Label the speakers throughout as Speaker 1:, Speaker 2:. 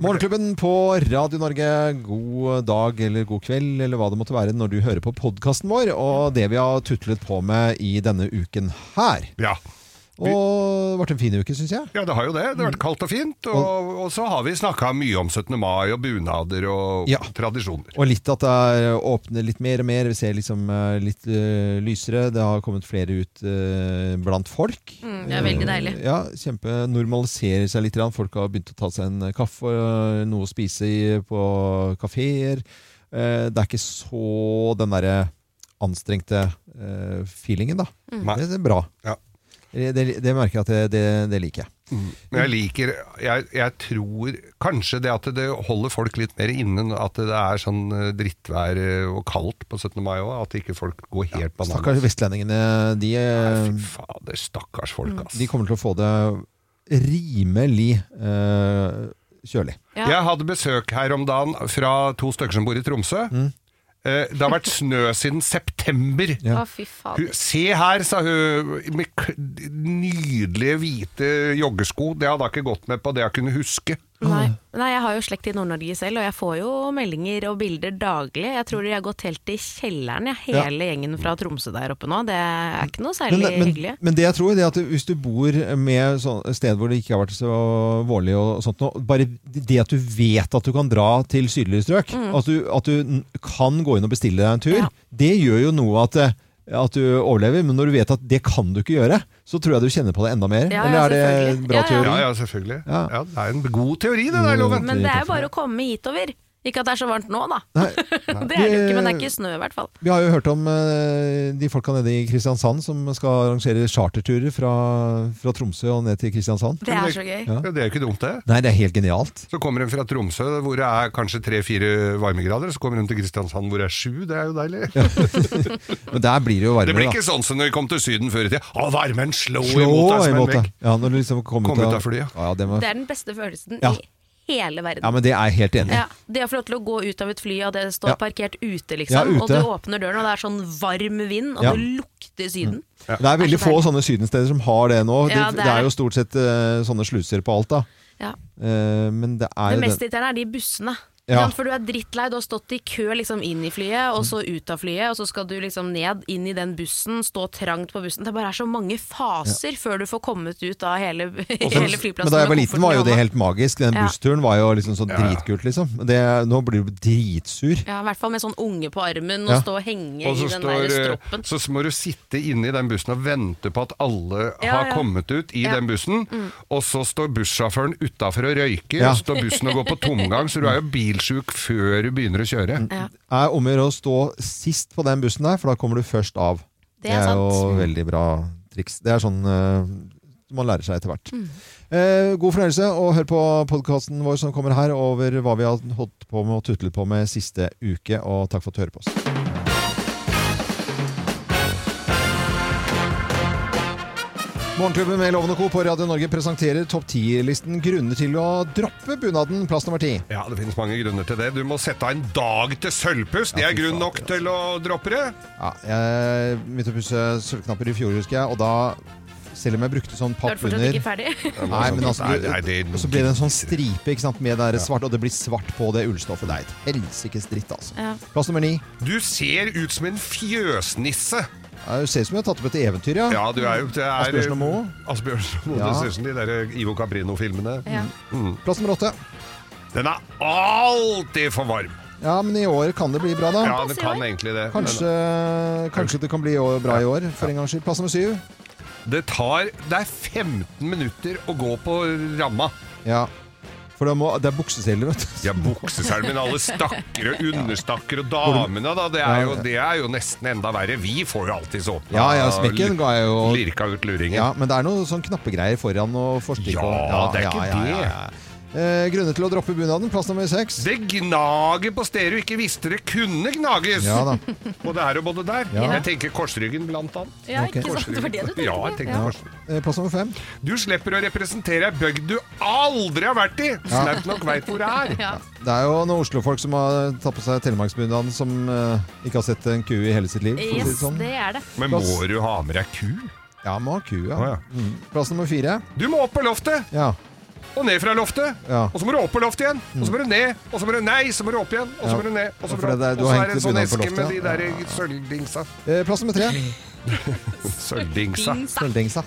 Speaker 1: Morgenklubben på Radio Norge, god dag eller god kveld eller hva det måtte være når du hører på podkasten vår og det vi har tutlet på med i denne uken her.
Speaker 2: Ja.
Speaker 1: Og det ble en fin uke, syns jeg.
Speaker 2: ja, det har jo det. Det har vært kaldt og fint. Og, og så har vi snakka mye om 17. mai og bunader og
Speaker 1: Ja.
Speaker 2: tradisjoner.
Speaker 1: Og litt at det er åpner litt mer og mer. Vi ser liksom eh, litt eh, lysere. Det har kommet flere ut eh, blant folk.
Speaker 3: Mm, det er veldig deilig.
Speaker 1: Eh, ja, kjempe Normaliserer seg litt. grann. Folk har begynt å ta seg en kaffe, eh, noe å spise i på kafeer. Eh, det er ikke så den derre anstrengte eh, feelingen, da.
Speaker 3: Mm.
Speaker 2: Nei.
Speaker 1: Det, det er bra.
Speaker 2: Ja.
Speaker 1: Det, det, det merker jeg at det, det, det liker jeg.
Speaker 2: Mm. Men jeg liker jeg, jeg tror kanskje det at det holder folk litt mer inne at det er sånn eh, drittvær eh, og kaldt på 17. mai òg. At ikke folk går helt bananas.
Speaker 1: Stakkars vestlendingene, de eh, Mm,
Speaker 2: Nei, Fy fader, stakkars folk, ass.
Speaker 1: De kommer til å få det rimelig eh, kjølig.
Speaker 3: Ja.
Speaker 2: Jeg hadde besøk her om dagen fra to stykker som bor i Tromsø.
Speaker 1: Mm.
Speaker 2: Eh, Det har vært snø siden september.
Speaker 1: Ja.
Speaker 3: Å, fy
Speaker 2: Hun,
Speaker 3: fader.
Speaker 2: se her, sa hun, med k- nydelige hvite joggesko. Det hadde hun ikke gått med på det jeg kunne huske.
Speaker 3: Nei. Nei, jeg har jo slekt i Nord-Norge selv, og jeg får jo meldinger og bilder daglig. Jeg tror de har gått helt i kjelleren, jeg,
Speaker 1: Ja.
Speaker 3: hele gjengen fra Tromsø der oppe nå. Det er ikke noe
Speaker 1: Men,
Speaker 3: særlig
Speaker 1: men,
Speaker 3: hyggelig.
Speaker 1: men det jeg tror det er at hvis du bor med sånn- et sted hvor det ikke har vært så vårlig, og sånt, nå, bare det at du vet at du kan dra til sydlige strøk, at, du, at du n- kan gå inn og bestille deg en tur,
Speaker 3: Mm. Ja.
Speaker 1: det gjør jo noe at eh, at du overlever, men når du vet at det kan du ikke gjøre, så tror jeg du kjenner på det enda mer.
Speaker 3: Ja, ja,
Speaker 1: Eller er det
Speaker 3: selvfølgelig.
Speaker 1: bra
Speaker 3: Ja, ja.
Speaker 1: teori?
Speaker 2: Ja, ja, selvfølgelig.
Speaker 1: Ja. Mm.
Speaker 2: Ja, det er en god teori, det der, Loven.
Speaker 3: Men det er jo bare å komme hitover. Ikke at det er så varmt nå, da.
Speaker 1: Nei,
Speaker 3: Det er det jo ikke, men det er ikke snø i hvert fall.
Speaker 1: Vi har jo hørt om eh, de folka nede i Kristiansand som skal arrangere charterturer fra, fra Tromsø og ned til Kristiansand.
Speaker 3: Det er så gøy.
Speaker 1: Ja.
Speaker 2: Ja, det er jo ikke dumt, det.
Speaker 1: Nei, det er helt genialt.
Speaker 2: Så kommer hun fra Tromsø, hvor det er kanskje tre-fire varmegrader. Så kommer hun til Kristiansand, hvor det er sju. Det er jo deilig.
Speaker 1: Men der blir det jo
Speaker 2: Det
Speaker 1: varmere,
Speaker 2: blir ikke
Speaker 1: da.
Speaker 2: sånn som når vi kom til Syden før i tida. Å, varmen slår
Speaker 1: Slå
Speaker 2: imot deg som en
Speaker 1: imot
Speaker 2: vegg.
Speaker 1: deg. Ja, når du liksom kommer
Speaker 2: Kom
Speaker 1: ut
Speaker 2: ut
Speaker 1: av,
Speaker 2: av flyet.
Speaker 1: Ja, ja, det må,
Speaker 3: Det er den beste følelsen
Speaker 1: Ja.
Speaker 3: i hele verden.
Speaker 1: ja, men det er jeg helt enig i.
Speaker 3: Ja, Det å få lov til å gå ut av et fly, og det står
Speaker 1: Ja.
Speaker 3: parkert ute,
Speaker 1: Ja,
Speaker 3: liksom.
Speaker 1: ute.
Speaker 3: Og du åpner døren, og det er sånn varm vind, og
Speaker 1: Ja.
Speaker 3: det lukter Syden.
Speaker 1: Det er veldig
Speaker 3: Det er
Speaker 1: få
Speaker 3: så
Speaker 1: sånne sydensteder som har det nå. Det,
Speaker 3: Ja, det
Speaker 1: det er
Speaker 3: er-
Speaker 1: jo stort sett eh, sånne sluser på alt, da.
Speaker 3: Ja.
Speaker 1: Eh, men det er
Speaker 3: Det
Speaker 1: jo
Speaker 3: mest
Speaker 1: den.
Speaker 3: irriterende er de bussene.
Speaker 1: Ja.
Speaker 3: For du er drittlei, du har stått i kø liksom inn i flyet, og så ut av flyet, og så skal du liksom ned, inn i den bussen, stå trangt på bussen. Det bare er så mange faser før du får kommet ut av hele, hele flyplassen.
Speaker 1: Men da jeg var
Speaker 3: med
Speaker 1: liten, var jo
Speaker 3: kofferten i
Speaker 1: det
Speaker 3: hånda.
Speaker 1: helt magisk. Den
Speaker 3: Ja.
Speaker 1: bussturen var jo liksom så dritkult, liksom. Det, nå blir du dritsur.
Speaker 3: Ja, I hvert fall med sånn unge på armen, og
Speaker 1: Ja.
Speaker 3: stå og henge
Speaker 2: Og så,
Speaker 3: i den
Speaker 2: står,
Speaker 3: der
Speaker 2: eh,
Speaker 3: stroppen.
Speaker 2: så må du sitte inne i den bussen og vente på at alle
Speaker 3: Ja,
Speaker 2: har
Speaker 3: ja.
Speaker 2: kommet ut i
Speaker 3: Ja.
Speaker 2: den
Speaker 3: Mm.
Speaker 2: bussen, og så står bussjåføren utafor og røyker,
Speaker 1: Ja.
Speaker 2: og står bussen og går på tomgang, så du er jo bilsjuk før du begynner å kjøre.
Speaker 3: Mm.
Speaker 1: er om å gjøre å stå sist på den bussen der, for da kommer du først av.
Speaker 3: Det er sant.
Speaker 1: jo veldig bra triks. Det er sånn eh, man lærer seg etter hvert.
Speaker 3: Mm.
Speaker 1: Eh, god fornøyelse, og hør på podkasten vår som kommer her, over hva vi har holdt på med og tutlet på med siste uke, og takk for at du hører på oss. Morgenklubben med Loven og Co. på Radio Norge presenterer topp 10-listen grunner til å droppe bunaden, plass nummer ti.
Speaker 2: Ja, det finnes mange grunner til det. Du må sette av en dag til sølvpuss. Det
Speaker 1: Ja,
Speaker 2: er
Speaker 1: fy
Speaker 2: grunn
Speaker 1: faen,
Speaker 2: nok
Speaker 1: altså.
Speaker 2: til å droppe det.
Speaker 1: Ja, jeg begynte å pusse sølvknapper i fjor, husker jeg, og da selv om jeg brukte sånn
Speaker 3: Du er
Speaker 1: papp
Speaker 3: fortsatt
Speaker 1: under
Speaker 3: ikke ferdig.
Speaker 1: Nei, men altså,
Speaker 2: Nei, nei, det-
Speaker 1: og så ble det en sånn stripe ikke sant, med det der svart, og det blir svart på det ullstoffet. Det er et helsikes dritt, altså.
Speaker 3: Ja.
Speaker 1: Plass nummer ni.
Speaker 2: Du ser ut som en fjøsnisse.
Speaker 1: Ja, Det ser ut som jeg har tatt opp et eventyr, ja.
Speaker 2: Ja, du er jo det er-
Speaker 1: Asbjørnsen og Moe?
Speaker 2: Asbjørnsen og Moe.
Speaker 1: Ja.
Speaker 2: Det ser ut som de der Ivo Caprino-filmene. Mm.
Speaker 3: Ja.
Speaker 1: Plass nummer åtte.
Speaker 2: Den er alltid for varm.
Speaker 1: Ja, men i år kan det bli bra, da.
Speaker 2: Ja,
Speaker 3: Pass
Speaker 2: det
Speaker 3: i
Speaker 2: kan
Speaker 3: år.
Speaker 2: egentlig det.
Speaker 1: Kanskje, kanskje det kan bli i år- bra i år, for en gangs skyld. Plass nummer syv.
Speaker 2: Det tar Det er 15 minutter å gå på ramma.
Speaker 1: Ja. For det, må, det er bukseseler, vet du.
Speaker 2: Ja, bukseselmen, alle stakker og understakker og damene, da. Det er jo, det er jo nesten enda verre. Vi får jo alltid så åpna
Speaker 1: Ja, ja, smekken ga jeg jo-
Speaker 2: Lirka ut luringen.
Speaker 1: Ja, men det er noen sånn knappegreier foran og forstyrre
Speaker 2: Ja, det er ikke
Speaker 1: det. Eh, grunner til å droppe bunaden. Plass nummer seks.
Speaker 2: Det gnager på stedet du ikke visste det kunne gnages!
Speaker 1: Ja da.
Speaker 2: Og det er jo både der.
Speaker 1: Ja.
Speaker 2: Jeg tenker korsryggen, blant annet.
Speaker 3: Ja,
Speaker 1: Ok.
Speaker 3: ikke sant. Det var det du tenkte
Speaker 2: Ja, jeg
Speaker 3: på.
Speaker 2: tenker
Speaker 3: Ja.
Speaker 2: korsryggen.
Speaker 1: Eh, Plass nummer fem.
Speaker 2: Du slipper å representere ei bygd du aldri har vært i! Snaut nok veit hvor det er.
Speaker 3: Ja.
Speaker 1: Det er jo noen Oslo-folk som har tatt på seg telemarksbunaden, som eh, ikke har sett en ku i hele sitt liv. for å si
Speaker 3: Yes,
Speaker 1: sånn.
Speaker 3: det er det.
Speaker 2: Men må du ha med deg ku?
Speaker 1: Ja, må ha ku, ja.
Speaker 2: Å, ja.
Speaker 1: Mm. Plass nummer fire.
Speaker 2: Du må opp på loftet!
Speaker 1: Ja.
Speaker 2: og ned fra loftet.
Speaker 1: Ja. Mm.
Speaker 2: Og så må du opp på loftet igjen, og så må du ned, og så må du nei, så må du opp igjen, og så
Speaker 1: Ja.
Speaker 2: må du ned. Og
Speaker 1: Ja,
Speaker 2: så,
Speaker 1: for
Speaker 2: må
Speaker 1: det der-
Speaker 2: opp.
Speaker 1: du
Speaker 2: og
Speaker 1: har
Speaker 2: så
Speaker 1: hengt
Speaker 2: er det en
Speaker 1: et bunad
Speaker 2: sånn
Speaker 1: på
Speaker 2: eske
Speaker 1: loftet,
Speaker 2: med de
Speaker 1: ja.
Speaker 2: der sølvdingsa.
Speaker 1: Eh, Plass nummer tre.
Speaker 2: Sølvdingsa.
Speaker 1: Sølvdingsa.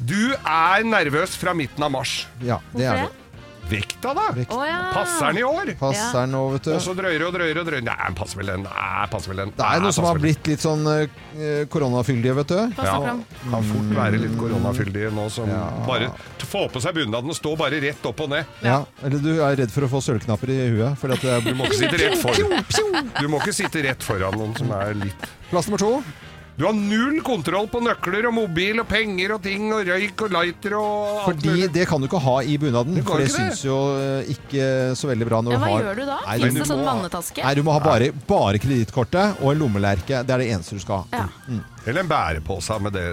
Speaker 2: Du er nervøs fra midten av mars.
Speaker 1: Ja, det er det.
Speaker 2: Vekta, da!
Speaker 1: Vekt.
Speaker 3: Å ja.
Speaker 2: Passer den i år?
Speaker 1: Passer nå, vet du.
Speaker 2: Og så drøyer og drøyer og drøyer. Nei, den passer vel den. Nei, passer vel den.
Speaker 1: Det er
Speaker 2: Nei,
Speaker 1: noe som
Speaker 2: passer
Speaker 1: har
Speaker 2: vel den.
Speaker 1: blitt litt sånn eh, koronafyldige, vet du.
Speaker 3: Passer
Speaker 2: Ja,
Speaker 3: fram.
Speaker 2: kan fort være litt koronafyldige nå som bare t- Få på seg bunaden og stå bare rett opp og ned.
Speaker 1: Ja. Eller du er redd for å få sølvknapper i huet. Fordi at det
Speaker 2: Du må
Speaker 1: er
Speaker 2: ikke sitte rett foran Du må ikke sitte rett foran noen som er litt
Speaker 1: Plass nummer to.
Speaker 2: Du har null kontroll på nøkler og mobil og penger og ting og røyk og lighter og alt
Speaker 1: Fordi
Speaker 2: mulig.
Speaker 1: det kan du ikke ha i bunaden.
Speaker 2: Du kan
Speaker 1: For det
Speaker 2: ikke det.
Speaker 1: syns jo eh, ikke så veldig bra når
Speaker 3: Ja,
Speaker 1: du
Speaker 3: hva
Speaker 1: har
Speaker 3: gjør du da?
Speaker 1: Nei,
Speaker 3: Fins
Speaker 1: du
Speaker 3: det sånn
Speaker 1: må-
Speaker 3: vannetaske?
Speaker 1: Nei, du må ha bare, bare kredittkortet og en lommelerke. Det er det eneste du skal ha.
Speaker 3: Ja.
Speaker 2: Eller en bærepose med det.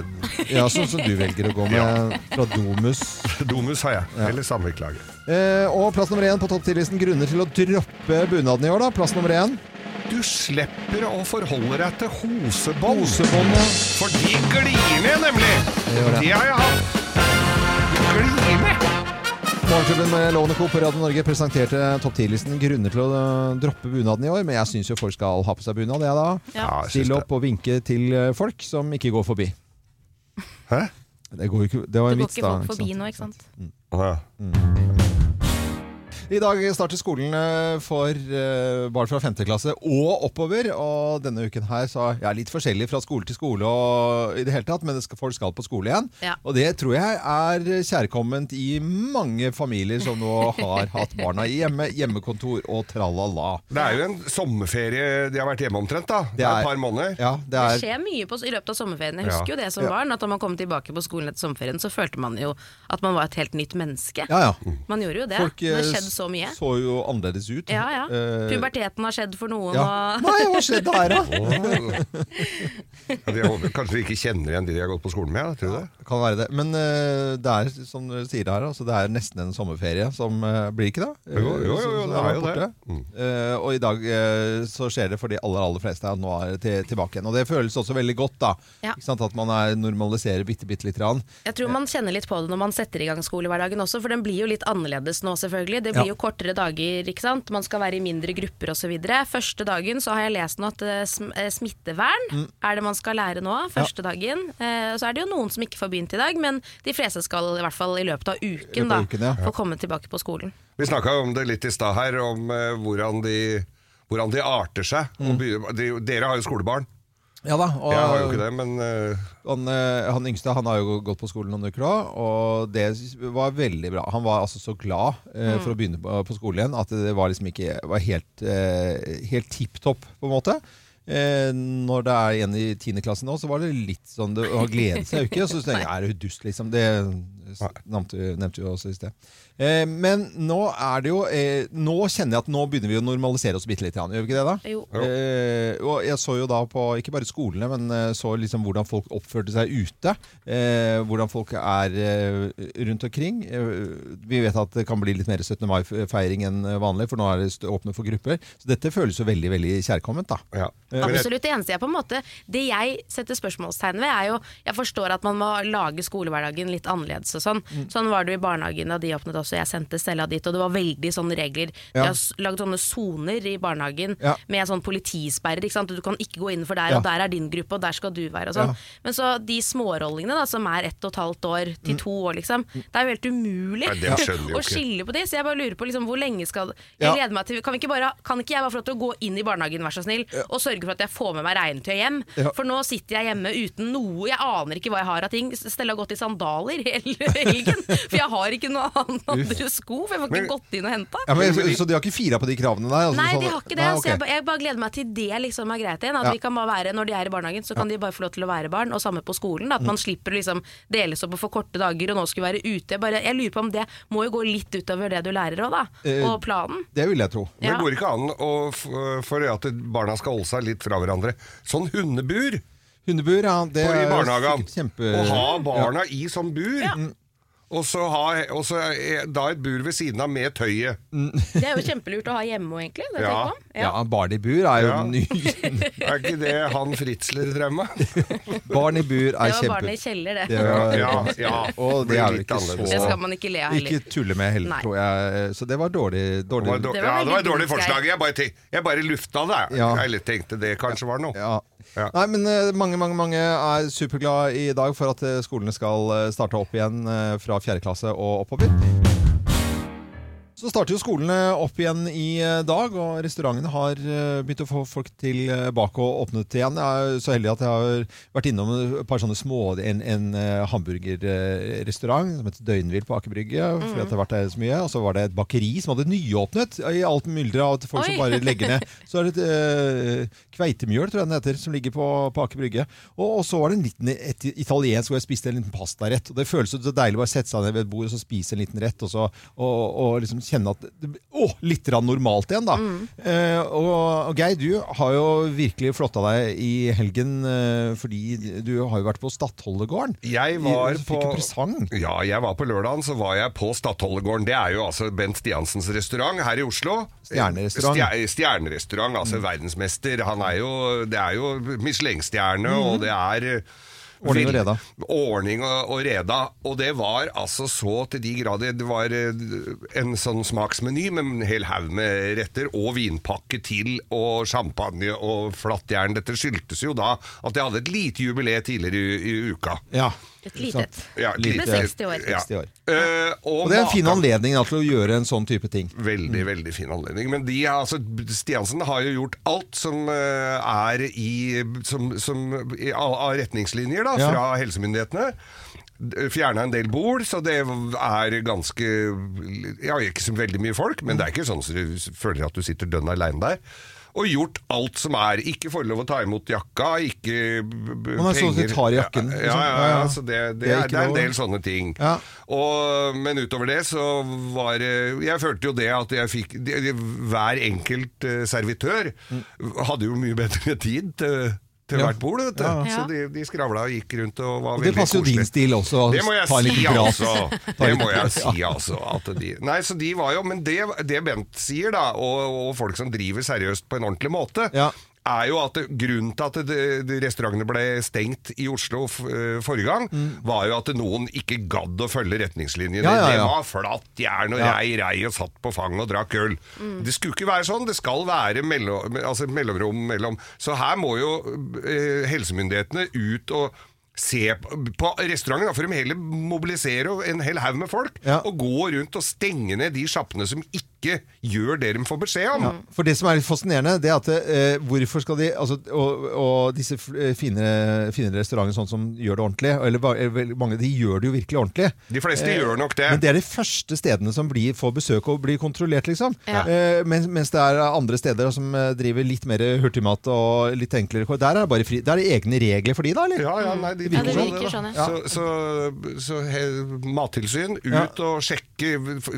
Speaker 1: Ja, Sånn som du velger å gå med fra Domus.
Speaker 2: Domus har jeg. Eller samvirkelaget.
Speaker 1: Eh, og plass nummer én på topp 10-listen grunner til å droppe bunaden i år, da. Plass nummer én.
Speaker 2: Du slipper å forholde deg til hosebånd.
Speaker 1: Kosebåndet.
Speaker 2: For de glir ned, nemlig!
Speaker 1: gjør det.
Speaker 2: Det har jeg hatt. Glir ned!
Speaker 1: Morgenklubben med Lovende Co. på Radio Norge presenterte topp 10-listen grunner til å eh, droppe bunaden i år. Men jeg syns jo folk skal ha på seg bunad, jeg da.
Speaker 3: Ja.
Speaker 2: Ja, jeg syns
Speaker 1: Stille
Speaker 2: det.
Speaker 1: opp og vinke til eh, folk som ikke går forbi.
Speaker 2: Hæ?
Speaker 1: Det, går jo ikke, det var
Speaker 3: Det
Speaker 1: en
Speaker 3: går
Speaker 1: vits,
Speaker 3: ikke
Speaker 1: da.
Speaker 3: folk
Speaker 1: ikke sant?
Speaker 3: forbi nå, ikke sant?
Speaker 2: Ja.
Speaker 1: I dag starter skolen eh, for eh, barn fra 5. klasse og oppover. Og denne uken her så er jeg litt forskjellig fra skole til skole, og i det hele tatt, men det skal, folk skal på skole igjen.
Speaker 3: Ja.
Speaker 1: Og det tror jeg er kjærkomment i mange familier som nå har hatt barna hjemme, hjemmekontor og tralala.
Speaker 2: Det er jo en sommerferie de har vært hjemme omtrent, da. Det er et par måneder.
Speaker 1: Ja, det
Speaker 3: Det
Speaker 1: er
Speaker 3: skjer mye på, i løpet av sommerferien. Jeg
Speaker 2: Ja.
Speaker 3: husker jo det som
Speaker 1: Ja.
Speaker 3: barn, at da man kom tilbake på skolen etter sommerferien, så følte man jo at man var et helt nytt menneske.
Speaker 1: Ja, ja.
Speaker 3: Man gjorde jo det.
Speaker 1: Folk
Speaker 3: det
Speaker 1: eh,
Speaker 3: har skjedd så mye.
Speaker 1: så jo annerledes ut.
Speaker 3: Ja, ja.
Speaker 1: Eh,
Speaker 3: Puberteten har skjedd for noen,
Speaker 1: ja.
Speaker 3: og
Speaker 1: Nei, hva skjedde her, da?
Speaker 2: Ja, de har- kanskje de ikke kjenner igjen de de har gått på skolen med, da, tror du det?
Speaker 1: Kan være det. Men eh, det er som du sier det her, altså, det er nesten en sommerferie som eh, blir ikke det?
Speaker 2: Jo, jo, jo, jo,
Speaker 1: Så- så
Speaker 2: det er jo
Speaker 1: borte.
Speaker 2: det. Mm.
Speaker 1: Eh, og i dag eh, så skjer det for de aller, aller fleste at nå er det til, tilbake igjen. Og det føles også veldig godt, da.
Speaker 3: Ja.
Speaker 1: Ikke sant? At man er, normaliserer bitte, bitte lite grann.
Speaker 3: jeg tror man kjenner litt på det når man setter i gang skolehverdagen også, for den blir jo litt annerledes nå, selvfølgelig. Det blir
Speaker 1: Ja.
Speaker 3: jo kortere dager, ikke sant. Man skal være i mindre grupper osv. Første dagen så har jeg lest nå at eh, sm- eh, smittevern
Speaker 1: Mm.
Speaker 3: er det man skal lære nå, første dagen. Eh, Så er det jo noen som ikke får begynt i dag, men de fleste skal i hvert fall i løpet av uken,
Speaker 1: løpet
Speaker 3: da,
Speaker 1: av uken, ja.
Speaker 3: få komme tilbake på skolen.
Speaker 2: Vi snakka om det litt i stad her, om eh, hvordan de hvordan de arter seg. Og begynner- de, dere har jo skolebarn.
Speaker 1: Ja da. Og,
Speaker 2: Jeg har jo ikke det, men eh,
Speaker 1: Han, eh, han yngste han har jo gått på skolen noen uker òg, og det var veldig bra. Han var altså så glad eh, for å begynne på, på skolen igjen at det var liksom ikke var helt, eh, helt tipp topp, på en måte. Eh, når det er en i tiendeklasse nå, så var det litt sånn Det å glede seg jo ikke. Så tenkte jeg, er du dust, liksom? Det s- nevnte vi- nevnte vi jo også i sted. Eh, men nå er det jo eh, Nå kjenner jeg at nå begynner vi å normalisere oss bitte litt. Gjør vi ikke det, da?
Speaker 3: Jo.
Speaker 1: Eh, og jeg så jo da på ikke bare skolene, men eh, så liksom hvordan folk oppførte seg ute. Eh, hvordan folk er eh, rundt omkring. Eh, vi vet at det kan bli litt mer 17. mai-feiring enn vanlig, for nå er det st- åpne for grupper. Så dette føles jo veldig veldig kjærkomment, da.
Speaker 2: ja. Men jeg-
Speaker 3: Absolutt. Det eneste jeg på en måte Det jeg setter spørsmålstegn ved, er jo Jeg forstår at man må lage skolehverdagen litt annerledes og sånn. Sånn var det jo i barnehagen da de åpnet også. Jeg sendte Stella dit, og det var veldig sånne regler.
Speaker 1: Ja.
Speaker 3: De har s- lagd sånne soner i barnehagen
Speaker 1: Ja.
Speaker 3: med sånn politisperrer, ikke sant. Du kan ikke gå innenfor der,
Speaker 1: Ja.
Speaker 3: og der er din gruppe, og der skal du være, og sånn.
Speaker 1: Ja.
Speaker 3: Men så de smårollingene, da, som er ett og et halvt år til to år, liksom. Det er jo helt umulig
Speaker 2: Nei, det skjønner jo
Speaker 3: å
Speaker 2: ikke.
Speaker 3: skille på de, så jeg bare lurer på liksom, hvor lenge skal Jeg
Speaker 1: Ja.
Speaker 3: gleder meg til kan, vi ikke bare, kan ikke jeg bare få lov til å gå inn i barnehagen, vær så snill, og sørge for at jeg får med meg regntøy hjem?
Speaker 1: Ja.
Speaker 3: For nå sitter jeg hjemme uten noe, jeg aner ikke hva jeg har av ting. Stella har gått i sandaler hele helgen, for jeg har ikke noe annet andre sko, for jeg får
Speaker 2: Men-
Speaker 3: ikke gått inn og henta.
Speaker 1: Ja, men, så, så de har ikke fira på de kravene der? altså
Speaker 3: Nei,
Speaker 1: sånn-
Speaker 3: de har ikke det.
Speaker 1: Nei, ok.
Speaker 3: Så jeg, ba- jeg bare gleder meg til det liksom er greit igjen. At
Speaker 1: Ja.
Speaker 3: vi kan bare være, Når de er i barnehagen, så kan de bare få lov til å være barn. Og samme på skolen.
Speaker 1: Mm.
Speaker 3: da, At man slipper å liksom deles opp og få korte dager og nå skulle være ute. Jeg, bare, jeg lurer på om det må jo gå litt utover det du lærer òg, da.
Speaker 1: Eh,
Speaker 3: Og planen.
Speaker 1: Det vil jeg tro.
Speaker 2: men
Speaker 3: Ja.
Speaker 2: det går ikke an å, f- for at barna skal holde seg litt fra hverandre. Sånn hundebur!
Speaker 1: Hundebur, ja. Det
Speaker 2: på, i
Speaker 1: er
Speaker 2: barnehagen.
Speaker 1: sikkert kjempe...
Speaker 2: Å ha barna i sånn bur. og så, ha, og så er- da et bur ved siden av med tøyet.
Speaker 3: Det er jo kjempelurt å ha hjemme òg, egentlig. når jeg
Speaker 2: Ja.
Speaker 3: tenker meg om.
Speaker 1: Ja, barn i bur er jo
Speaker 2: Ja.
Speaker 1: ny.
Speaker 2: Er ikke det han Fritzler drømmer?
Speaker 1: Barn i bur
Speaker 3: Det
Speaker 1: er
Speaker 3: var barnet
Speaker 1: kjempe...
Speaker 3: i kjeller,
Speaker 1: Det
Speaker 3: det.
Speaker 1: var-
Speaker 2: Ja, ja.
Speaker 1: Og det
Speaker 2: Blir
Speaker 1: er jo
Speaker 2: litt
Speaker 1: ikke
Speaker 2: annerledes.
Speaker 3: Det
Speaker 1: så
Speaker 3: skal man ikke le av
Speaker 1: Ikke
Speaker 3: heller.
Speaker 1: tulle med heller,
Speaker 3: Nei.
Speaker 1: tror jeg. eh, Så det var dårlig.
Speaker 2: Det
Speaker 1: dårlig.
Speaker 2: var, dår-
Speaker 3: Det var
Speaker 2: ja, det var et
Speaker 3: veldig
Speaker 2: dårlig
Speaker 3: dumt, Geir.
Speaker 2: forslag. Jeg bare, te- jeg bare lufta det.
Speaker 1: Ja.
Speaker 2: Jeg tenkte det kanskje var noe.
Speaker 1: Ja.
Speaker 2: Ja.
Speaker 1: Nei, men eh, mange, mange, mange er superglad i dag for at eh, skolene skal eh, starte opp igjen eh, fra fjerde klasse og oppover. Så starter jo skolene opp igjen i eh, dag, og restaurantene har eh, begynt å få folk tilbake og åpnet igjen. Jeg er jo så heldig at jeg har vært innom et par sånne små En, en eh, hamburgerrestaurant som heter Døgnhvil på Aker Brygge, fordi at jeg har vært der så mye. Og så var det et bakeri som hadde nyåpnet i alt mylderet av at folk som
Speaker 3: Oi.
Speaker 1: bare legger ned. Så er det et eh, kveitemjøl, tror jeg den heter, som ligger på, på Aker Brygge. Og, og så var det en liten et, italiensk hvor jeg spiste en liten pastarett. Og det føles så deilig å bare sette seg ned ved et bord og så spise en liten rett, og, så, og, og liksom kjenne at det, Å, litt grann normalt igjen, da.
Speaker 3: Mm.
Speaker 1: Eh, og, og Geir, du har jo virkelig flotta deg i helgen, eh, fordi du har jo vært på Stadholdegården.
Speaker 2: Jeg var
Speaker 1: Du
Speaker 2: på
Speaker 1: Fikk jo presang.
Speaker 2: Ja, jeg var på lørdagen, så var jeg på Stadholdegården. Det er jo altså Bent Stiansens restaurant her i Oslo.
Speaker 1: Stjernerestaurant. Mm.
Speaker 2: Stjer- stjernerestaurant, altså verdensmester. Han er jo, det er jo Michelin-stjerne, og det er eh,
Speaker 1: Mm-hmm. Ordning og
Speaker 2: vill-
Speaker 1: reda.
Speaker 2: Ordning og, og reda. Og det var altså så til de grader Det var eh, en sånn smaksmeny med en hel haug med retter, og vinpakke til, og champagne og flatjern. Dette skyldtes jo da at jeg hadde et lite jubileet tidligere i, i uka.
Speaker 1: Ja.
Speaker 3: Et lite et.
Speaker 2: Ja,
Speaker 1: Lite-
Speaker 2: lite-
Speaker 1: Med
Speaker 3: 60 år.
Speaker 1: 60 år.
Speaker 2: Eh, og,
Speaker 1: Og det er en fin
Speaker 2: maken-
Speaker 1: anledning da, til å gjøre en sånn type ting.
Speaker 2: Veldig, veldig fin anledning. Men de, har- altså, Stiansen har jo gjort alt som eh, er i, som, som, i av av retningslinjer da,
Speaker 1: Ja.
Speaker 2: fra helsemyndighetene. Fjerna en del bord, så det er ganske Ja, ikke så veldig mye folk, men det er ikke sånn at du føler at du sitter dønn aleine der. Og gjort alt som er. Ikke får lov å ta imot jakka, ikke b- b-
Speaker 1: Man er sånn at de tar jakken,
Speaker 2: Ja,
Speaker 1: liksom.
Speaker 2: ja, ja,
Speaker 1: Ja, ja.
Speaker 2: Så det, det,
Speaker 1: Det er
Speaker 2: er,
Speaker 1: ikke
Speaker 2: det er en
Speaker 1: lov.
Speaker 2: del sånne ting.
Speaker 1: Ja.
Speaker 2: Og, men utover det så var det- Jeg følte jo det at jeg fikk de- de- Hver enkelt eh, servitør hadde jo mye bedre tid til, til
Speaker 1: Ja.
Speaker 2: hvert bord, vet du.
Speaker 1: Ja,
Speaker 3: ja.
Speaker 2: Så de, de skravla og gikk rundt og var
Speaker 1: Og
Speaker 2: veldig
Speaker 1: det passer jo din
Speaker 2: koselige.
Speaker 1: stil også. å
Speaker 2: Det må jeg
Speaker 1: ta en
Speaker 2: si,
Speaker 1: liten prat.
Speaker 2: altså.
Speaker 1: Ta
Speaker 2: Det
Speaker 1: litt
Speaker 2: må jeg
Speaker 1: prat,
Speaker 2: si, altså. At de, nei, så de var jo, men det, det Bent sier, da, og, og folk som driver seriøst på en ordentlig måte,
Speaker 1: Ja.
Speaker 2: er jo at det, Grunnen til at det, de restaurantene ble stengt i Oslo f, eh, forrige gang, var jo at noen ikke gadd å følge
Speaker 1: Mm.
Speaker 2: retningslinjene.
Speaker 1: Ja, ja, ja.
Speaker 2: Det var flatt jern og
Speaker 1: Ja.
Speaker 2: rei, rei og satt på fang og drakk øl.
Speaker 1: Mm.
Speaker 2: Det skulle ikke være sånn. Det skal være mello, altså mellomrom mellom Så her må jo eh, helsemyndighetene ut og se på, på restauranten. Da får de heller mobilisere en hel haug med folk
Speaker 1: Ja.
Speaker 2: og gå rundt og stenge ned de sjappene som ikke gjør det de får beskjed om.
Speaker 1: For det som er litt fascinerende, det er at eh, hvorfor skal de altså, og, og disse f- eh, fine, fine restaurantene sånn som gjør det ordentlig, eller, ba- eller veldig mange, de gjør det jo virkelig ordentlig. Eh,
Speaker 2: De fleste gjør nok det.
Speaker 1: Men det er de første stedene som blir, får besøk og blir kontrollert, liksom.
Speaker 3: Ja.
Speaker 1: Eh, mens, mens det er andre steder som eh, driver litt mer hurtigmat og litt enklere kår. Der er det, bare fri, der er det egne regler for de, da? eller?
Speaker 2: Ja, ja, nei, de
Speaker 1: Ja, det
Speaker 2: sånn,
Speaker 3: virker
Speaker 2: da.
Speaker 3: sånn,
Speaker 1: ja.
Speaker 2: Så, så, så he, Mattilsyn, ut
Speaker 1: Ja.
Speaker 2: og sjekke f-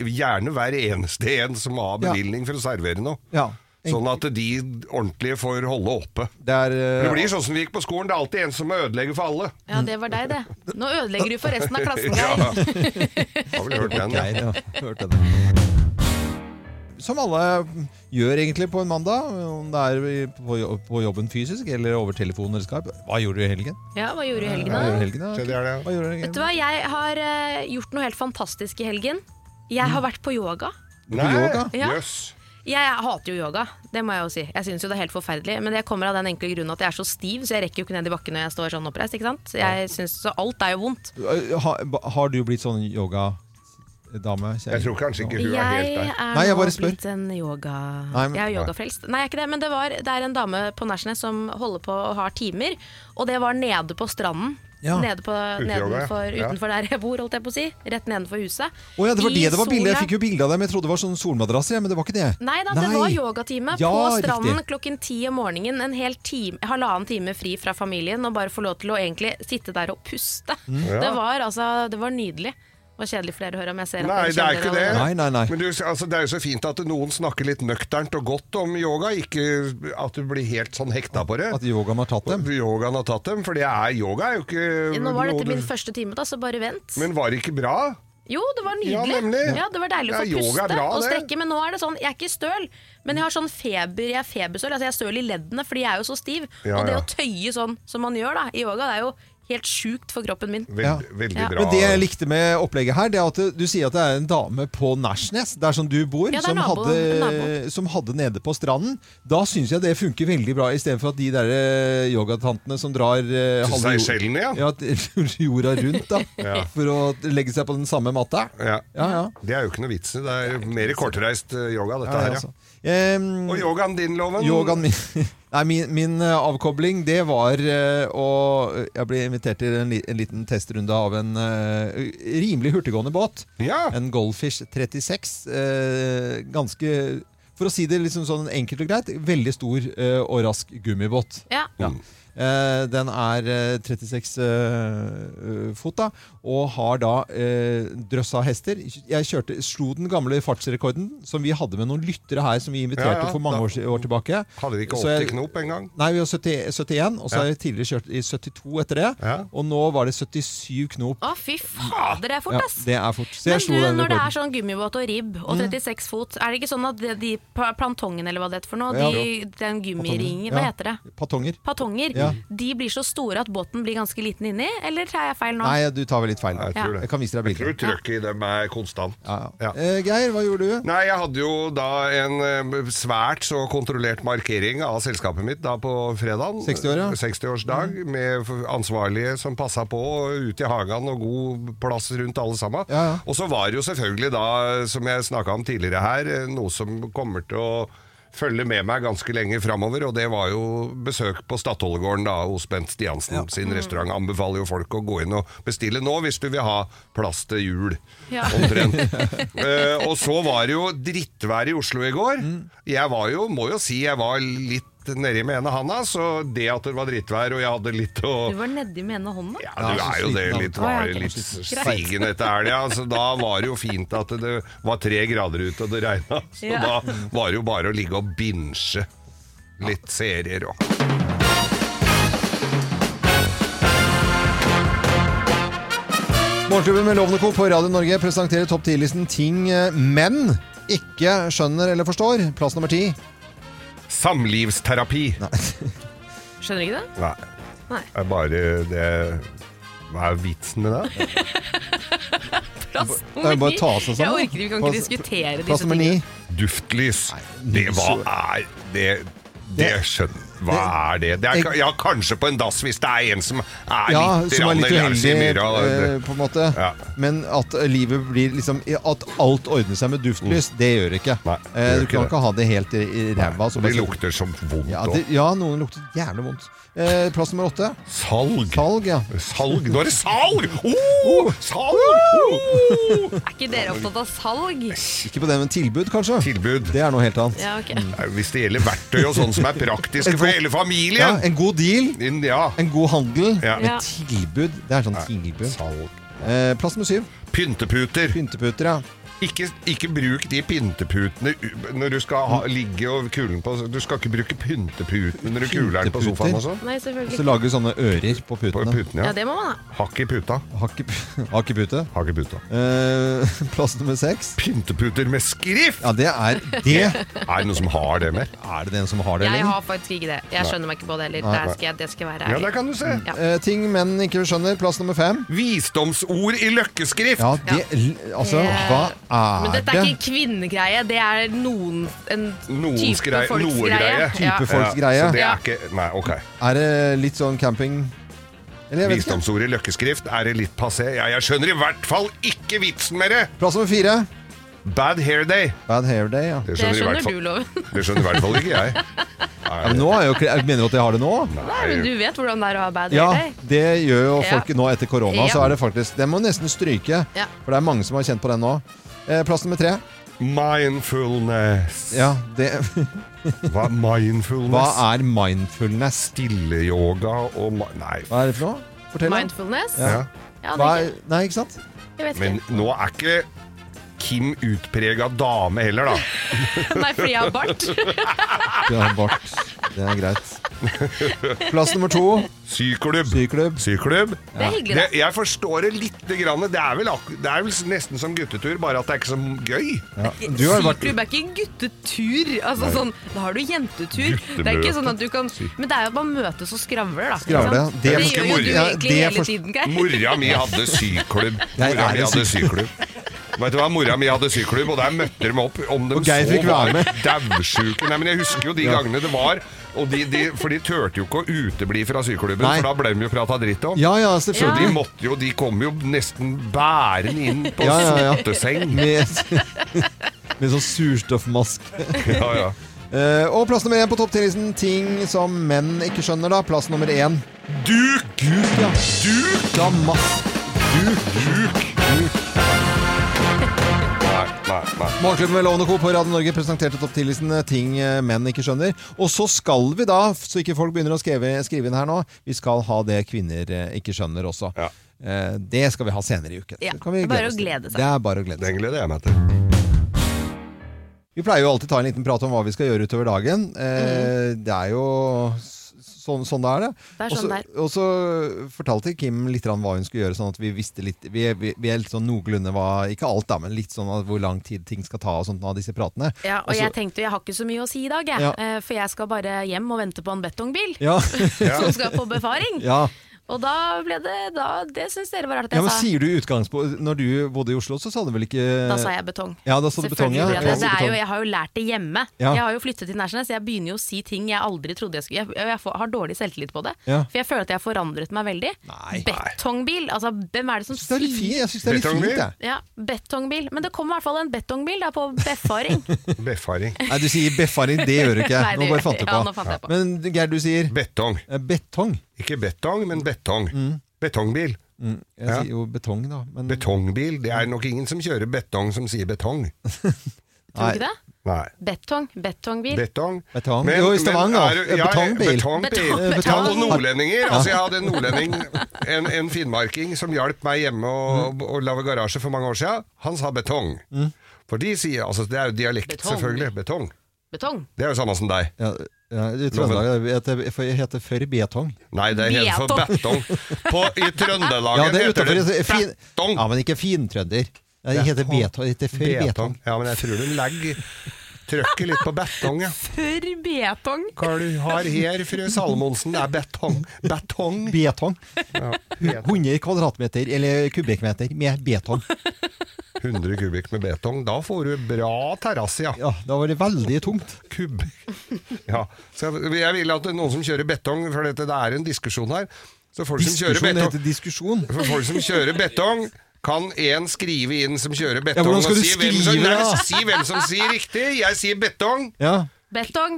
Speaker 2: gjerne hver eneste en som har
Speaker 1: Ja.
Speaker 2: bevilgning for å servere noe.
Speaker 1: Ja.
Speaker 2: Sånn at de ordentlige får holde oppe.
Speaker 1: Det er, eh,
Speaker 2: Det blir sånn som vi gikk på skolen, det er alltid en som må ødelegge for alle.
Speaker 3: Ja, det var deg, det. Nå ødelegger du for resten av klassen,
Speaker 2: Ja.
Speaker 3: Geir.
Speaker 2: Har vel hørt den. ja.
Speaker 1: Geir, ja. Hørte det. Som alle gjør egentlig på en mandag, om det er i- på jo- på jobben fysisk eller over telefon eller Skype. Hva gjorde du i helgen?
Speaker 3: Ja, hva gjorde du i helgen,
Speaker 1: Hva
Speaker 3: da?
Speaker 1: gjorde du i helgen, da?
Speaker 2: Se, det er det, ja.
Speaker 1: Hva gjorde du i helgen?
Speaker 3: Vet du hva, jeg har eh, gjort noe helt fantastisk i helgen. Jeg har vært på yoga.
Speaker 2: Nei,
Speaker 1: yoga?
Speaker 3: Ja.
Speaker 2: jøss.
Speaker 3: Jeg hater jo yoga, det må jeg jo si. Jeg syns jo det er helt forferdelig. Men det kommer av den enkle grunnen at jeg er så stiv, så jeg rekker jo ikke ned i bakken når jeg står sånn oppreist. ikke sant? Jeg synes, Så alt er jo vondt.
Speaker 1: Ha, ba- har du blitt sånn yogadame?
Speaker 2: Jeg tror kanskje ikke hun er
Speaker 3: Jeg
Speaker 2: helt der.
Speaker 3: er
Speaker 1: Nei, jeg
Speaker 3: nå
Speaker 1: bare spør.
Speaker 3: blitt en yoga...
Speaker 1: Nei, men-
Speaker 3: jeg er yogafrelst. Nei, jeg er ikke det, men det, var, det er en dame på Nesjene som holder på og har timer, og det var nede på stranden.
Speaker 1: Ja.
Speaker 3: Nede på,
Speaker 2: Uteyoga, ja.
Speaker 3: nedenfor,
Speaker 2: Ja.
Speaker 3: Utenfor der jeg bor, holdt jeg på å si. Rett nedenfor huset.
Speaker 1: Å ja, det var
Speaker 3: I
Speaker 1: det det var bilde. Jeg
Speaker 3: sola.
Speaker 1: fikk jo bilde av dem. Jeg trodde det var sånn solmadrasser, ja, men det var ikke det.
Speaker 3: Nei da, det var yogatime
Speaker 1: Ja,
Speaker 3: på stranden
Speaker 1: riktig.
Speaker 3: klokken ti om morgenen. En hel time, halvannen time fri fra
Speaker 1: Mm.
Speaker 3: familien og bare få lov til å egentlig sitte der og puste. Det var altså, det var nydelig. var kjedelig for dere å høre om jeg ser at
Speaker 2: Nei,
Speaker 3: dere
Speaker 2: det er
Speaker 3: kjenner
Speaker 2: ikke det.
Speaker 3: allerede.
Speaker 1: Nei, nei, nei.
Speaker 2: Men du, altså, det er jo så fint at noen snakker litt nøkternt og godt om yoga, ikke at du blir helt sånn hekta på det.
Speaker 1: At yogaen har tatt dem.
Speaker 2: Yogaen har tatt dem, for det er yoga er jo ikke
Speaker 3: Nå var dette
Speaker 2: noe
Speaker 3: min
Speaker 2: du-
Speaker 3: første time, da, så bare vent.
Speaker 2: Men var det ikke bra?
Speaker 3: Jo, det var nydelig.
Speaker 2: Ja, nemlig.
Speaker 3: Ja, det var deilig å få
Speaker 2: Ja, yoga er
Speaker 3: puste
Speaker 2: bra,
Speaker 3: og
Speaker 2: det.
Speaker 3: strekke. Men nå er det sånn, jeg er ikke støl, men jeg har sånn feber, jeg er feberstøl. Altså jeg er støl i leddene fordi jeg er jo så stiv.
Speaker 2: Ja,
Speaker 3: og det
Speaker 2: ja.
Speaker 3: å tøye sånn som man gjør da, i yoga, det er jo helt sjukt for kroppen min.
Speaker 2: Veld,
Speaker 1: Ja.
Speaker 2: Veldig
Speaker 3: Ja.
Speaker 2: bra.
Speaker 1: Men det jeg likte med opplegget her, det er at du- du sier at det er en dame på Nærsnes, der som du bor,
Speaker 3: Ja, det er
Speaker 1: som,
Speaker 3: nabo-
Speaker 1: hadde,
Speaker 3: nabo.
Speaker 1: som hadde nede på stranden. Da syns jeg det funker veldig bra, istedenfor at de der eh, yogatantene som drar eh,
Speaker 2: Til
Speaker 1: halve jord-
Speaker 2: Seychellene, ja.
Speaker 1: ja. t- jorda rundt, da.
Speaker 2: Ja.
Speaker 1: For å legge seg på den samme matta.
Speaker 2: Ja.
Speaker 1: Ja, ja.
Speaker 2: Det er jo ikke noe vits i. Det er jo mer kortreist eh, yoga, dette
Speaker 1: Ja,
Speaker 2: her.
Speaker 1: altså.
Speaker 2: Ja.
Speaker 1: Em,
Speaker 2: Og yogaen din, Loven?
Speaker 1: Yogaen min, nei, min, min eh, avkobling, det var eh, å Jeg ble invitert til en, li, en liten testrunde av en eh, rimelig hurtiggående båt.
Speaker 2: Ja.
Speaker 1: En Goldfish 36. Eh, ganske For å si det liksom sånn enkelt og greit, veldig stor eh, og rask gummibåt.
Speaker 3: Ja.
Speaker 1: Ja.
Speaker 2: Mm.
Speaker 1: Eh, den er eh, 36 eh, fot da, og har da eh, drøssa hester. Jeg kjørte, slo den gamle fartsrekorden som vi hadde med noen lyttere her som vi inviterte
Speaker 2: Ja, ja,
Speaker 1: for mange
Speaker 2: da-
Speaker 1: år, si- år tilbake.
Speaker 2: Hadde vi ikke
Speaker 1: Så
Speaker 2: 80
Speaker 1: jeg-
Speaker 2: knop engang?
Speaker 1: Nei, vi var 70, 71, og så
Speaker 2: Ja.
Speaker 1: har jeg tidligere kjørt i 72 etter det.
Speaker 2: Ja.
Speaker 1: Og nå var det 77 knop.
Speaker 3: Å, fy fader, det er fort,
Speaker 1: Ja,
Speaker 3: ass.
Speaker 1: det er fort. Så
Speaker 3: Men
Speaker 1: jeg
Speaker 3: du,
Speaker 1: slo den
Speaker 3: når det er
Speaker 1: rekorden.
Speaker 3: sånn gummibåt og ribb og
Speaker 1: Mm.
Speaker 3: 36 fot, er det ikke sånn at de, de pa- plantongene eller hva det heter for noe,
Speaker 1: Ja.
Speaker 3: de, den gummiringen,
Speaker 1: Ja.
Speaker 3: hva heter det?
Speaker 1: Patonger.
Speaker 3: Patonger,
Speaker 1: Ja.
Speaker 3: de blir så store at båten blir ganske liten inni, eller tar jeg feil nå?
Speaker 1: Nei, du tar vel litt feil.
Speaker 2: Nei, jeg tror det.
Speaker 1: Jeg kan vise deg
Speaker 2: Jeg tror
Speaker 1: bildet.
Speaker 2: trøkket i dem er konstant.
Speaker 1: Ja, ja.
Speaker 2: Ja.
Speaker 1: Eh, Geir, hva gjorde du?
Speaker 2: Nei, jeg hadde jo da en eh, svært så kontrollert markering av selskapet mitt da på fredagen.
Speaker 1: 60-år, ja. Mm.
Speaker 2: 60-årsdag, med f- ansvarlige som passa på ut i hagen og god plass rundt alle sammen.
Speaker 1: Ja, ja.
Speaker 2: Og så var det jo selvfølgelig da, som jeg snakka om tidligere her, eh, noe som kommer til å følge med meg ganske lenge framover, og det var jo besøk på Stadholdegården da, hos Bent Stiansen sin restaurant. Anbefaler jo folk å gå inn og bestille nå hvis du vil ha plass til jul.
Speaker 3: Ja.
Speaker 2: Omtrent. Eh, og så var det jo drittvær i Oslo i går. Jeg var jo, må jo si, jeg var litt nedi med ene handa, så det at det var drittvær og jeg hadde litt å
Speaker 3: Du var nedi med ene hånda?
Speaker 2: ja,
Speaker 1: Ja,
Speaker 2: du
Speaker 1: så
Speaker 2: er jo
Speaker 1: sliten
Speaker 2: det
Speaker 1: av
Speaker 2: litt,
Speaker 1: det.
Speaker 2: var
Speaker 3: Å, ja, ok.
Speaker 2: litt
Speaker 3: Greit.
Speaker 2: stigen etter helga. Så da var det jo fint at det var tre grader ute og det regna. Så
Speaker 3: Ja.
Speaker 2: da var det jo bare å ligge og binche litt serier og
Speaker 1: Morgenklubben med Lovende Co. på Radio Norge presenterer topp 10-listen ting eh, menn ikke skjønner eller forstår. Plass nummer ti.
Speaker 2: Samlivsterapi.
Speaker 3: Skjønner ikke det?
Speaker 2: Nei.
Speaker 3: Nei.
Speaker 2: Det er bare det Hva er vitsen med det?
Speaker 1: Det
Speaker 3: Plass
Speaker 1: er
Speaker 3: nummer
Speaker 1: bare
Speaker 3: ni.
Speaker 1: å ta seg sammen,
Speaker 3: Jeg orker vi kan
Speaker 1: da.
Speaker 3: ikke diskutere disse
Speaker 1: Plass nummer ni.
Speaker 3: tingene.
Speaker 2: Duftlys.
Speaker 1: Nei,
Speaker 2: Det hva er det det
Speaker 1: Det-
Speaker 2: skjønner Hva er det? det er, ka- ja, kanskje på en dass hvis det er en som er
Speaker 1: Ja,
Speaker 2: litt,
Speaker 1: som er
Speaker 2: rann
Speaker 1: litt
Speaker 2: eller
Speaker 1: uheldig,
Speaker 2: i myra,
Speaker 1: eh,
Speaker 2: det-
Speaker 1: på en måte.
Speaker 2: Ja.
Speaker 1: Men at livet blir liksom At alt ordner seg med duftlys, det gjør det ikke.
Speaker 2: Mm. Nei, det
Speaker 1: Eh,
Speaker 2: gjør
Speaker 1: du
Speaker 2: ikke
Speaker 1: kan
Speaker 2: det.
Speaker 1: ikke ha det helt i i ræva. som
Speaker 2: Det
Speaker 1: bare-
Speaker 2: lukter som vondt
Speaker 1: eh, Ja,
Speaker 2: og
Speaker 1: det, ja, noen lukter jævlig vondt. Eh, plass nummer åtte.
Speaker 2: salg.
Speaker 1: Salg, ja.
Speaker 2: Salg! Nå er det salg! Oh, salg!
Speaker 3: Er ikke dere opptatt av salg?
Speaker 1: Ikke på det, men tilbud, kanskje?
Speaker 2: Tilbud.
Speaker 1: Det er noe helt annet.
Speaker 3: Ja, ok.
Speaker 2: Nei, Hvis det gjelder verktøy og sånn som er praktiske for
Speaker 1: Ja,
Speaker 2: hele familien.
Speaker 1: en god deal,
Speaker 2: Inn- Ja.
Speaker 1: en god handel,
Speaker 2: Ja.
Speaker 1: men
Speaker 3: Ja.
Speaker 1: tilbud Det er sånn tilbud.
Speaker 2: Salg.
Speaker 1: Eh, plass nummer syv.
Speaker 2: Pynteputer.
Speaker 1: Pynteputer, ja.
Speaker 2: Ikke, ikke bruk de pynteputene u- når du skal ha, ligge og kulen på Du skal ikke bruke pynteputene når du kuler den på sofaen
Speaker 1: Pynteputer?
Speaker 2: også.
Speaker 3: Nei,
Speaker 1: Og så
Speaker 3: selvfølgelig.
Speaker 1: lager du sånne ører på
Speaker 2: På
Speaker 1: putene.
Speaker 2: putene,
Speaker 3: Ja,
Speaker 2: ja.
Speaker 3: det må man ha.
Speaker 2: Hakk i puta.
Speaker 1: Hakk i pu- hakk i pute.
Speaker 2: Hakk i puta.
Speaker 1: Eh, plass nummer seks.
Speaker 2: Pynteputer med skrift!
Speaker 1: Ja, det er det.
Speaker 2: Er det noen som har det mer?
Speaker 1: Er det den som har det,
Speaker 3: Jeg
Speaker 1: eller?
Speaker 3: har faktisk ikke det. Jeg skjønner meg ikke på det heller.
Speaker 1: Nei,
Speaker 3: Det
Speaker 1: nei.
Speaker 3: skal jeg, det skal jeg være
Speaker 2: Ja, der
Speaker 3: ærlig.
Speaker 2: kan du se.
Speaker 3: Ja.
Speaker 1: Eh, ting menn ikke skjønner. Plass nummer fem.
Speaker 2: Visdomsord i løkkeskrift!
Speaker 1: Ja, det Altså,
Speaker 3: Eh,
Speaker 1: hva
Speaker 3: Men
Speaker 1: er
Speaker 3: dette er
Speaker 1: det?
Speaker 3: ikke kvinnegreie, det er noen en
Speaker 2: Noens
Speaker 3: type
Speaker 2: greie-
Speaker 3: folks
Speaker 2: noe
Speaker 3: greie.
Speaker 2: greie.
Speaker 3: Ja.
Speaker 1: Type folks greie.
Speaker 2: Så det
Speaker 3: Ja.
Speaker 2: er ikke Nei, ok.
Speaker 1: Er det litt sånn camping Eller jeg vet ikke.
Speaker 2: Visdomsordet løkkeskrift er det litt passé. Ja, jeg skjønner i hvert fall ikke vitsen med det!
Speaker 1: Plass nummer fire.
Speaker 2: Bad hair day.
Speaker 1: Bad hair day, ja.
Speaker 2: Det
Speaker 3: Det
Speaker 2: skjønner, i hvert
Speaker 3: skjønner
Speaker 2: fall,
Speaker 3: du, Loven.
Speaker 2: det skjønner i hvert fall ikke jeg.
Speaker 1: ja men nå er jo, jeg mener du at jeg har det nå?
Speaker 3: Nei, men du vet hvordan det er å ha bad
Speaker 1: Ja,
Speaker 3: hair eh? day.
Speaker 1: det gjør jo folk
Speaker 3: Ja.
Speaker 1: nå etter korona.
Speaker 3: Ja.
Speaker 1: Så er det faktisk Den må nesten stryke.
Speaker 3: Ja.
Speaker 1: For det er mange som har kjent på den nå. Eh, plass nummer tre.
Speaker 2: Mindfulness.
Speaker 1: Ja, det,
Speaker 2: Hva
Speaker 1: hva
Speaker 2: er mindfulness?
Speaker 1: er mindfulness?
Speaker 2: Stilleyoga og ma- Nei, f-
Speaker 1: Hva er det for noe? Fortell. om.
Speaker 3: Mindfulness.
Speaker 2: ja.
Speaker 3: Ja, det
Speaker 1: Hva
Speaker 3: er
Speaker 1: er,
Speaker 3: ikke,
Speaker 1: nei, ikke sant?
Speaker 3: jeg vet
Speaker 2: Men
Speaker 3: ikke.
Speaker 2: nå er ikke Kim utprega dame heller, da.
Speaker 3: Nei, fordi jeg har bart.
Speaker 1: Det er, bart. Det er greit. Plass nummer to.
Speaker 2: Syklubb.
Speaker 1: Syklubb.
Speaker 2: Syklubb.
Speaker 3: Det er hyggelig,
Speaker 2: Det,
Speaker 3: da.
Speaker 2: jeg forstår det lite grann. Det er, vel, ak- det er vel nesten som guttetur, bare at det er ikke så gøy.
Speaker 1: Ja. Du har vært
Speaker 3: Syklubb er ikke guttetur. Altså, sånn, da har du jentetur. Det er ikke sånn at du kan Men det er jo at man møtes og skravler, da. ikke
Speaker 1: Skravle,
Speaker 3: sant?
Speaker 1: ja.
Speaker 3: Det,
Speaker 1: Det
Speaker 2: er
Speaker 3: gjør
Speaker 2: ganske
Speaker 3: jo
Speaker 2: moro.
Speaker 3: du
Speaker 1: Ja,
Speaker 3: egentlig
Speaker 1: det er
Speaker 3: hele
Speaker 1: forst-
Speaker 3: tiden, Geir.
Speaker 2: Mora mi hadde syklubb.
Speaker 1: Jeg
Speaker 2: Mora
Speaker 1: er
Speaker 2: mi
Speaker 1: en
Speaker 2: hadde
Speaker 1: syk-
Speaker 2: syklubb. Vet du hva, Mora mi hadde syklubb, og der møtte de meg opp. Om de
Speaker 1: Og Geir fikk være med.
Speaker 2: daudsjuke Nei, men jeg husker jo de gangene det var. Og de, de, for de turte jo ikke å utebli fra syklubben,
Speaker 1: Nei.
Speaker 2: for da ble de jo prata dritt om.
Speaker 1: Ja, ja,
Speaker 2: Så de
Speaker 1: selvfølgelig.
Speaker 2: måtte jo, de kom jo nesten bærende inn på
Speaker 1: Ja, ja, ja.
Speaker 2: sotteseng.
Speaker 1: Med, med sånn surstoffmask.
Speaker 2: Ja, ja.
Speaker 1: Eh, og plass nummer én på topptillitsen. Ting som menn ikke skjønner, da. Plass nummer én.
Speaker 2: Duk!
Speaker 1: Duk, ja.
Speaker 2: Duk!
Speaker 1: Damask. Duk.
Speaker 2: Duk!
Speaker 1: Duk.
Speaker 2: Nei, nei, nei.
Speaker 1: Morgenklubben med Lovende Co. på Radio Norge presenterte topptillitsen eh, Ting eh, menn ikke skjønner. Og så skal vi da, så ikke folk begynner å skrive, skrive inn her nå, vi skal ha det kvinner eh, ikke skjønner også.
Speaker 2: Ja.
Speaker 1: Eh, det skal vi ha senere i uken.
Speaker 3: Ja,
Speaker 1: Det kan vi
Speaker 3: det er bare
Speaker 1: glede oss til.
Speaker 3: å glede seg.
Speaker 1: Det er bare å glede seg.
Speaker 2: Den gleder jeg meg til.
Speaker 1: Vi pleier jo alltid ta en liten prat om hva vi skal gjøre utover dagen. Eh, Det er jo s- sånn, sånn det er, det.
Speaker 3: Mm. Det er
Speaker 1: Og så-
Speaker 3: sånn det
Speaker 1: Og så fortalte Kim litt grann hva hun skulle gjøre, sånn at vi visste litt Vi, er- vi, vi er litt sånn noenlunde hva Ikke alt, da, men litt sånn at hvor lang tid ting skal ta og sånt av disse pratene.
Speaker 3: Ja, og
Speaker 1: Og så-
Speaker 3: jeg tenkte jeg har ikke så mye å si i dag, jeg.
Speaker 1: altså- Ja.
Speaker 3: Eh, For jeg skal bare hjem og vente på en betongbil
Speaker 1: Ja,
Speaker 2: Ja.
Speaker 3: som skal på befaring.
Speaker 1: ja.
Speaker 3: Og da ble det da, Det syns dere var rart at
Speaker 1: ja
Speaker 3: jeg
Speaker 1: men
Speaker 3: sa.
Speaker 1: Sier du utgangspunkt Når du bodde i Oslo, så sa du vel ikke
Speaker 3: Altså- Da sa jeg betong.
Speaker 1: Ja, da sa du betong, ja.
Speaker 3: Selvfølgelig
Speaker 1: Ja,
Speaker 3: ble Det, det er jo,
Speaker 1: betong.
Speaker 3: jeg har jo lært det hjemme.
Speaker 1: Ja.
Speaker 3: Jeg har jo flyttet til Nærsnes. Jeg begynner jo å si ting jeg aldri trodde jeg skulle Jeg, jeg får, har dårlig selvtillit på det.
Speaker 1: Ja.
Speaker 3: For jeg føler at jeg har forandret meg veldig.
Speaker 1: Nei.
Speaker 3: Betongbil! Altså, hvem er det som
Speaker 1: Jeg synes det er litt fint,
Speaker 3: sier
Speaker 1: jeg synes det er litt
Speaker 2: Betongbil?
Speaker 1: fint, jeg.
Speaker 3: ja, betongbil. Men det kom i hvert fall en betongbil da, på befaring.
Speaker 2: Befaring.
Speaker 1: Nei, du sier beffaring, det gjør du ikke.
Speaker 3: Nei, det
Speaker 1: Nå
Speaker 3: gjør
Speaker 1: bare
Speaker 3: jeg
Speaker 1: fant du på.
Speaker 3: ikke. Ja, nå fant jeg på.
Speaker 1: Men Geir, du sier
Speaker 2: Betong.
Speaker 1: eh, betong.
Speaker 2: Ikke betong, men betong.
Speaker 1: Mm.
Speaker 2: Betongbil.
Speaker 1: Jeg
Speaker 2: Ja.
Speaker 1: sier jo betong, da. Men
Speaker 2: Betongbil. Det er nok ingen som kjører betong som sier betong.
Speaker 3: Tror du ikke det?
Speaker 2: Nei.
Speaker 3: Betong. Betongbil.
Speaker 2: Betong.
Speaker 1: Betong. Jo, i Stavanger. Eh,
Speaker 2: men er du- ja,
Speaker 1: Betongbil. Eh,
Speaker 2: betongbil.
Speaker 3: Betong-
Speaker 2: Ja,
Speaker 1: betong.
Speaker 2: og nordlendinger. Altså, jeg hadde en nordlending, en, en finnmarking, som hjalp meg hjemme å
Speaker 1: Mm.
Speaker 2: å lage garasje for mange år siden. Han sa betong. For de sier altså Det er jo dialekt,
Speaker 3: Betong.
Speaker 2: selvfølgelig. Betong.
Speaker 3: Betong.
Speaker 2: Det er jo samme som deg.
Speaker 1: Ja, ja, I Trøndelag jeg heter for jeg heter Før Betong.
Speaker 2: Nei, det er helt for betong. På, I Trøndelag
Speaker 1: Ja, det er
Speaker 2: heter
Speaker 1: utenfor
Speaker 2: det
Speaker 1: fin,
Speaker 2: betong.
Speaker 1: Ja, men ikke fintrønder. Det heter
Speaker 2: Betong.
Speaker 1: betong. Det heter Før Betong.
Speaker 2: Betong. Ja, men jeg tror du legger trøkket litt på betong, ja.
Speaker 3: For betong.
Speaker 2: Hva du har her, fru Salmonsen? Det er betong. Betong.
Speaker 1: Betong.
Speaker 2: Ja,
Speaker 1: 100 kvadratmeter, eller kubikkmeter, med betong.
Speaker 2: 100 kubikk med betong. Da får du bra terrasse, ja.
Speaker 1: Ja, da var det veldig tungt.
Speaker 2: Kubb. Ja. Så jeg jeg vil at noen som kjører betong, for dette, det er en diskusjon her Så folk som kjører
Speaker 1: Diskusjon det heter
Speaker 2: betong,
Speaker 1: diskusjon.
Speaker 2: for folk som kjører betong kan én skrive inn som kjører betong,
Speaker 1: hvordan skal
Speaker 2: og
Speaker 1: du
Speaker 2: si hvem, som,
Speaker 1: skrive det, da?
Speaker 2: nei, si hvem som sier riktig? Jeg sier betong.
Speaker 1: Ja,
Speaker 3: Betong.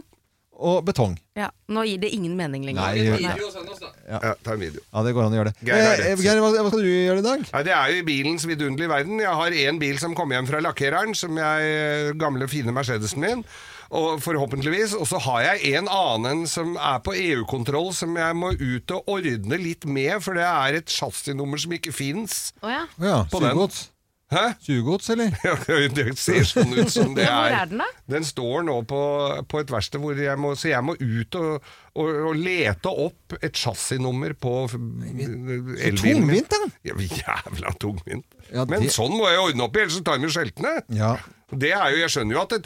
Speaker 1: og betong.
Speaker 3: Ja, nå gir det ingen mening lenger.
Speaker 1: Nei, det gjør ikke
Speaker 2: Ja, ta en video.
Speaker 1: Ja, det går an å gjøre det.
Speaker 2: Geir har
Speaker 1: Eh,
Speaker 2: rett.
Speaker 1: Geir, hva, hva skal du gjøre i dag?
Speaker 2: Nei, Det er jo i bilens vidunderlige verden. Jeg har én bil som kom hjem fra lakkereren, som jeg eh, gamle, fine Mercedesen min. Og forhåpentligvis. Og så har jeg en annen som er på EU-kontroll, som jeg må ut og ordne litt med, for det er et chassisnummer som ikke fins.
Speaker 3: Å ja.
Speaker 1: Å ja,
Speaker 2: På den.
Speaker 1: sugegods.
Speaker 2: Hæ?
Speaker 1: Sugegods, eller?
Speaker 2: Ja, det ser sånn ut som det er.
Speaker 3: Ja, hvor er den da?
Speaker 2: Den står nå på, på et verksted, hvor jeg må, så jeg må ut og, og, og lete opp et chassisnummer på f- elbilen min.
Speaker 1: Tungvint, da!
Speaker 2: Ja, jævla tungvint.
Speaker 1: Ja, det-
Speaker 2: Men sånn må jeg ordne opp i, ellers så tar vi skjeltene.
Speaker 1: Ja.
Speaker 2: Det er jo, Jeg skjønner jo at et,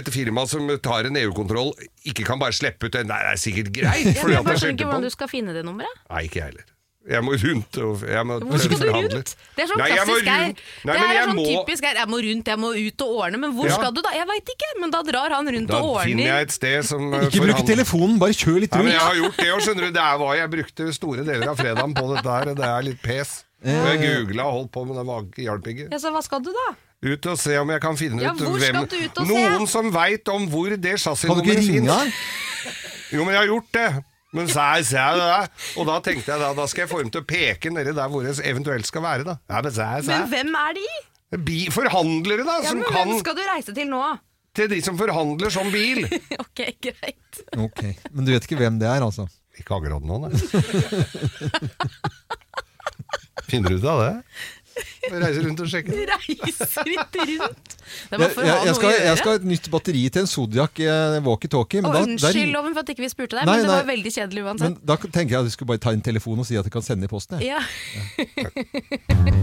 Speaker 2: et firma som tar en EU-kontroll, ikke kan bare slippe ut den. Nei, det er sikkert greit. fordi at
Speaker 3: Ja, men
Speaker 2: det
Speaker 3: jeg
Speaker 2: er
Speaker 3: bare skjønner ikke
Speaker 2: skjelter på
Speaker 3: hvordan du
Speaker 2: den.
Speaker 3: skal finne det nummeret.
Speaker 2: Nei, ikke jeg heller. Jeg må rundt og jeg må
Speaker 3: Hvor skal du
Speaker 2: forhandle.
Speaker 3: rundt? Det er sånn
Speaker 2: Nei, jeg må
Speaker 3: klassisk Geir.
Speaker 2: rundt. Nei,
Speaker 3: Det
Speaker 2: men
Speaker 3: er
Speaker 2: jeg
Speaker 3: sånn
Speaker 2: må-
Speaker 3: typisk Geir. Jeg må rundt, jeg må ut og ordne. Men hvor
Speaker 2: Ja.
Speaker 3: skal du da? Jeg veit ikke, men da drar han rundt
Speaker 2: Da
Speaker 3: og
Speaker 2: finner
Speaker 3: ordner.
Speaker 2: jeg et sted som eh,
Speaker 1: Ikke bruk
Speaker 2: forhandler.
Speaker 1: telefonen, bare kjør litt
Speaker 2: Nei, men
Speaker 1: rundt.
Speaker 2: jeg har gjort det òg, skjønner du. Det er hva jeg brukte store deler av fredagen på dette her. Det er litt pes. Og jeg googla og holdt på, men det var- hjalp ikke.
Speaker 3: Ja, så hva skal du da?
Speaker 2: Ut og se om jeg kan finne
Speaker 3: Ja,
Speaker 2: ut
Speaker 3: hvor
Speaker 2: hvem
Speaker 3: skal du ut og se?
Speaker 2: Noen som veit om hvor det
Speaker 1: Kan du ikke
Speaker 2: chassisnummeret
Speaker 1: ringe
Speaker 2: finnes.
Speaker 1: han?
Speaker 2: Jo, men jeg har gjort det. Men så er så er det der. Og da tenkte jeg da, da skal jeg få dem til å peke nedi der hvor det eventuelt skal være, da. Ja, men så er så
Speaker 3: Men
Speaker 2: er.
Speaker 3: hvem er de?
Speaker 2: Bi forhandlere, da,
Speaker 3: Ja,
Speaker 2: som
Speaker 3: men
Speaker 2: kan
Speaker 3: hvem skal du reise til nå?
Speaker 2: Til de som forhandler som bil.
Speaker 3: ok, greit.
Speaker 1: Ok, Men du vet ikke hvem det er, altså?
Speaker 2: Ikke akkurat nå, nei. Finner du ut av det? Reiser rundt og sjekker.
Speaker 3: Reiser ikke rundt. Det må
Speaker 1: Jeg,
Speaker 3: for å
Speaker 1: jeg,
Speaker 3: ha
Speaker 1: jeg,
Speaker 3: noe
Speaker 1: skal,
Speaker 3: å gjøre.
Speaker 1: jeg skal ha et nytt batteri til en Zodiac eh, walkietalkie. men
Speaker 3: Og
Speaker 1: da- der-
Speaker 3: unnskyld, Loven, for at ikke vi spurte deg,
Speaker 1: Nei,
Speaker 3: men det var
Speaker 1: nei.
Speaker 3: veldig kjedelig uansett.
Speaker 1: Men da tenker jeg at jeg skulle bare ta en telefon og si at jeg kan sende i posten. Jeg.
Speaker 3: ja.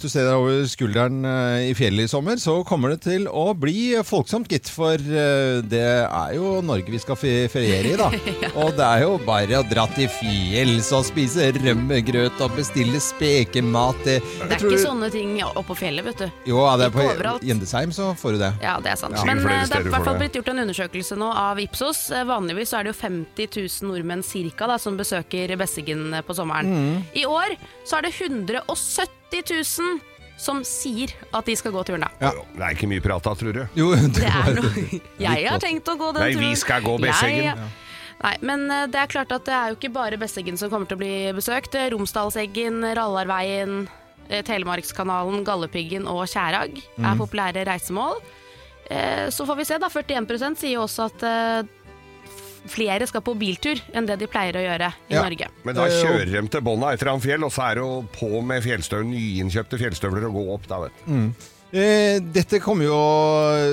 Speaker 1: Hvis du ser deg over skulderen eh, i fjellet i sommer, så kommer det til å bli folksomt, gitt. For eh, det er jo Norge vi skal fe- feriere i, da. Og det er jo bare å dra til fjells og spise rømmegrøt og bestille spekemat. Det
Speaker 3: Det er ikke sånne ting oppå fjellet, vet du.
Speaker 1: Jo, ja, det er
Speaker 3: ikke
Speaker 1: på
Speaker 3: overalt.
Speaker 1: Gjendesheim så får du det.
Speaker 3: Ja, det er sant.
Speaker 2: Ja.
Speaker 3: Men
Speaker 2: Sikkert flere
Speaker 3: eh, det
Speaker 2: steder
Speaker 3: er i
Speaker 2: for
Speaker 3: hvert fall
Speaker 2: det.
Speaker 3: blitt gjort en undersøkelse nå av Ipsos. Eh, Vanligvis så er det jo 50 000 nordmenn cirka da, som besøker Besseggen eh, på sommeren. I år så er det 170 000 som sier at de skal gå turen, da.
Speaker 1: Ja.
Speaker 2: Det er ikke mye prat da, tror du?
Speaker 1: Jo,
Speaker 3: Det er noe Jeg
Speaker 1: godt.
Speaker 3: har tenkt å gå den
Speaker 2: Nei,
Speaker 3: turen.
Speaker 2: vi skal gå Besseggen.
Speaker 3: Jeg- Nei, men eh, det er klart at det er jo ikke bare Besseggen som kommer til å bli besøkt. Eh, Romsdalseggen, Rallarveien, eh, Telemarkskanalen, Galdhøpiggen og Kjærag
Speaker 2: Mm.
Speaker 3: er populære reisemål. Eh, Så får vi se, da. 41 sier jo også at eh, f- flere skal på biltur enn det de pleier å gjøre i
Speaker 1: Ja.
Speaker 3: Norge.
Speaker 2: Men da
Speaker 1: Det er jo-
Speaker 2: kjører de til bånda etter han fjell, og så er det jo på med fjellstøvler, nyinnkjøpte fjellstøvler og gå opp da, vet
Speaker 1: Mm.
Speaker 2: du.
Speaker 1: Eh, Dette kommer jo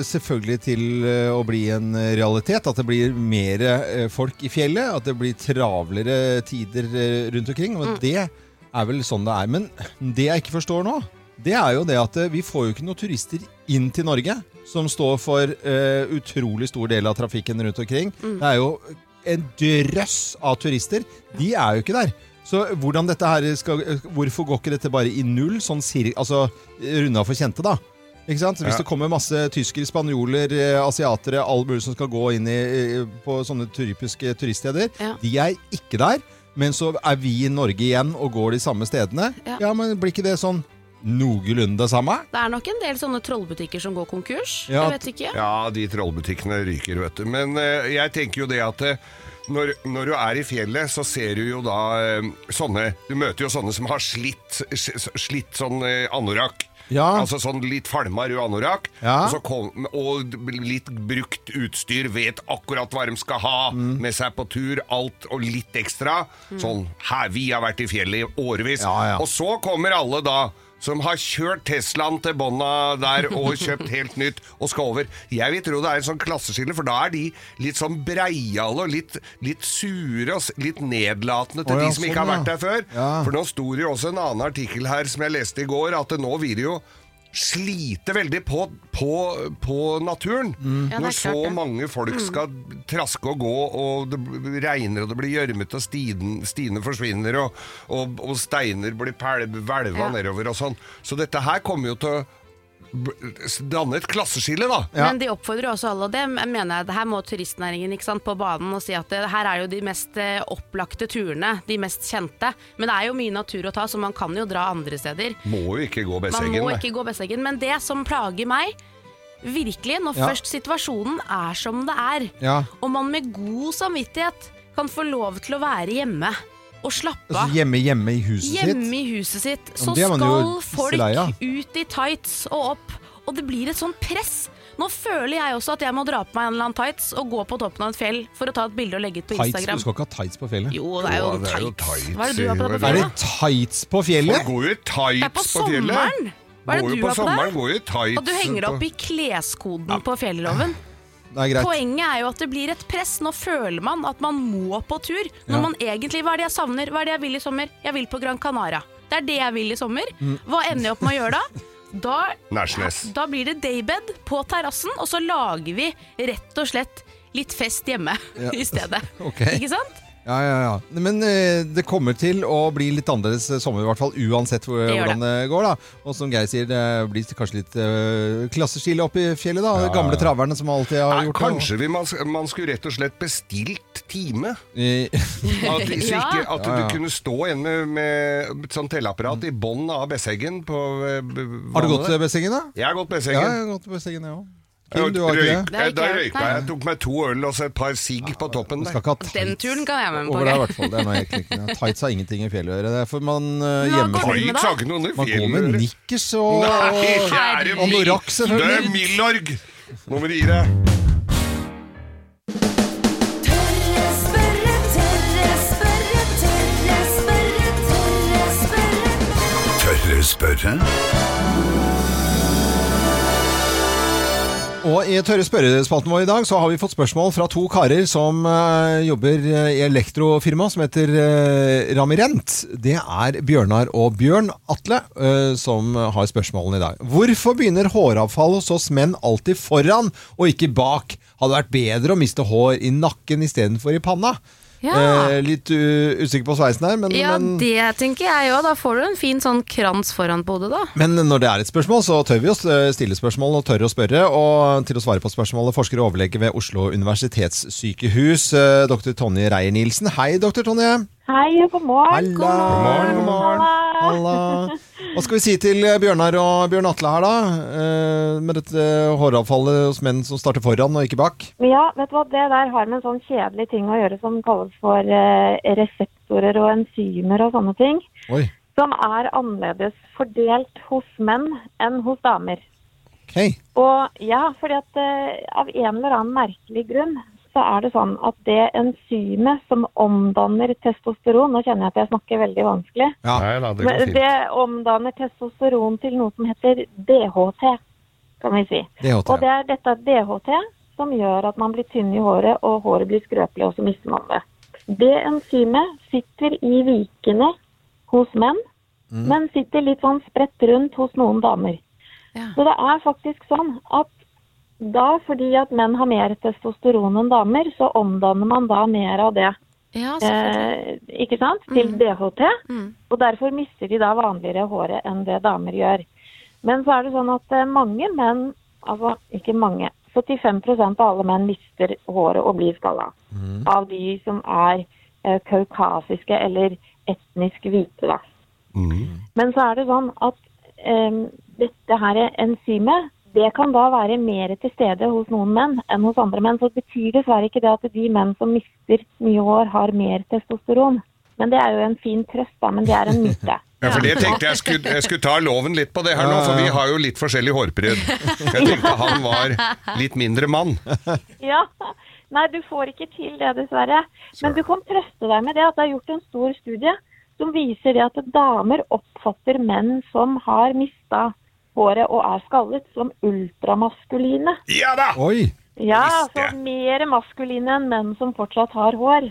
Speaker 1: selvfølgelig til eh, å bli en realitet. At det blir mer eh, folk i fjellet. At det blir travlere tider eh, rundt omkring. Og det er vel sånn det er. Men det jeg ikke forstår nå, det er jo det at eh, vi får jo ikke noen turister inn til Norge. Som står for eh, utrolig stor del av trafikken rundt omkring. Det er jo en drøss av turister. De er jo ikke der. Så hvordan dette her skal, eh, hvorfor går ikke dette bare i null, sånn sir, altså runda for kjente, da? Ikke sant? Hvis
Speaker 2: Ja.
Speaker 1: det kommer masse tyskere, spanjoler, eh, asiatere, all mulig som skal gå inn i, eh, på sånne typiske turiststeder,
Speaker 3: Ja.
Speaker 1: de er ikke der. Men så er vi i Norge igjen og går de samme stedene.
Speaker 3: Ja.
Speaker 1: Ja, men blir ikke det sånn noenlunde det samme?
Speaker 3: Det er nok en del sånne trollbutikker som går konkurs.
Speaker 1: Ja.
Speaker 3: Jeg vet ikke.
Speaker 2: Ja, de trollbutikkene ryker, vet du. Men eh, jeg tenker jo det at eh, når, når du er i fjellet, så ser du jo da eh, sånne Du møter jo sånne som har slitt, s- slitt sånn eh, anorakk.
Speaker 1: Ja.
Speaker 2: Altså sånn litt falma rød anorakk.
Speaker 1: Ja.
Speaker 2: Og, så kom, og litt brukt utstyr. Vet akkurat hva de skal ha
Speaker 1: Mm.
Speaker 2: med seg på tur. Alt og litt ekstra. Sånn her, Vi har vært i fjellet i årevis.
Speaker 1: Ja, ja.
Speaker 2: Og så kommer alle da som har kjørt Teslaen til bånda der og kjøpt helt nytt og skal over. Jeg vil tro det er en sånn klasseskille, for da er de litt sånn breiale og litt, litt sure og s- litt nedlatende
Speaker 1: Å
Speaker 2: til
Speaker 1: ja,
Speaker 2: de som ikke
Speaker 1: sånn,
Speaker 2: har vært
Speaker 1: ja.
Speaker 2: der før.
Speaker 1: Ja.
Speaker 2: For nå sto det jo også en annen artikkel her som jeg leste i går, at det nå vil det jo slite veldig på, på, på naturen.
Speaker 3: Mm. Ja, det er
Speaker 2: Når så
Speaker 3: klart det. Mm.
Speaker 2: mange folk skal traske og gå, og det b- regner og det blir gjørmete, og stien- stiene forsvinner, og, og, og steiner blir pelv- hvelva
Speaker 3: Ja.
Speaker 2: nedover og sånn. Så dette her kommer jo til å b- danne et klasseskille, da.
Speaker 1: Ja.
Speaker 3: Men de oppfordrer jo også alle, og det mener jeg, her må turistnæringen ikke sant, på banen og si at det, her er jo de mest eh, opplagte turene, de mest kjente. Men det er jo mye natur å ta, så man kan jo dra andre steder.
Speaker 2: Må jo ikke gå
Speaker 3: Man
Speaker 2: Besseggen.
Speaker 3: må
Speaker 2: nei.
Speaker 3: ikke gå Besseggen. Men det som plager meg, virkelig, når
Speaker 1: Ja.
Speaker 3: først situasjonen er som det er,
Speaker 1: Ja.
Speaker 3: og man med god samvittighet kan få lov til å være hjemme og slappe
Speaker 1: Altså,
Speaker 3: av.
Speaker 1: hjemme hjemme i huset
Speaker 3: Hjemme
Speaker 1: sitt?
Speaker 3: i huset sitt,
Speaker 1: Ja,
Speaker 3: så
Speaker 1: men det er man jo
Speaker 3: skal folk
Speaker 1: lei av.
Speaker 3: ut i tights og opp. Og det blir et sånn press. Nå føler jeg også at jeg må dra på meg en eller annen tights og gå på toppen av et fjell for å ta et bilde og legge ut på
Speaker 1: Tights, du
Speaker 3: Instagram.
Speaker 1: skal ikke ha tights på fjellet?
Speaker 3: Jo, det er jo
Speaker 2: Ja, det er jo
Speaker 3: tights.
Speaker 2: tights.
Speaker 3: Hva er det du har på deg på
Speaker 1: Er det
Speaker 3: fjellet?
Speaker 1: tights på
Speaker 2: Folk
Speaker 1: fjellet?
Speaker 2: går jo i
Speaker 3: Det er på
Speaker 2: tights på fjellet.
Speaker 3: sommeren! Hva
Speaker 2: Går
Speaker 3: er det
Speaker 2: jo
Speaker 3: du
Speaker 2: på
Speaker 3: har på
Speaker 2: sommeren,
Speaker 3: deg?
Speaker 2: går jo i tights.
Speaker 3: Og du henger deg opp i
Speaker 2: Ja.
Speaker 3: kleskoden på fjelloven.
Speaker 1: Det er greit.
Speaker 3: Poenget er jo at det blir et press. Nå føler man at man må på tur. Når
Speaker 1: Ja.
Speaker 3: man egentlig Hva er det jeg savner? Hva er det jeg vil i sommer? Jeg vil på Gran Canaria. Det er det jeg vil i sommer.
Speaker 1: Mm.
Speaker 3: Hva ender jeg opp med å gjøre da? Da,
Speaker 2: Nærsnes.
Speaker 3: da blir det daybed på terrassen, og så lager vi rett og slett litt fest hjemme
Speaker 1: Ja.
Speaker 3: i stedet.
Speaker 1: Ok.
Speaker 3: Ikke sant?
Speaker 1: Ja, ja, ja. Men eh, det kommer til å bli litt annerledes eh, sommer, i hvert fall uansett hvor, eh,
Speaker 3: Det gjør
Speaker 1: hvordan det går. da. Og som Geir sier, det blir kanskje litt uh, klasseskille oppe i fjellet. da. Gamle traverne som alltid har
Speaker 2: Nei,
Speaker 1: gjort
Speaker 2: kanskje vi, man, man skulle rett og slett bestilt time.
Speaker 1: det. Eh,
Speaker 2: At, så
Speaker 3: Ja.
Speaker 2: ikke, at
Speaker 1: Ja, ja.
Speaker 2: du kunne stå igjen med, med et sånt telleapparat i bånn av Besseggen. På, eh, b-
Speaker 1: Har du
Speaker 2: vannet
Speaker 1: gått
Speaker 2: der.
Speaker 1: til Besseggen, da?
Speaker 2: Jeg har gått
Speaker 1: Ja,
Speaker 2: Besseggen.
Speaker 1: jeg har gått til Besseggen, jeg òg.
Speaker 2: Jeg
Speaker 1: Kim, du har ikke
Speaker 2: røyk-
Speaker 1: det?
Speaker 3: Det har ikke
Speaker 2: da
Speaker 3: jeg.
Speaker 2: røyka
Speaker 3: Nei.
Speaker 2: jeg. Tok meg to øl og så et par sigg på toppen
Speaker 1: Du
Speaker 2: der.
Speaker 1: skal ikke ha tights
Speaker 3: Den turen kan jeg være med på.
Speaker 1: over deg, i
Speaker 3: Geir.
Speaker 1: hvert fall. Det er noe helt klikkende. Tights har ingenting i fjellet å gjøre. Det er for man eh,
Speaker 3: Men hva
Speaker 1: hjemme
Speaker 3: går du med da?
Speaker 2: Tights har ikke noe under
Speaker 1: Man går med
Speaker 2: fjellet.
Speaker 1: nikkers og
Speaker 2: Nei, kjære
Speaker 1: og
Speaker 2: min-
Speaker 1: anorakk,
Speaker 2: Det er
Speaker 1: selvfølgelig.
Speaker 2: Milorg! Nå må du gi deg.
Speaker 4: Tørre spørre, tørre spørre, tørre spørre, tørre spørre. spørre?
Speaker 1: Og i tørre spørrespalten vår i dag så har vi fått spørsmål fra to karer som eh, jobber eh, i elektrofirma som heter eh, Ramirent. Det er Bjørnar og Bjørn Atle eh, som har spørsmålene i dag. Hvorfor begynner håravfall hos oss menn alltid foran og ikke bak? Hadde vært bedre å miste hår i nakken istedenfor i panna.
Speaker 3: Ja.
Speaker 1: Eh, litt u usikker på sveisen her, men,
Speaker 3: Ja,
Speaker 1: men
Speaker 3: det tenker jeg òg. Da får du en fin sånn krans foran på hodet, da.
Speaker 1: Men når det er et spørsmål, så tør vi å stille spørsmål og tør å spørre. Og til å svare på spørsmålet, forsker og overlege ved Oslo universitetssykehus, eh, dr. Tonje Reier-Nielsen. Hei, dr. Tonje.
Speaker 5: Hei, og god morgen.
Speaker 1: God morgen. God morgen. Halla. Hva skal vi si til eh, Bjørnar og Bjørn Atle her, da? Eh, Med dette håravfallet hos menn som starter foran og ikke bak.
Speaker 5: Men Ja, vet du hva, det der har med en sånn kjedelig ting å gjøre som kalles for eh, reseptorer og enzymer og sånne ting.
Speaker 1: Oi.
Speaker 5: Som er annerledes fordelt hos menn enn hos damer.
Speaker 1: Ok.
Speaker 5: Og ja, fordi at eh, av en eller annen merkelig grunn så er det sånn at det enzymet som omdanner testosteron Nå kjenner jeg at jeg snakker veldig vanskelig.
Speaker 1: Ja.
Speaker 2: Nei da, det går
Speaker 5: Men
Speaker 2: fint.
Speaker 5: det omdanner testosteron til noe som heter DHT, kan vi si.
Speaker 1: DHT.
Speaker 5: Og det er dette DHT som gjør at man blir tynn i håret, og håret blir skrøpelig, og så mister man det. Det enzymet sitter i vikene hos menn,
Speaker 2: Mm.
Speaker 5: men sitter litt sånn spredt rundt hos noen damer.
Speaker 3: Ja.
Speaker 5: Så det er faktisk sånn at da, fordi at menn har mer testosteron enn damer, så omdanner man da mer av det
Speaker 3: Ja, selvfølgelig.
Speaker 5: eh, ikke sant? til DHT.
Speaker 3: Mm.
Speaker 5: Og derfor mister de da vanligere håret enn det damer gjør. Men så er det sånn at eh, mange menn, altså ikke mange, 75 av alle menn mister håret og blir skalla. Av de som er eh, kaukasiske eller etnisk hvite, da. Men så er det sånn at em, dette her enzymet, det kan da være mer til stede hos noen menn enn hos andre menn. Så det betyr dessverre ikke det at de menn som mister mye hår, har mer testosteron. Men det er jo en fin trøst, da. Men det er en myte.
Speaker 2: Ja, for det tenkte jeg skulle, jeg skulle ta loven litt på det her nå, for vi har jo litt forskjellig hårpryd. Jeg tenkte han var litt mindre mann.
Speaker 5: Ja. Nei, du får ikke til det, dessverre. Men du kan trøste deg med det at det er gjort en stor studie som viser det at damer oppfatter menn som har mista håret og er skallet, som ultramaskuline.
Speaker 2: Ja da!
Speaker 1: Oi.
Speaker 5: Ja,
Speaker 2: Visst,
Speaker 5: altså
Speaker 2: ja.
Speaker 5: mer maskuline enn menn som fortsatt har hår.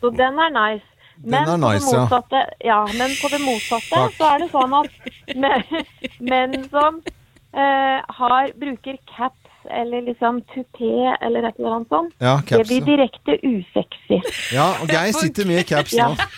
Speaker 5: Så den er nice. Men,
Speaker 1: Den er nice,
Speaker 5: på det
Speaker 1: ja.
Speaker 5: motsatte, ja. men på det motsatte så er det sånn at men- menn som eh, har, bruker caps eller liksom tupé eller et eller annet sånt,
Speaker 1: Ja,
Speaker 5: det
Speaker 1: caps.
Speaker 5: blir
Speaker 1: ja.
Speaker 5: direkte usexy.
Speaker 1: Ja, og Geir sitter med caps
Speaker 5: Ja.
Speaker 1: nå.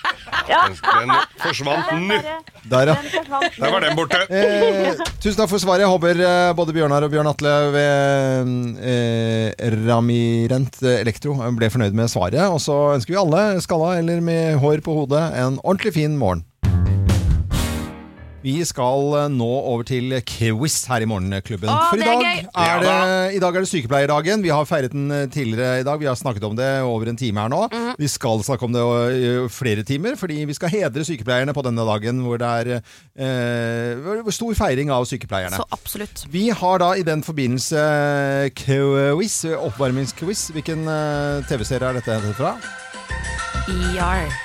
Speaker 5: Ja,
Speaker 2: Den forsvant nå.
Speaker 5: bare-
Speaker 1: Der, ja.
Speaker 5: den forsvant.
Speaker 2: Der var den borte.
Speaker 1: Eh, tusen takk for svaret. Jeg håper eh, både Bjørnar og Bjørn Atle ved eh, Ramirent Elektro ble fornøyd med svaret. Og så ønsker vi alle, skalla eller med hår på hodet, en ordentlig fin morgen. Vi skal eh, nå over til quiz her i Morgenklubben.
Speaker 3: Å,
Speaker 1: For i
Speaker 3: det er
Speaker 1: dag
Speaker 3: gøy!
Speaker 2: Ja
Speaker 1: er, det, Eh, i dag er det sykepleierdagen. Vi har feiret den eh, tidligere i dag. Vi har snakket om det over en time her nå.
Speaker 3: Mhm.
Speaker 1: Vi skal snakke om det eh, flere timer, fordi vi skal hedre sykepleierne på denne dagen hvor det er eh, stor feiring av sykepleierne.
Speaker 3: Så absolutt.
Speaker 1: Vi har da i den forbindelse eh, quiz, oppvarmingsquiz. Hvilken eh, TV-serie er dette hentet fra?
Speaker 3: ER.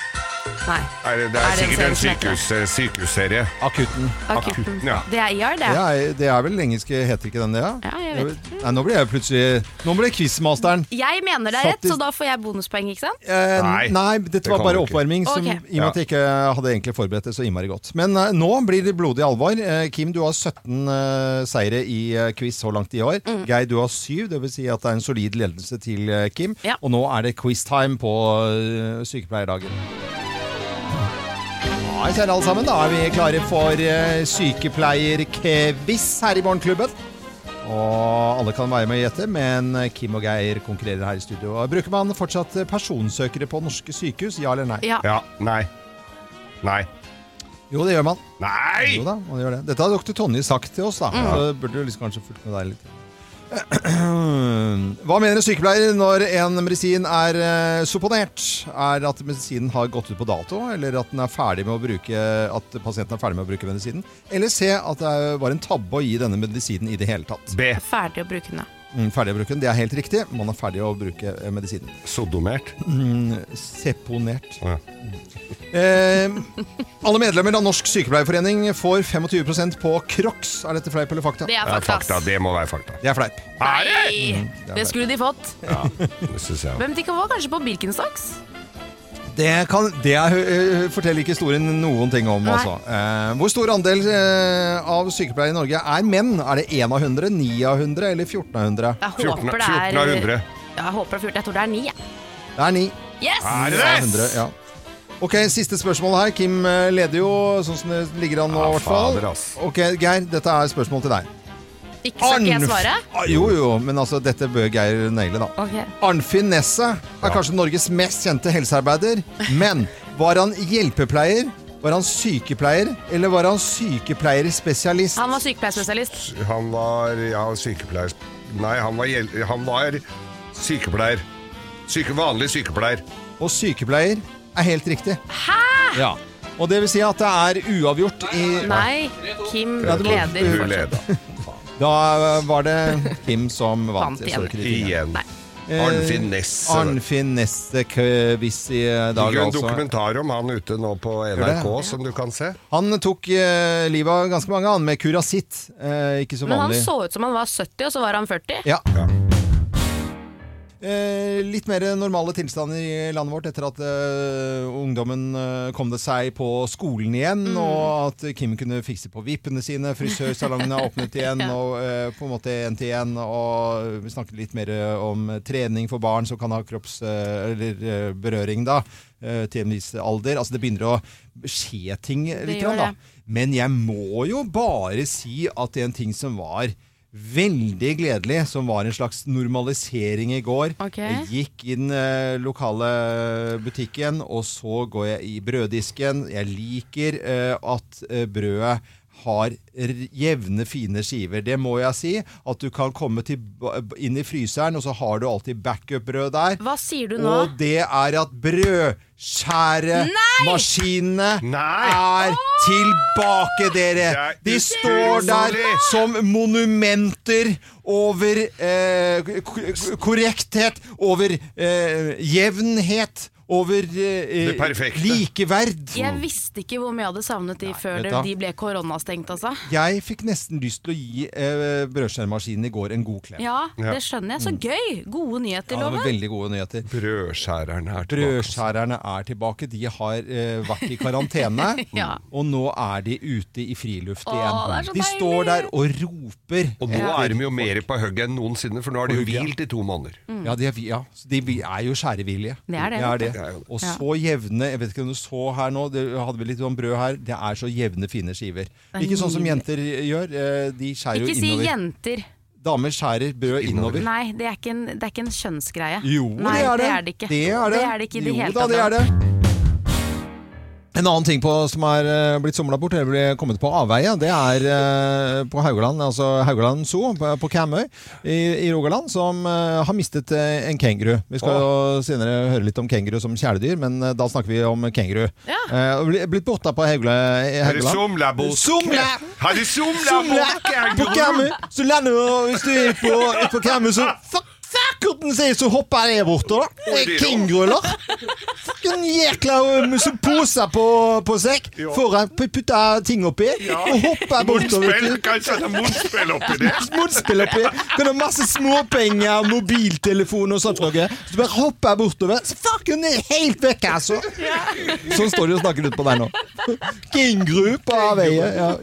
Speaker 3: Nei,
Speaker 2: Er det, det
Speaker 3: Er
Speaker 2: er
Speaker 3: E det en
Speaker 2: sikkert en
Speaker 3: serie som heter
Speaker 2: sykehus, sykehusserie.
Speaker 1: Akutten.
Speaker 3: akutten.
Speaker 2: Ja.
Speaker 3: Det er ER, det.
Speaker 1: Det er, det er vel engelsk, heter ikke den det?
Speaker 3: Ja, jeg vet ikke.
Speaker 1: Nei, nå ble jeg plutselig Nå ble quizmasteren.
Speaker 3: Jeg mener det er rett,
Speaker 1: Faktisk-
Speaker 3: så da får jeg bonuspoeng, ikke sant?
Speaker 1: Eh,
Speaker 2: Nei,
Speaker 1: nei, dette
Speaker 2: det
Speaker 1: var
Speaker 2: kan
Speaker 1: bare
Speaker 2: du ikke.
Speaker 1: oppvarming. Som, I
Speaker 3: Ok.
Speaker 1: og med at jeg ikke hadde egentlig forberedt det så innmari godt. Men eh, nå blir det blodig alvor. Eh, Kim, du har 17 eh, seire i eh, quiz så langt i år.
Speaker 3: Mm.
Speaker 1: Geir, du har 7. Det vil si at det er en solid ledelse til eh, Kim.
Speaker 3: Ja.
Speaker 1: Og nå er det quiztime på eh, sykepleierdagen. Ja, kjære alle sammen, da er vi klare for eh, sykepleier-quiz her i Morgenklubben. Og alle kan være med og gjette, men eh, Kim og Geir konkurrerer her i studio. Og Bruker man fortsatt eh, personsøkere på norske sykehus? Ja eller nei?
Speaker 3: Ja.
Speaker 2: Ja, nei. Nei.
Speaker 1: Jo, det gjør man. Jo
Speaker 2: Nei!
Speaker 1: da, man gjør det. Dette har dr. Tonje sagt til oss, da. Så burde du liksom kanskje fulgt med deg litt. Hva mener en sykepleier når en medisin er eh, supponert? Er at medisinen har gått ut på dato, eller at, den er ferdig med å bruke, at pasienten er ferdig med å bruke medisinen? Eller se at det er- var en tabbe å gi denne medisinen i det hele tatt?
Speaker 2: B.
Speaker 3: Ferdig å bruke den, da.
Speaker 1: Mm, Ferdig å bruke den. Det er helt riktig. Man er ferdig å bruke eh, medisinen.
Speaker 2: Sodomert.
Speaker 1: Mm, Seponert.
Speaker 2: Ja.
Speaker 1: Eh, alle medlemmer av Norsk Sykepleierforening får 25 på Crocs. Er dette fleip eller fakta?
Speaker 3: Det er
Speaker 2: Det er
Speaker 3: fakta.
Speaker 2: fakta.
Speaker 3: ass.
Speaker 2: Det må være fakta.
Speaker 1: Det Mm, er fleip.
Speaker 2: Er det?
Speaker 3: Nei, det skulle de fått.
Speaker 2: Det synes jeg.
Speaker 3: Hvem de kan få? Kanskje på Birkenstocks?
Speaker 1: Det, kan, det er, eh, forteller ikke historien noen ting om,
Speaker 3: Nei.
Speaker 1: altså. Eh, hvor stor andel eh, av sykepleiere i Norge er menn? Er det 1 av 100, 9 av 100 eller 14 av 100?
Speaker 2: 14
Speaker 3: Jeg håper det er
Speaker 2: 14 av 100.
Speaker 3: Ja, jeg håper det er 14. Jeg tror det er 9. jeg.
Speaker 1: Det er 9.
Speaker 3: Yes!
Speaker 2: Er det
Speaker 1: Ja,
Speaker 2: det?
Speaker 1: 100, ja. Ok, Siste spørsmål her. Kim eh, leder jo sånn som det ligger an nå.
Speaker 2: Ja,
Speaker 1: i hvert fall.
Speaker 2: fader, ass.
Speaker 1: Ok, Geir, dette er spørsmål til deg.
Speaker 3: Ikke skal ikke jeg
Speaker 1: Arnf-
Speaker 3: svare?
Speaker 1: Ah, Jo, jo, men altså, dette bør Geir naile, da.
Speaker 3: Ok.
Speaker 1: Arnfinn Nesse er kanskje Norges mest kjente helsearbeider. Men var han hjelpepleier, var han sykepleier, eller var han sykepleierspesialist?
Speaker 3: Han var sykepleierspesialist.
Speaker 2: Han var ja, sykepleier Nei, han var, hjel- han var sykepleier. Syke, vanlig sykepleier.
Speaker 1: Og sykepleier er helt riktig. Hæ?! Ja. Og det vil si at det er uavgjort i
Speaker 3: Nei, Kim
Speaker 1: Ja, du må-
Speaker 3: leder
Speaker 2: Hun
Speaker 3: fortsatt.
Speaker 2: leda.
Speaker 1: Da var det Kim som vant.
Speaker 3: Vant
Speaker 1: Jeg så
Speaker 3: igjen.
Speaker 1: ikke de tingene.
Speaker 2: Igjen.
Speaker 3: Nei.
Speaker 2: Arnfinn Nesse. Det
Speaker 1: Arnfinn Nesse Køvis i dag,
Speaker 2: ligger en
Speaker 1: altså.
Speaker 2: dokumentar om han ute nå på NRK,
Speaker 1: det?
Speaker 2: som du kan se.
Speaker 1: Han tok eh, livet av ganske mange, han, med kurasitt. Eh, ikke så
Speaker 3: Men han
Speaker 1: vanlig.
Speaker 3: så ut som han var 70, og så var han 40.
Speaker 1: Ja.
Speaker 2: Ja.
Speaker 1: Eh, litt mer normale tilstander i landet vårt etter at eh, ungdommen eh, kom det seg på skolen igjen,
Speaker 3: Mm.
Speaker 1: og at Kim kunne fikse på vippene sine, frisørsalongene er åpnet igjen, og eh, på en måte en til en, og vi snakket litt mer eh, om trening for barn som kan ha kropps... Eh, eller eh, berøring, da, eh, til en viss alder. Altså, det begynner å skje ting litt, grann,
Speaker 3: gjør
Speaker 1: da.
Speaker 3: det.
Speaker 1: Men jeg må jo bare si at det er en ting som var veldig gledelig, som var en slags normalisering i går
Speaker 3: Ok.
Speaker 1: Jeg gikk i den eh, lokale butikken, og så går jeg i brøddisken. Jeg liker eh, at eh, brødet har r- jevne, fine skiver. Det må jeg si. At du kan komme til, inn i fryseren, og så har du alltid backup-brød der.
Speaker 3: Hva sier du nå?
Speaker 1: Og det er at brødskjæremaskinene
Speaker 2: Nei!
Speaker 1: er tilbake, dere!
Speaker 2: Det
Speaker 1: De
Speaker 2: er
Speaker 1: står der
Speaker 2: utrolig!
Speaker 1: som monumenter over eh, k- k- korrekthet, over eh, jevnhet, over eh,
Speaker 2: Det perfekte.
Speaker 1: likeverd.
Speaker 3: Jeg visste ikke hvor mye jeg hadde savnet de før
Speaker 1: vet
Speaker 3: det,
Speaker 1: du hva?
Speaker 3: de ble koronastengt, altså.
Speaker 1: Jeg fikk nesten lyst til å gi eh, brødskjæremaskinen i går en god klem.
Speaker 3: Ja,
Speaker 2: Ja.
Speaker 3: det skjønner jeg. Så gøy! Gode
Speaker 1: Mm.
Speaker 3: nyheter,
Speaker 1: Ja, det var
Speaker 3: Loven.
Speaker 1: veldig gode nyheter.
Speaker 2: Brødskjæreren er tilbake.
Speaker 1: Brødskjærerne er tilbake. De har eh, vært i karantene,
Speaker 3: Ja.
Speaker 1: og nå er de ute i friluft
Speaker 3: Åh,
Speaker 1: igjen.
Speaker 3: det er så
Speaker 1: de
Speaker 3: deilig!
Speaker 1: står der og roper.
Speaker 2: Og nå er de jo mer på hugget enn noensinne, for nå har de
Speaker 1: På hugget, ja.
Speaker 2: hvilt i to måneder.
Speaker 1: Ja, de er, vi- ja, så de vi- er jo skjærevillige.
Speaker 3: Det er det, vet
Speaker 2: du. Det er jo det.
Speaker 1: Og så jevne Jeg vet ikke om du så her nå, det hadde vi litt sånn brød her. Det er så jevne, fine skiver.
Speaker 3: er
Speaker 1: Ikke sånn som
Speaker 3: nydelig.
Speaker 1: jenter gjør. eh, De skjærer
Speaker 3: Ikke
Speaker 1: jo
Speaker 3: si
Speaker 1: innover.
Speaker 3: jenter.
Speaker 1: Damer skjærer brød innover.
Speaker 3: Nei, det er ikke en, det er ikke en kjønnsgreie.
Speaker 1: Jo,
Speaker 3: Nei,
Speaker 1: det er det.
Speaker 3: det er det ikke. Det er det ikke i det
Speaker 1: jo,
Speaker 3: hele
Speaker 1: da,
Speaker 3: tatt.
Speaker 1: det er det. En annen ting på, som er eh, blitt somla bort, eller blitt kommet på avveie, det er eh, på Haugaland, altså Haugaland Zoo på, på Kamøy i, i Rogaland, som eh, har mistet eh, en kenguru. Vi skal jo senere høre litt om kenguru som kjæledyr, men eh, da snakker vi om kenguru.
Speaker 3: Ja.
Speaker 1: Eh, og bli- blitt botta på Haugla- i
Speaker 2: Har du
Speaker 1: Haugaland.
Speaker 2: somla bort?
Speaker 1: Somla!
Speaker 2: Har du somla
Speaker 1: Somla
Speaker 2: bort?
Speaker 1: på Kamøy, så lander du hvis du er på, på Kamøy, så fuck, fuckerten sier, så hopper jeg bortover. da. Det er kenguru, eller? Fucking jækla med poser på, på sekk
Speaker 2: Ja.
Speaker 1: foran, pu- putte ting oppi, og hopper bortover.
Speaker 2: Munnspill,
Speaker 1: vet du.
Speaker 2: kanskje det er munnspill oppi det?
Speaker 1: Munnspill oppi. Kan ha masse småpenger, mobiltelefon og sånt. Noe. Så du bare hopper bortover. Så fucking er helt vekk, altså! Sånn står de og snakker utpå der nå. Kenguru på avveie. Ja.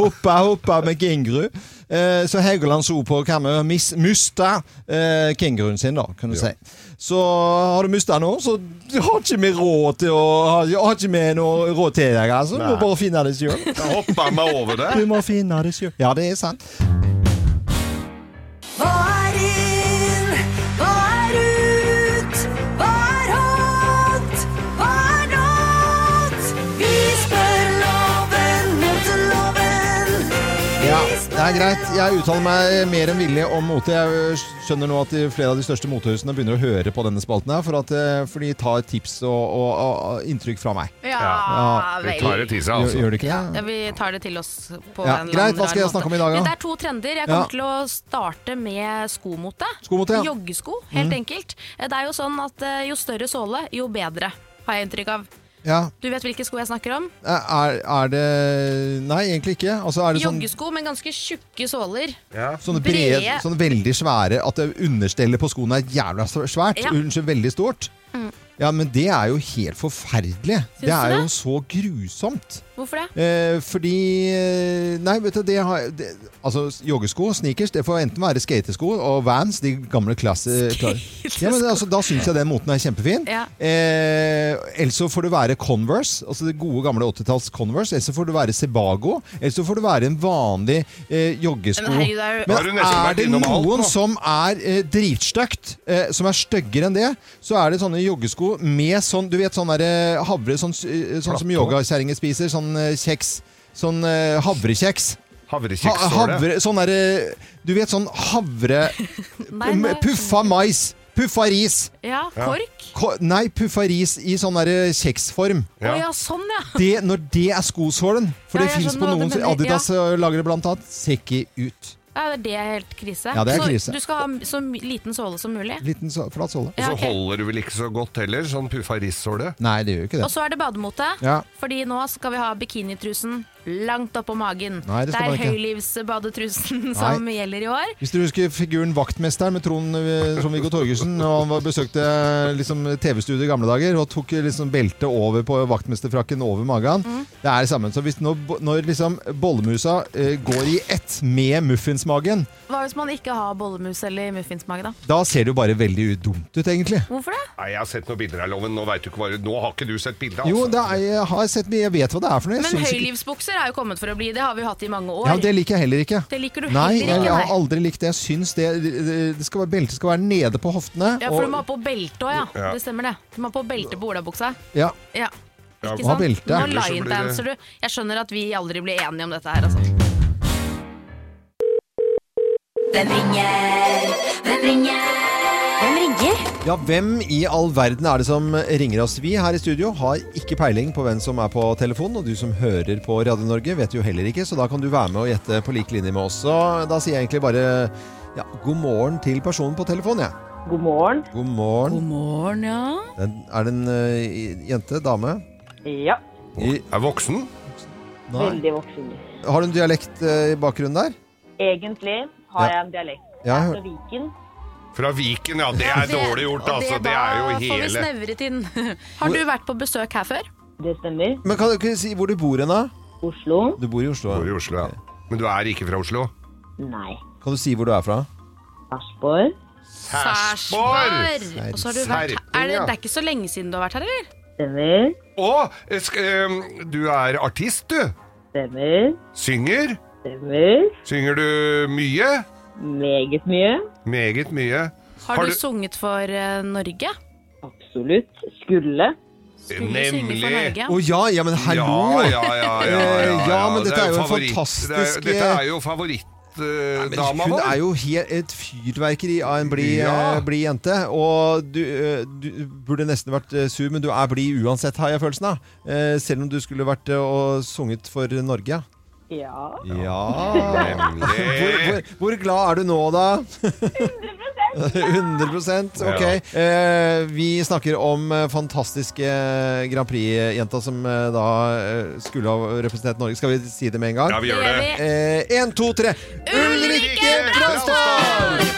Speaker 1: Hoppa, hoppa med kenguru. Eh, så Haugaland Zoo på Karmøy har mis- mista eh, kenguruen sin, da, kan du si. Så har du mista den nå, så har ikke vi råd til å Har, har ikke vi noe råd til deg, altså. Du må
Speaker 2: Nei.
Speaker 1: bare finne det sjøl.
Speaker 2: Da hopper han meg over det.
Speaker 1: Du må finne det sjøl. Ja, det er sant.
Speaker 4: Hva er inn? Hva er ut? Hva er hot? Hva er not? Vi spør loven mot loven.
Speaker 1: Ja, det er er greit. Jeg uttaler meg mer enn villig om mote. Jeg skjønner nå at de- flere av de største motehusene begynner å høre på denne spalten, her, for, at, eh, for de tar tips og, og, og inntrykk fra meg.
Speaker 3: Ja,
Speaker 1: Ja,
Speaker 2: Vi tar
Speaker 3: vel.
Speaker 2: det til seg,
Speaker 1: Gjør,
Speaker 2: altså.
Speaker 1: gjør det ikke
Speaker 3: Ja,
Speaker 1: det?
Speaker 3: vi tar det til oss på
Speaker 1: Ja,
Speaker 3: en eller
Speaker 1: greit,
Speaker 3: annen
Speaker 1: hva skal jeg
Speaker 3: rar måte.
Speaker 1: snakke om i dag, da?
Speaker 3: Det er to trender.
Speaker 1: Ja.
Speaker 3: Jeg kommer til å starte med skomote.
Speaker 1: Skomote, ja. Mm.
Speaker 3: Joggesko, helt enkelt. Det er jo sånn at eh, jo større såle, jo bedre, har jeg inntrykk av.
Speaker 1: Ja.
Speaker 3: Du vet hvilke sko jeg snakker om?
Speaker 1: Er, er det Nei, egentlig ikke. Altså, er det sånn,
Speaker 3: Joggesko, men ganske tjukke såler.
Speaker 2: Ja.
Speaker 1: sånne, brede,
Speaker 3: brede.
Speaker 1: sånne veldig svære At det understellet på skoene er jævla svært.
Speaker 3: Ja. Mm.
Speaker 1: Unnskyld, veldig stort. Ja, men det er jo helt forferdelig.
Speaker 3: du
Speaker 1: det er
Speaker 3: det?
Speaker 1: jo så grusomt.
Speaker 3: Hvorfor det?
Speaker 1: Eh, fordi eh, Nei, vet du, det har det, Altså, joggesko, sneakers, det får enten være skatesko og vans, de gamle klasse... klar- Ja, men det, altså, da syns jeg den moten er kjempefin.
Speaker 3: Ja.
Speaker 1: Eh, Eller så får det være Converse, altså det gode gamle 80-talls Converse. Eller så får det være Sebago. Eller så får det være en vanlig eh, joggesko.
Speaker 3: Men herregud, det er jo-
Speaker 1: Men
Speaker 2: Har du nesten vært
Speaker 1: er det
Speaker 2: innom alt,
Speaker 1: noen
Speaker 2: nå?
Speaker 1: som er eh, dritstøkt, eh, som er styggere enn det, så er det sånne joggesko med sånn Du vet sånn derre havre, sånn, s- eh, sånn som yogakjerringer spiser, sånn eh, kjeks. Sånn eh, havrekjeks. Ha,
Speaker 2: Havrekjeks står det.
Speaker 1: havre, sånn derre Du vet sånn havre...
Speaker 3: Nei, sånn- nei.
Speaker 1: Puffa mais! Puffa ris!
Speaker 3: Ja, kork.
Speaker 1: Ko nei, puffa ris i sånn derre kjeksform.
Speaker 3: Å ja. sånn ja.
Speaker 1: Det, når det er skosålen. For det
Speaker 3: Ja, sånn jeg
Speaker 1: fins på
Speaker 3: skjønner hva du
Speaker 1: noen
Speaker 3: mener,
Speaker 1: Adidas eh, lager det blant annet. Ser ikke ut.
Speaker 3: ja. Det er helt krise.
Speaker 1: Ja, det er
Speaker 3: så
Speaker 1: krise.
Speaker 3: Du skal ha så my- liten såle som mulig.
Speaker 1: Liten så, flat såle.
Speaker 2: Og
Speaker 3: Ja,
Speaker 2: så
Speaker 3: ok.
Speaker 2: holder du vel ikke så godt heller, sånn puffa rissåle.
Speaker 1: Nei, det gjør jo ikke det.
Speaker 3: Og så er det bademote.
Speaker 1: Ja.
Speaker 3: Fordi nå skal vi ha bikinitrusen langt oppå magen.
Speaker 1: Nei, det
Speaker 3: det
Speaker 1: skal
Speaker 3: er
Speaker 1: man ikke.
Speaker 3: høylivsbadetrusen som gjelder i år.
Speaker 1: Hvis dere husker figuren Vaktmesteren med Trond eh, som Viggo Torgersen, og han var, besøkte liksom, TV-studio i gamle dager og tok eh, liksom, beltet over på vaktmesterfrakken over magen.
Speaker 3: Mm.
Speaker 1: Det er det samme. Så hvis når, når liksom, bollemusa eh, går i ett med muffinsmagen,
Speaker 3: Hva hvis man ikke har bollemus eller muffinsmage, da?
Speaker 1: da ser det jo bare veldig dumt ut, egentlig.
Speaker 3: Hvorfor det?
Speaker 2: Nei, jeg har sett noen bilder av loven, nå vet du ikke hva Nå har ikke du sett bildet, altså.
Speaker 1: Jo, det er, jeg har sett mye, jeg vet hva det er for noe. Jeg
Speaker 3: Men
Speaker 1: syns ikke-
Speaker 3: høylivsbukser er jo kommet for å bli. Det har vi jo hatt i mange år.
Speaker 1: Ja, det liker jeg heller ikke.
Speaker 3: Det liker du
Speaker 1: Nei, jeg,
Speaker 3: heller
Speaker 1: jeg
Speaker 3: ikke,
Speaker 1: har
Speaker 3: nei.
Speaker 1: aldri likt det. Jeg syns det, det, det skal være, Beltet skal være nede på hoftene.
Speaker 3: Ja, for
Speaker 1: og-
Speaker 3: du må ha på belte òg, ja. Det stemmer det. Du må ha på belte på olabuksa.
Speaker 1: ja,
Speaker 3: Ja.
Speaker 2: Ja,
Speaker 3: Ikke
Speaker 1: må ha
Speaker 3: sant?
Speaker 1: belte.
Speaker 3: Nå
Speaker 2: Ellers så blir det-
Speaker 3: linedanser du. Jeg skjønner at vi aldri blir enige om dette her, altså.
Speaker 4: Hvem ringer? Hvem ringer? Hvem ringer?
Speaker 1: Ja, hvem i all verden er det som ringer oss? Vi her i studio har ikke peiling på hvem som er på telefonen, og du som hører på Radio Norge vet jo heller ikke, så da kan du være med og gjette på lik linje med oss. Så da sier jeg egentlig bare ja, god morgen til personen på telefonen, jeg.
Speaker 5: God morgen.
Speaker 1: God morgen.
Speaker 3: morgen, ja.
Speaker 1: Den, er det en ø, jente? Dame?
Speaker 5: Ja,
Speaker 1: I,
Speaker 2: Er voksen?
Speaker 1: nei.
Speaker 5: veldig voksen.
Speaker 1: Har du en dialekt ø, i bakgrunnen der?
Speaker 5: Egentlig har
Speaker 1: Ja.
Speaker 5: jeg en dialekt.
Speaker 1: Ja,
Speaker 5: Jeg er
Speaker 1: jeg
Speaker 5: fra Viken.
Speaker 2: Fra Viken, ja. Det er dårlig gjort, altså. Det er jo
Speaker 3: Da får vi
Speaker 2: hele
Speaker 3: snevret inn. Har du vært på besøk her før?
Speaker 5: Det stemmer.
Speaker 1: Men kan du ikke si hvor du bor hen, da?
Speaker 5: Oslo?
Speaker 1: Du bor i Oslo.
Speaker 2: Bor i Oslo, ja. Men du er ikke fra Oslo?
Speaker 5: Nei.
Speaker 1: Kan du si hvor du er fra?
Speaker 5: Sarpsborg?
Speaker 1: Sarpsborg.
Speaker 3: Og så har du vært her. Er det, det er ikke så lenge siden du har vært her, eller?
Speaker 5: Stemmer.
Speaker 2: Å, eh, sk- eh, du er artist, du.
Speaker 5: Stemmer.
Speaker 2: Synger.
Speaker 5: Stemmer.
Speaker 2: Synger du mye?
Speaker 5: Meget mye.
Speaker 2: Meget mye.
Speaker 3: Har,
Speaker 2: Har
Speaker 3: du,
Speaker 2: du-
Speaker 3: sunget for eh, Norge?
Speaker 5: Absolutt. Skulle.
Speaker 3: Skulle du synge for
Speaker 2: Nemlig.
Speaker 1: Å
Speaker 3: Norge?
Speaker 1: ja, ja, men
Speaker 2: Ja,
Speaker 1: hallo!
Speaker 2: ja, ja. ja, ja,
Speaker 1: Eh, ja, men dette
Speaker 2: Det
Speaker 1: er jo en
Speaker 2: favoritt-
Speaker 1: fantastisk, eh,
Speaker 2: det er- Dette er jo
Speaker 1: Men
Speaker 2: favorittdama
Speaker 1: hun
Speaker 2: vår.
Speaker 1: er jo helt et fyrverkeri av en blid
Speaker 2: Ja.
Speaker 1: eh, blid jente. Og du, eh, du burde nesten vært eh, sur, men du er blid uansett, har jeg følelsen av. Eh, Selv om du skulle vært eh, og sunget for Norge.
Speaker 5: Ja.
Speaker 1: Ja hvor,
Speaker 2: Nemlig.
Speaker 1: hvor, hvor glad er du nå, da? 100 Ok. Eh, vi snakker om eh, fantastiske eh, Grand Prix-jenta som eh, da eh, skulle ha representert Norge. Skal vi si det med en gang?
Speaker 2: Ja, vi gjør
Speaker 3: gjør
Speaker 2: det.
Speaker 3: vi.
Speaker 1: Én, Eh, to, tre. Ulrikke Bransdal!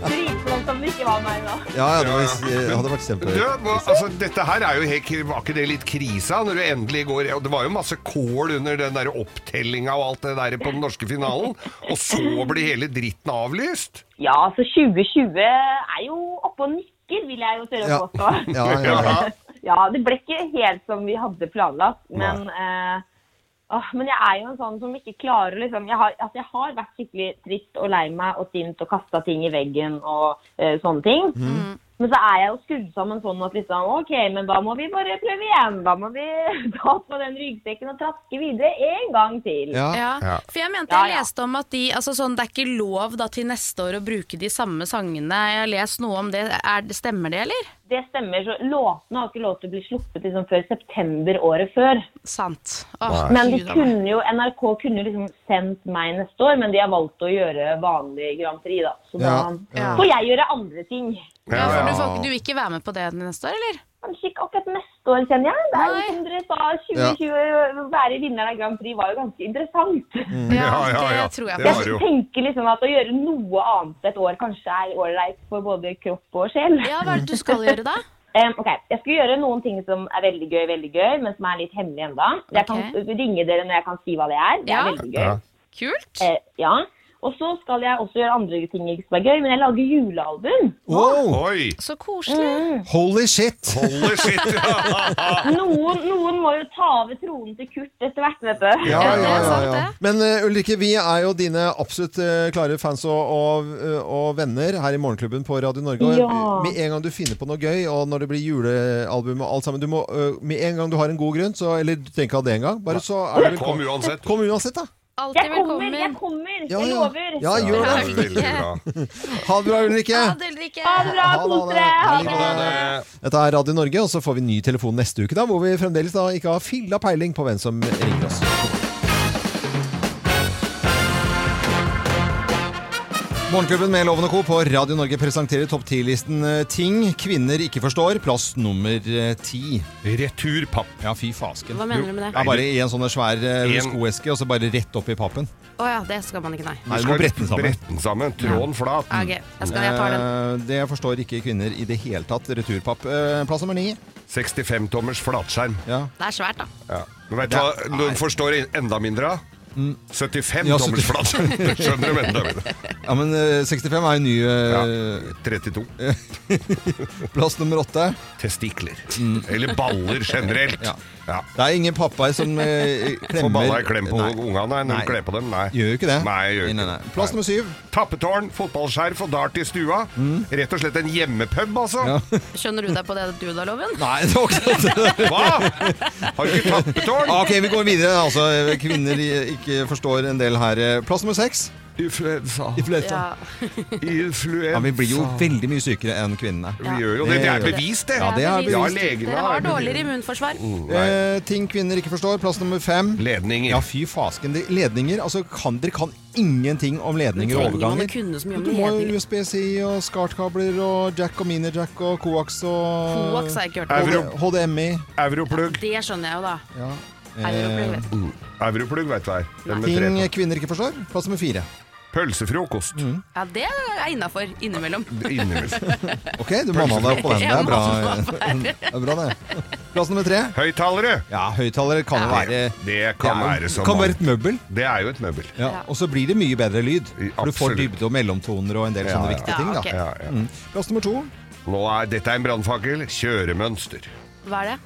Speaker 5: Dritflott om det ikke var meg, da.
Speaker 1: Ja, ja, det var, eh, hadde vært
Speaker 2: Du,
Speaker 1: kjempegøy.
Speaker 2: hva, altså, dette her er jo helt, kri- var ikke det litt krisa når du endelig går og Det var jo masse kål under den der opptellinga og alt det der på den norske finalen, og så blir hele dritten avlyst?
Speaker 5: Ja, så 2020 er jo oppe og nikker, vil jeg jo tørre
Speaker 1: Ja.
Speaker 5: å påstå.
Speaker 1: Ja, ja, ja.
Speaker 5: Ja, det ble ikke helt som vi hadde planlagt, men, eh, åh, men jeg er jo en sånn som ikke klarer liksom, jeg har, altså, jeg har vært skikkelig trist og lei meg og sint og kasta ting i veggen og eh, sånne ting. Men så er jeg jo skrudd sammen sånn at liksom, ok, men da må vi bare prøve igjen. Da må vi ta på den ryggsekken og traske videre en gang til.
Speaker 1: Ja.
Speaker 3: Ja.
Speaker 2: Ja.
Speaker 3: For jeg mente
Speaker 5: Ja,
Speaker 3: jeg
Speaker 5: ja.
Speaker 3: leste om at de, altså sånn, det er ikke lov da, til neste år å bruke de samme sangene. Jeg har lest noe om det. Er, det- stemmer det, eller?
Speaker 5: Det stemmer. så Låtene har ikke lov til å bli sluppet liksom før september året før.
Speaker 3: Sant. Åh,
Speaker 5: Men de
Speaker 3: Gud, da.
Speaker 5: kunne jo, NRK kunne jo liksom sendt meg neste år, men de har valgt å gjøre vanlig Grand Prix, da. Så da
Speaker 1: Ja,
Speaker 3: ja.
Speaker 5: får jeg gjøre andre ting.
Speaker 3: ja, for du, får, du vil ikke være med på det neste år, eller?
Speaker 5: Kanskje ikke akkurat neste år, kjenner jeg. Det er jo
Speaker 3: Nei.
Speaker 5: som dere sa, 2020 å være vinner av Grand Prix var jo ganske interessant.
Speaker 3: Mm.
Speaker 2: Ja, ja, ja.
Speaker 3: Det tror jeg
Speaker 2: Det
Speaker 3: på.
Speaker 2: var det jo.
Speaker 5: Jeg tenker liksom at å gjøre noe annet et år kanskje er ålreit for både kropp og sjel.
Speaker 3: Ja, hva er det du skal gjøre da?
Speaker 5: Em, ok, Jeg skal gjøre noen ting som er veldig gøy, veldig gøy, men som er litt hemmelig enda. Jeg kan ringe dere når jeg kan si hva det er. Det er
Speaker 3: Ja.
Speaker 5: veldig gøy.
Speaker 2: Ja.
Speaker 3: Kult.
Speaker 5: Eh, ja. Og så skal jeg også gjøre andre ting som er gøy, men jeg lager julealbum.
Speaker 1: Wow!
Speaker 2: Oi!
Speaker 3: Så
Speaker 5: Mm.
Speaker 3: koselig.
Speaker 1: Holy shit!
Speaker 2: Holy shit!
Speaker 5: Noen, noen må jo ta over tronen til Kurt etter hvert, vet du.
Speaker 1: Ja,
Speaker 3: Ja,
Speaker 1: ja,
Speaker 3: det er
Speaker 1: ja,
Speaker 3: sant,
Speaker 1: ja.
Speaker 3: det.
Speaker 1: Men eh, Ulrikke, vi er jo dine absolutt eh, klare fans og, og, eh, og venner her i Morgenklubben på Radio Norge. Og
Speaker 5: Ja.
Speaker 1: Med en gang du finner på noe gøy, og når det blir julealbum og alt sammen du må, eh, Med en gang du har en god grunn, så, eller du trenger ikke ha det engang, bare så er det
Speaker 2: Kom
Speaker 1: velkommen.
Speaker 2: uansett.
Speaker 1: Kom uansett, da.
Speaker 3: Alltid
Speaker 5: Jeg kommer, jeg
Speaker 3: velkommen.
Speaker 5: kommer!
Speaker 1: Ja,
Speaker 5: Jeg
Speaker 1: ja.
Speaker 5: lover.
Speaker 1: Ja, gjør
Speaker 2: Ja,
Speaker 1: det.
Speaker 2: veldig bra.
Speaker 1: Ha det bra, Ulrikke.
Speaker 3: Ha det, Ulrikke.
Speaker 5: Ha det bra,
Speaker 1: Ha det, ha det.
Speaker 5: kos dere! Ha
Speaker 1: Ha
Speaker 5: det!
Speaker 2: Ha det.
Speaker 1: Dette er Radio Norge, og så får vi ny telefon neste uke, da, hvor vi fremdeles da ikke har filla peiling på hvem som ringer oss. Morgenklubben med Loven og Co. på Radio Norge presenterer topp 10-listen eh, ting kvinner ikke forstår. Plass nummer eh, ti.
Speaker 2: Returpapp.
Speaker 1: Ja, fy fasken.
Speaker 3: Hva mener du med det?
Speaker 1: Ja, bare i en sånn svær eh,
Speaker 2: En-
Speaker 1: skoeske, og så bare rett opp i pappen.
Speaker 3: Å ja, det skal man ikke, nei.
Speaker 1: Nei, du må brette den sammen.
Speaker 2: Brette den sammen. Tråden flat.
Speaker 3: Ja, Ok, jeg, skal, jeg tar den.
Speaker 1: Eh, Det forstår ikke kvinner i det hele tatt. Returpapp. Eh, Plass nummer ni.
Speaker 2: 65-tommers flatskjerm.
Speaker 1: Ja.
Speaker 3: Det er svært, da.
Speaker 2: Ja. Men Vet du hva du forstår enda mindre av? 75
Speaker 1: Mm. Ja,
Speaker 2: tommers flatskjerm. Du skjønner du enda mindre.
Speaker 1: ja, men eh, 65 er jo ny
Speaker 2: Ja.
Speaker 1: eh,
Speaker 2: 32.
Speaker 1: Plass nummer åtte.
Speaker 2: Testikler. Eller baller generelt.
Speaker 1: Mm. Ja.
Speaker 2: Ja.
Speaker 1: Det er ingen pappaer som eh, klemmer
Speaker 2: Får balla i klem på
Speaker 1: Nei.
Speaker 2: ungene nei, når
Speaker 1: Nei.
Speaker 2: du kler på dem? Nei.
Speaker 1: Gjør jo ikke det.
Speaker 2: Nei, gjør ikke
Speaker 1: Nei, nei, nei. Plass
Speaker 2: Nei.
Speaker 1: nummer syv.
Speaker 2: Tappetårn, fotballskjerf og dart i stua. Rett og slett en hjemmepub, altså.
Speaker 1: Mm. Ja.
Speaker 3: Skjønner du deg på det du da, Loven?
Speaker 1: Nei, det var ikke det. Ah,
Speaker 2: Hva? Har du ikke tappetårn?
Speaker 1: Ok, vi går videre. Altså, kvinner i- ikke forstår en del her. Plass nummer seks.
Speaker 2: Influensa.
Speaker 1: Influensa.
Speaker 3: Ja.
Speaker 2: Influensa.
Speaker 1: Ja, vi blir jo veldig mye sykere enn kvinnene.
Speaker 2: Vi gjør jo det. Det er bevist, det.
Speaker 1: Ja, det er
Speaker 3: bevist.
Speaker 2: Ja, legene
Speaker 3: Dere har
Speaker 2: er bevist.
Speaker 3: dårligere immunforsvar.
Speaker 2: Nei.
Speaker 1: Eh, ting kvinner ikke forstår. Plass nummer fem.
Speaker 2: Ledninger.
Speaker 1: Ja, fy fasken. De- Ledninger. Altså, kan, dere kan ingenting om ledninger og
Speaker 3: Trenger man å
Speaker 1: overganger.
Speaker 3: kunne så mye om
Speaker 1: Du må
Speaker 3: ledninger?
Speaker 1: jo USB-C og SCART-kabler og jack og mini-jack og coax og
Speaker 3: Coax har jeg ikke hørt om.
Speaker 2: Euro-
Speaker 1: HD- HDMI.
Speaker 2: Europlugg.
Speaker 3: Det skjønner jeg jo, da.
Speaker 1: Ja. Eh,
Speaker 3: Europlugg, vet du.
Speaker 2: Europlugg, vet du hva er. Den med
Speaker 1: Ting
Speaker 2: tre på.
Speaker 1: kvinner ikke forstår. Plass nummer fire.
Speaker 2: Pølsefrokost.
Speaker 1: Mm.
Speaker 3: Ja, det er innafor. Innimellom.
Speaker 2: Innimellom.
Speaker 1: Ok, du mamma deg på den. Det er bra.
Speaker 3: Jeg
Speaker 1: Det er bra det. Plass nummer tre.
Speaker 2: Høyttalere.
Speaker 1: Ja, høyttaler kan jo være
Speaker 2: Det, det kan
Speaker 1: det er jo-
Speaker 2: være som
Speaker 1: kan være et møbel.
Speaker 2: Det er jo et møbel.
Speaker 1: Ja. Og så blir det mye bedre lyd. For du får
Speaker 2: Absolutt.
Speaker 1: dybde og mellomtoner og en del sånne
Speaker 2: Ja, ja.
Speaker 1: viktige ting.
Speaker 3: Ja, ok.
Speaker 1: Da.
Speaker 2: Ja, ja.
Speaker 1: Mm. Plass nummer to.
Speaker 2: Nå er dette er en brannfakkel. Kjøremønster.
Speaker 3: Hva er det?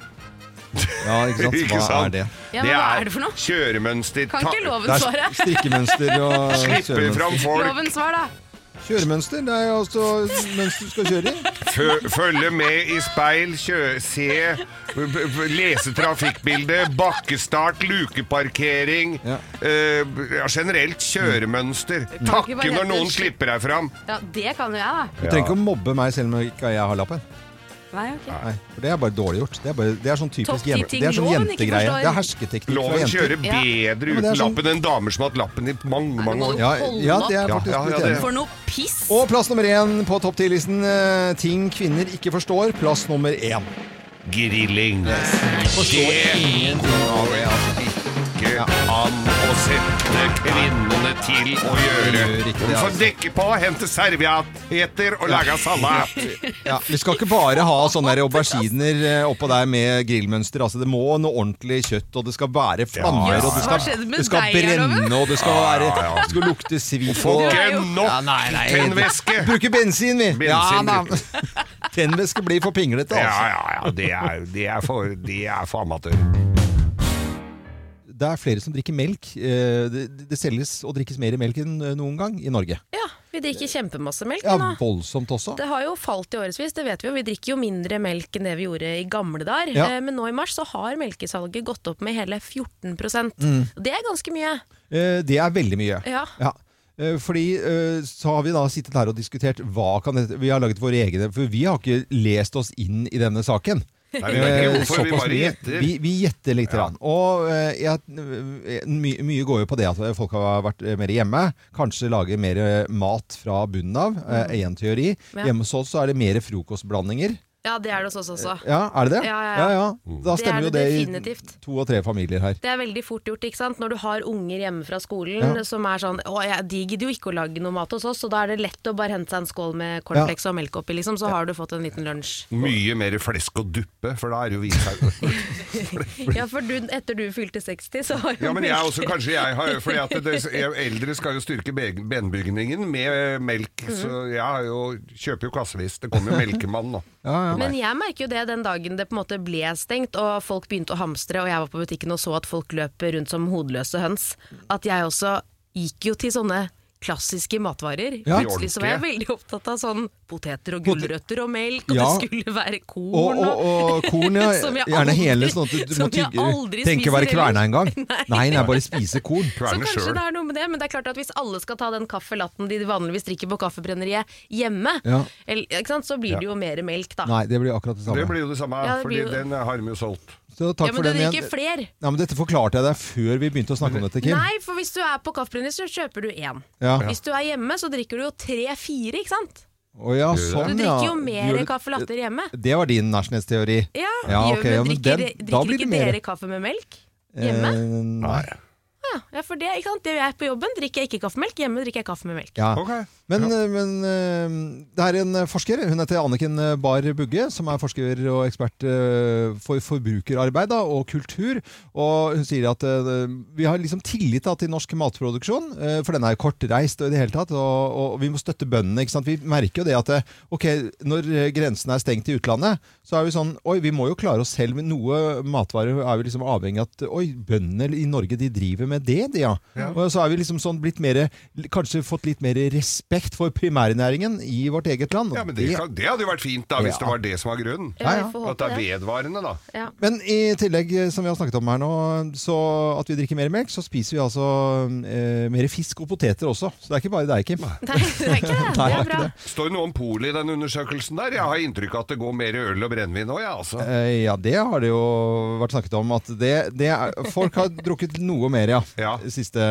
Speaker 1: Ja, ikke sant.
Speaker 2: Ikke
Speaker 1: Hva er
Speaker 2: sant?
Speaker 1: det?
Speaker 3: Ja, men hva er det for noe?
Speaker 2: Kjøremønster.
Speaker 3: Kan
Speaker 2: Ta-
Speaker 3: ikke
Speaker 1: Det
Speaker 3: Loven
Speaker 1: er
Speaker 3: svare?
Speaker 1: strikkemønster og
Speaker 2: Slipper
Speaker 1: kjøremønster.
Speaker 2: fram folk.
Speaker 3: Loven svar, da.
Speaker 1: Kjøremønster, det er jo altså mønster du skal kjøre i.
Speaker 2: Fø- Følge med i speil, kjø, se, b- b- b- lese trafikkbildet, bakkestart, lukeparkering.
Speaker 1: Ja.
Speaker 2: eh, b- ja, generelt kjøremønster.
Speaker 3: ikke
Speaker 2: Takke
Speaker 3: bare
Speaker 2: når
Speaker 3: hete
Speaker 2: noen
Speaker 3: slipp-
Speaker 2: slipper deg fram.
Speaker 3: Ja, det kan jo jeg, da.
Speaker 1: Du trenger ikke å mobbe meg selv om ikke jeg har lappen.
Speaker 3: Nei, ok.
Speaker 1: Nei, for Det er bare dårlig gjort. Det er, bare, det er sånn
Speaker 3: Topp
Speaker 1: typisk
Speaker 3: ti
Speaker 1: jente,
Speaker 3: ting
Speaker 1: det er sånn
Speaker 3: loven ikke
Speaker 1: jentegreie.
Speaker 3: forstår.
Speaker 1: Det er hersketeknikk for
Speaker 2: Loven
Speaker 1: jenter.
Speaker 2: kjører
Speaker 3: Ja.
Speaker 2: bedre
Speaker 1: men det er
Speaker 2: uten
Speaker 1: sånn-
Speaker 2: lappen enn damer som har hatt lappen i mange,
Speaker 3: Nei, nå
Speaker 2: mange
Speaker 3: må
Speaker 2: år.
Speaker 3: du
Speaker 1: Ja,
Speaker 3: holde
Speaker 1: ja,
Speaker 3: opp.
Speaker 1: det er
Speaker 2: Ja,
Speaker 1: faktisk
Speaker 2: ja, ja,
Speaker 1: blitt
Speaker 2: det-
Speaker 1: enig.
Speaker 3: For noe piss!
Speaker 1: Og plass nummer én på topp ti-listen. eh, Ting kvinner ikke forstår. Plass nummer én.
Speaker 2: Grilling.
Speaker 1: Forstår ingenting av det. altså.
Speaker 2: Ikke an å sette kvinnene til å gjøre.
Speaker 1: gjør ikke det,
Speaker 2: De får
Speaker 1: altså.
Speaker 2: dekke på, hente servietter og lage salat.
Speaker 1: Ja, vi skal ikke bare ha sånne der auberginer eh, oppå der med grillmønster. Altså, det må noe ordentlig kjøtt, og det skal være flammer,
Speaker 2: Ja, ja,
Speaker 1: og det
Speaker 3: ja. Hva
Speaker 1: skal,
Speaker 3: skjedde med
Speaker 1: det skal
Speaker 3: deg her, Loven?
Speaker 1: brenne, og det skal, være,
Speaker 2: Ja, ja, ja.
Speaker 1: det skal lukte svin.
Speaker 2: Får
Speaker 1: og-
Speaker 2: ikke
Speaker 3: jo-
Speaker 1: Ja,
Speaker 2: nok
Speaker 1: nei, nei.
Speaker 2: tennvæske.
Speaker 1: Bruke bensin, vi!
Speaker 2: Bensin
Speaker 1: ja, da.
Speaker 2: bruker
Speaker 1: Tennvæske blir for pinglete,
Speaker 2: Ja,
Speaker 1: altså.
Speaker 2: ja, ja. Det er, det er for, det er for amatører.
Speaker 1: Det er flere som drikker melk. Eh, Det, det selges og drikkes mer melk enn eh, noen gang i Norge.
Speaker 3: Ja, Vi drikker kjempemasse melk
Speaker 1: Ja,
Speaker 3: nå.
Speaker 1: voldsomt også.
Speaker 3: Det har jo falt i årevis, det vet vi jo. Vi drikker jo mindre melk enn det vi gjorde i gamle dager.
Speaker 1: Ja.
Speaker 3: Eh, Men nå i mars så har melkesalget gått opp med hele 14
Speaker 1: Mm.
Speaker 3: Det er ganske mye.
Speaker 1: Eh, Det er veldig mye.
Speaker 3: Ja.
Speaker 1: Ja. Eh, Fordi eh, så har vi da sittet her og diskutert hva kan dette Vi har laget våre egne, for vi har ikke lest oss inn i denne saken.
Speaker 2: Nei, vi vet ikke
Speaker 1: Eh,
Speaker 2: hvorfor, vi
Speaker 1: såpass
Speaker 2: bare
Speaker 1: mye.
Speaker 2: gjetter.
Speaker 1: Vi, vi gjetter litt. grann. Og eh, jeg, my, mye går jo på det at folk har vært eh, mer hjemme. Kanskje lager mer eh, mat fra bunnen av. eh, Én teori.
Speaker 3: Mm. Ja.
Speaker 1: Hjemme hos oss så er det mer frokostblandinger.
Speaker 3: Ja, det er det hos oss også.
Speaker 1: Ja, er det det?
Speaker 3: Ja, ja, ja.
Speaker 1: ja. Da
Speaker 3: Det er
Speaker 1: stemmer
Speaker 3: det
Speaker 1: jo det
Speaker 3: definitivt.
Speaker 1: i to og tre familier her.
Speaker 3: Det er veldig fort gjort ikke sant? når du har unger hjemme fra skolen
Speaker 1: Ja.
Speaker 3: som er sånn Å, jeg, de gidder jo ikke å lage noe mat hos oss, så da er det lett å bare hente seg en skål med cornflakes og melk oppi, liksom, så har du fått en liten lunsj.
Speaker 2: Mye mer flesk og duppe, for da er det jo vinsaus.
Speaker 3: Ja, for du, etter du fylte 60, så har jo
Speaker 2: Ja, men jeg
Speaker 3: melk-
Speaker 2: er også, kanskje jeg har Fordi at det, jeg- eldre skal jo styrke be- benbygningen med eh, melk,
Speaker 3: Mhm.
Speaker 2: så jeg har jo, kjøper jo kassevis. Det kommer jo melkemann nå.
Speaker 3: Men jeg merker jo det den dagen det på en måte ble stengt og folk begynte å hamstre og jeg var på butikken og så at folk løper rundt som hodeløse høns, at jeg også gikk jo til sånne klassiske matvarer.
Speaker 1: Ja.
Speaker 3: Plutselig så var jeg veldig opptatt av sånn poteter og gulrøtter og melk, og
Speaker 1: Ja.
Speaker 3: det skulle være korn
Speaker 1: Og, og, og korn, ja.
Speaker 3: Som jeg
Speaker 1: Gjerne
Speaker 3: aldri-
Speaker 1: hele, sånn at du, du må
Speaker 3: som jeg
Speaker 1: tygge.
Speaker 3: aldri
Speaker 1: Tenk å være
Speaker 3: spiser heller.
Speaker 1: kverna en gang.
Speaker 3: Nei.
Speaker 1: Nei, nei, bare spise korn.
Speaker 3: Så
Speaker 2: Kverne
Speaker 3: kanskje
Speaker 2: sjøl.
Speaker 3: det er noe med det, men det er klart at hvis alle skal ta den kaffelatten de vanligvis drikker på kaffebrenneriet hjemme,
Speaker 1: Ja.
Speaker 3: eller, ikke sant, så blir det jo mer melk da.
Speaker 1: Nei, det blir akkurat det
Speaker 2: Det
Speaker 1: samme.
Speaker 2: blir jo det samme,
Speaker 3: Ja, det
Speaker 2: fordi
Speaker 3: blir jo-
Speaker 2: den eh, har de jo solgt.
Speaker 1: Så
Speaker 3: Ja,
Speaker 1: takk
Speaker 3: men
Speaker 1: for
Speaker 3: du
Speaker 1: den
Speaker 3: drikker
Speaker 1: igjen.
Speaker 3: flere.
Speaker 1: Ja, men dette forklarte jeg deg før vi begynte å snakke om dette, Kim.
Speaker 3: Nei, for hvis du er på kaffebrenner, så kjøper du én.
Speaker 1: Ja.
Speaker 3: Hvis du er hjemme, så drikker du jo tre-fire, ikke sant?
Speaker 1: Å ja,
Speaker 3: Du
Speaker 1: sånn, ja.
Speaker 3: drikker jo mer
Speaker 1: Gjør du-
Speaker 3: kaffe latter hjemme.
Speaker 1: Det var din nasjonalteori.
Speaker 3: Ja,
Speaker 1: Ja,
Speaker 3: gjør-
Speaker 1: ok, ja, men
Speaker 3: drikker,
Speaker 1: den-
Speaker 3: de-
Speaker 1: da
Speaker 3: drikker
Speaker 1: blir det
Speaker 3: ikke
Speaker 1: mer.
Speaker 3: dere kaffe med melk? Hjemme?
Speaker 1: Eh, nei.
Speaker 3: Ja, ja, for det, ikke sant? det jeg er på jobben, drikker jeg ikke kaffemelk. Hjemme drikker jeg kaffe med melk.
Speaker 1: Ja.
Speaker 2: Ok.
Speaker 1: Men, eh, men eh, det er en eh, forsker, hun heter Anniken Barr Bugge, som er forsker og ekspert eh, for forbrukerarbeid da, og kultur. Og hun sier at eh, vi har liksom tillit da, til norsk matproduksjon, eh, for den er jo kortreist og i det hele tatt. Og, og vi må støtte bøndene. ikke sant? Vi merker jo det at eh, ok, når eh, grensen er stengt i utlandet, så er vi sånn Oi, vi må jo klare oss selv. Men noe matvarer er vi liksom avhengig av at Oi, bøndene i Norge, de driver med det, de, ja. Og så er vi liksom sånn blitt mer Kanskje fått litt mer respekt for primærnæringen i vårt eget land. og
Speaker 2: Ja, men det, kan, det hadde jo vært fint da, hvis
Speaker 1: Ja.
Speaker 2: det var det som var grunnen.
Speaker 3: Ja, vi får
Speaker 2: At det
Speaker 3: håpe
Speaker 2: er
Speaker 3: det.
Speaker 2: vedvarende, da.
Speaker 3: Ja.
Speaker 1: Men i tillegg, eh, som vi har snakket om her nå, så at vi drikker mer melk, så spiser vi altså eh, mer fisk og poteter også. Så det er ikke bare deg, Kim.
Speaker 3: Nei, det er ikke det. Det
Speaker 1: Nei,
Speaker 3: er
Speaker 1: det er
Speaker 3: bra.
Speaker 1: ikke
Speaker 2: Står det noe om polet i den undersøkelsen der? Jeg har inntrykk av at det går mer øl og brennevin nå, jeg, altså.
Speaker 1: Eh, Ja, det har det jo vært snakket om. At det, det er, folk har drukket noe mer, ja.
Speaker 2: Ja.
Speaker 1: De siste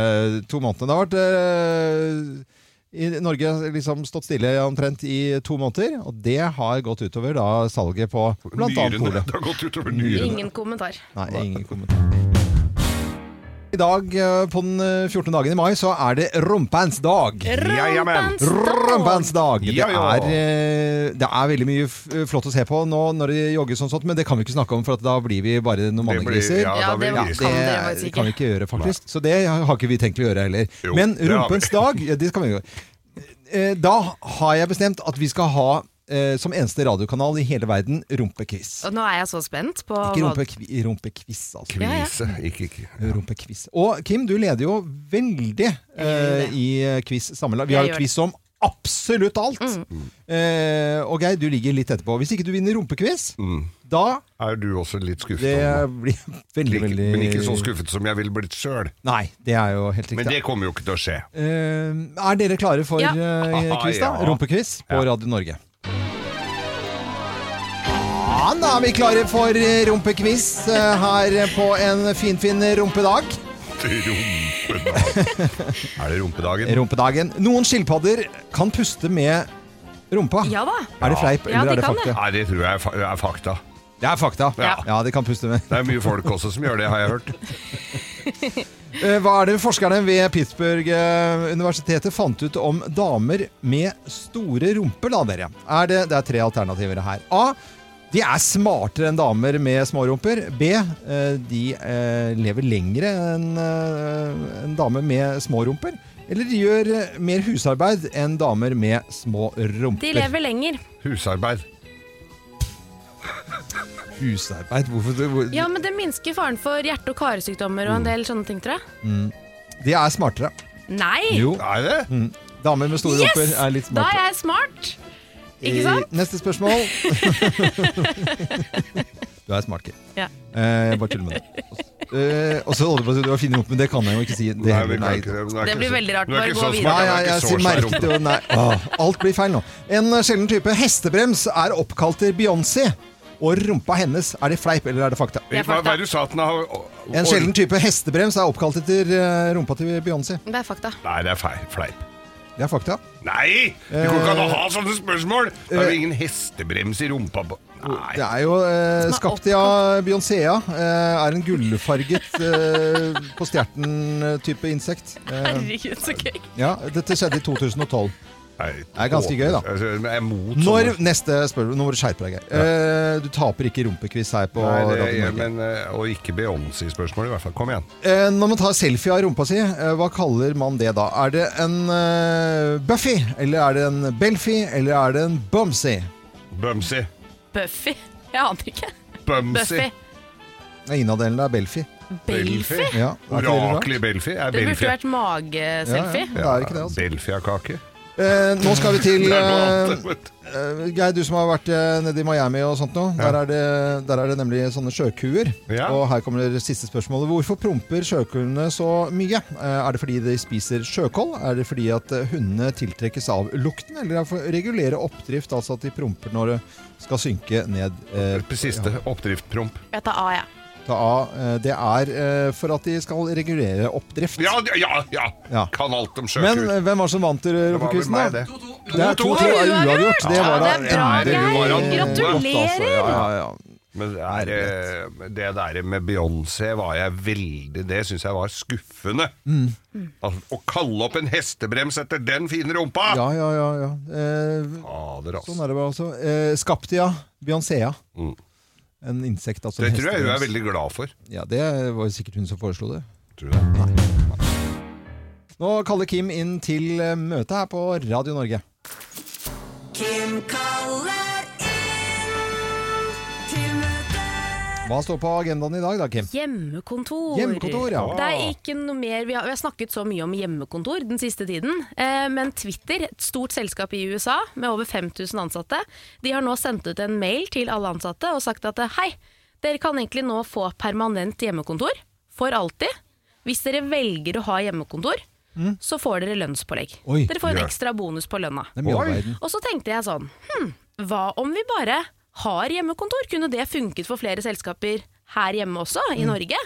Speaker 1: to månedene. Det har vært eh, i Norge liksom stått stille omtrent i to måneder, og det har gått utover da salget på bl.a.
Speaker 2: Nyrene.
Speaker 1: Polet.
Speaker 2: Det har gått utover nyrene.
Speaker 3: Ingen kommentar.
Speaker 1: Nei, ingen kommentar. I dag, eh, på den eh, 14. dagen i mai, så er det rumpens dag.
Speaker 2: Ja, ja, men.
Speaker 1: Rumpens dag! Det
Speaker 2: Ja, ja.
Speaker 1: er, eh, det er veldig mye f flott å se på nå når det jogges og sånt, men det kan vi ikke snakke om, for at da blir vi bare noen
Speaker 2: Det blir,
Speaker 1: mannegriser.
Speaker 2: ja,
Speaker 3: Ja,
Speaker 2: da blir
Speaker 3: det
Speaker 2: det
Speaker 3: var-
Speaker 1: Det
Speaker 3: Kan dere faktisk ikke.
Speaker 1: kan vi ikke gjøre, faktisk. Så det har ikke vi tenkt å gjøre heller.
Speaker 2: Jo,
Speaker 1: Men
Speaker 2: det har vi.
Speaker 1: rumpens dag, ja, det skal vi gjøre. Eh, Da har jeg bestemt at vi skal ha, eh, som eneste radiokanal i hele verden, rumpequiz.
Speaker 3: Og nå er jeg så spent på
Speaker 1: Ikke
Speaker 3: hva
Speaker 1: rumpekvi- rumpequiz, altså.
Speaker 3: Ja, ja.
Speaker 2: Kvise. Ikke, ikke.
Speaker 1: Rumpequiz. Og Kim, du leder jo veldig eh, i eh, quiz sammenlagt. Vi
Speaker 3: Jeg
Speaker 1: har jo
Speaker 3: gjør Mm.
Speaker 1: quiz om absolutt alt.
Speaker 2: Mm.
Speaker 1: Eh, og Geir, du ligger litt etterpå. Hvis ikke du vinner rumpequiz,
Speaker 2: Mm.
Speaker 1: da
Speaker 2: Er du også litt skuffet?
Speaker 1: det
Speaker 2: over
Speaker 1: blir veldig,
Speaker 2: Ikke-
Speaker 1: veldig
Speaker 2: Men ikke så skuffet som jeg ville blitt sjøl.
Speaker 1: Nei, det er jo helt
Speaker 2: Men
Speaker 1: riktig.
Speaker 2: det kommer jo ikke til å skje.
Speaker 1: Eh, er dere klare for
Speaker 3: Ja.
Speaker 1: eh, quiz, da?
Speaker 2: Ja.
Speaker 1: Rumpequiz på
Speaker 2: Ja.
Speaker 1: Radio Norge. Ja, da er vi klare for eh, rumpequiz eh, her på en finfin rumpedag.
Speaker 2: Rumpedag. Er det rumpedagen?
Speaker 1: Rumpedagen. Noen skilpadder kan puste med rumpa.
Speaker 3: Ja da.
Speaker 1: Er det fleip,
Speaker 3: Ja,
Speaker 1: eller er
Speaker 3: de
Speaker 1: det
Speaker 3: kan
Speaker 1: fakta?
Speaker 3: det.
Speaker 2: Nei, det tror jeg er fa- er fakta.
Speaker 1: Det er fakta.
Speaker 2: Ja.
Speaker 1: Ja, de kan puste med.
Speaker 2: Det er mye folk også som gjør det, har jeg hørt.
Speaker 1: Eh, Hva er det forskerne ved Pittsburgh eh, universitetet fant ut om damer med store rumper, da, dere? Er det, det er tre alternativer her. A. De er smartere enn damer med små rumper. B. eh, De eh, lever lengre enn eh, en dame med små rumper. Eller de gjør eh, mer husarbeid enn damer med små rumper.
Speaker 3: De lever lenger.
Speaker 2: Husarbeid.
Speaker 1: Husarbeid? Hvorfor hvor,
Speaker 3: Ja, men det minsker faren for hjerte- og
Speaker 1: Mm.
Speaker 3: karsykdommer og en del sånne ting, tror jeg.
Speaker 1: De er smartere.
Speaker 3: Nei!
Speaker 1: Jo. Mm.
Speaker 2: Er det?
Speaker 1: Damer med store
Speaker 3: Yes!
Speaker 1: rumper er litt
Speaker 3: Da
Speaker 1: smarte.
Speaker 3: er jeg smart. Ikke
Speaker 1: I-
Speaker 3: sant?
Speaker 1: Neste spørsmål. du er smart, Kid.
Speaker 3: Ja.
Speaker 1: Eh, jeg bare tuller med det. Eh, og så holder du på å si du har funnet opp, men det kan jeg jo ikke si. Det
Speaker 2: vi
Speaker 1: heller,
Speaker 2: kan
Speaker 1: nei.
Speaker 2: ikke det. Hun er
Speaker 3: Det
Speaker 2: ikke
Speaker 3: blir
Speaker 2: så-
Speaker 3: veldig rart.
Speaker 2: Hun er
Speaker 3: Bare
Speaker 2: ikke
Speaker 3: gå
Speaker 2: så
Speaker 3: videre.
Speaker 2: smart,
Speaker 1: Nei,
Speaker 2: hun er
Speaker 1: jeg,
Speaker 2: ikke
Speaker 1: jeg
Speaker 2: så
Speaker 1: sier
Speaker 2: svær
Speaker 1: merket
Speaker 2: rumpe.
Speaker 1: jo Nei, Åh, alt blir feil nå. En eh, sjelden type hestebrems er oppkalt til Beyoncé. Og rumpa hennes, er det fleip eller er det fakta?
Speaker 3: Det er
Speaker 2: Hva
Speaker 3: fakta.
Speaker 2: hva er det du sa at den har å-
Speaker 1: En
Speaker 2: å-
Speaker 1: sjelden type hestebrems er oppkalt etter eh, rumpa til Beyoncé.
Speaker 3: Det er fakta.
Speaker 2: Nei, det er feil. Fleip.
Speaker 1: Det er fakta.
Speaker 2: Nei! Du kan ikke an å ha sånne spørsmål! Det
Speaker 1: Eh,
Speaker 2: er jo ingen hestebrems i rumpa på Nei.
Speaker 1: Det er jo eh,
Speaker 3: er
Speaker 1: skapt av Beyoncéa. Eh, er en gullfarget eh, på stjerten-type insekt. Eh,
Speaker 3: Herregud, så gøy.
Speaker 1: ja, dette skjedde i 2012.
Speaker 2: Det
Speaker 1: er ganske gøy, da.
Speaker 2: Altså, jeg er mot
Speaker 1: Når
Speaker 2: sånne-
Speaker 1: neste spørsmål Nå må du skjerpe deg, Geir. Eh, du taper ikke rumpequiz her på
Speaker 2: Nei, det
Speaker 1: Radio
Speaker 2: gjør
Speaker 1: Norge.
Speaker 2: men eh, Og ikke Beyoncé-spørsmål, i hvert fall. Kom igjen.
Speaker 1: Eh, når man tar selfie av rumpa si, eh, hva kaller man det da? Er det en eh, Buffy? Eller er det en Belfy? Eller er det en Bumsy?
Speaker 2: Bumsy.
Speaker 3: Buffy. Jeg aner ikke.
Speaker 2: Bumsy.
Speaker 3: Buffy.
Speaker 1: Nei, Innadelen er Belfy.
Speaker 3: Belfy.
Speaker 1: Ja, er ikke det litt rart?
Speaker 2: Oraklet Belfi. Er
Speaker 3: Det burde
Speaker 2: Belfi
Speaker 3: jo vært mageselfie.
Speaker 1: Ja, ja, det er ikke det, altså.
Speaker 2: Belfia-kake.
Speaker 1: Eh, nå skal vi til
Speaker 2: Det er noe
Speaker 1: eh,
Speaker 2: annet. vet du.
Speaker 1: Eh, Geir, du som har vært eh, nede i Miami og sånt nå. Der, er det, der er det nemlig sånne sjøkuer.
Speaker 2: Ja.
Speaker 1: Og her kommer det siste spørsmålet. Hvorfor promper sjøkuene så mye? Eh, Er det fordi de spiser sjøkål? Er det fordi at eh, hundene tiltrekkes av lukten? Eller er det for å regulere oppdrift, altså at de promper når det skal synke ned? eh,
Speaker 2: På Siste oppdriftpromp.
Speaker 3: Jeg tar A, jeg.
Speaker 1: ta av? Eh, Det er eh, for at de skal regulere oppdrift.
Speaker 2: Ja, ja, ja!
Speaker 1: Ja.
Speaker 2: ja. Kan alt om
Speaker 1: Men
Speaker 2: sjøkur.
Speaker 1: eh, hvem var det som vant eh,
Speaker 2: var vel
Speaker 1: rumpequizen,
Speaker 2: meg,
Speaker 1: da?
Speaker 2: det.
Speaker 1: Det er 2-2
Speaker 2: To-to.
Speaker 1: er uavgjort. Det
Speaker 2: Ja,
Speaker 1: var da
Speaker 3: det er bra,
Speaker 1: endelig
Speaker 2: Geir.
Speaker 1: godt, altså.
Speaker 3: Gratulerer.
Speaker 1: Ja, ja, ja.
Speaker 2: Men det, er, eh, det der med Beyoncé var jeg veldig Det syns jeg var skuffende.
Speaker 1: Mm.
Speaker 2: Al- å kalle opp en hestebrems etter den fine rumpa!
Speaker 1: Ja, ja, ja. ja. Eh, sånn
Speaker 2: Fader, altså.
Speaker 1: er det bare også. Eh, Skaptia beyoncéa.
Speaker 2: Mm.
Speaker 1: En insekt, altså.
Speaker 2: Det
Speaker 1: en
Speaker 2: tror jeg hun er
Speaker 1: hestebrems.
Speaker 2: veldig glad for.
Speaker 1: Ja, det var jo sikkert hun som foreslo det.
Speaker 2: Tror du det?
Speaker 1: Nå kaller Kim inn til eh, møte her på Radio Norge.
Speaker 4: Kim kaller inn til møte.
Speaker 1: Hva står på agendaen i dag da, Kim?
Speaker 3: Hjemmekontor.
Speaker 1: Hjemmekontor, ja.
Speaker 3: Det er ikke noe mer, vi har, vi har snakket så mye om hjemmekontor den siste tiden, eh, men Twitter, et stort selskap i USA med over 5000 ansatte, de har nå sendt ut en mail til alle ansatte og sagt at eh, hei, dere kan egentlig nå få permanent hjemmekontor for alltid. Hvis dere velger å ha hjemmekontor, så får dere lønnspålegg.
Speaker 1: Mm. Oi,
Speaker 3: dere får en
Speaker 2: ja.
Speaker 3: ekstra bonus på lønna.
Speaker 1: Det er mye
Speaker 2: Oi.
Speaker 1: av verden.
Speaker 3: Og så tenkte jeg sånn, hm, hva om vi bare har hjemmekontor? Kunne det funket for flere selskaper her hjemme også,
Speaker 1: Mm.
Speaker 3: i Norge?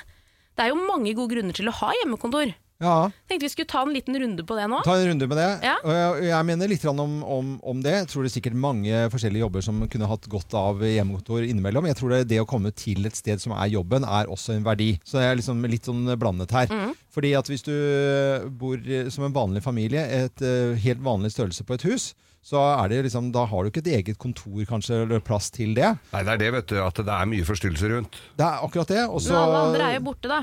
Speaker 3: Det er jo mange gode grunner til å ha hjemmekontor.
Speaker 1: Ja,
Speaker 3: Tenkte vi skulle ta en liten runde på det nå.
Speaker 1: ta en runde med det.
Speaker 3: Ja.
Speaker 1: Og jeg, jeg mener litt grann om, om, om det. Jeg tror det er sikkert mange forskjellige jobber som kunne hatt godt av hjemmekontor innimellom. Jeg tror det, det å komme til et sted som er jobben, er også en verdi. Så jeg er liksom litt sånn blandet her.
Speaker 3: Mm.
Speaker 1: Fordi at hvis du bor eh, som en vanlig familie, et eh, helt vanlig størrelse på et hus, så er det liksom, da har du ikke et eget kontor kanskje, eller plass til det.
Speaker 2: Nei, det er det, vet du. At det er mye forstyrrelser rundt.
Speaker 1: Det er akkurat det. Og så-
Speaker 3: Men alle andre er jo borte, da.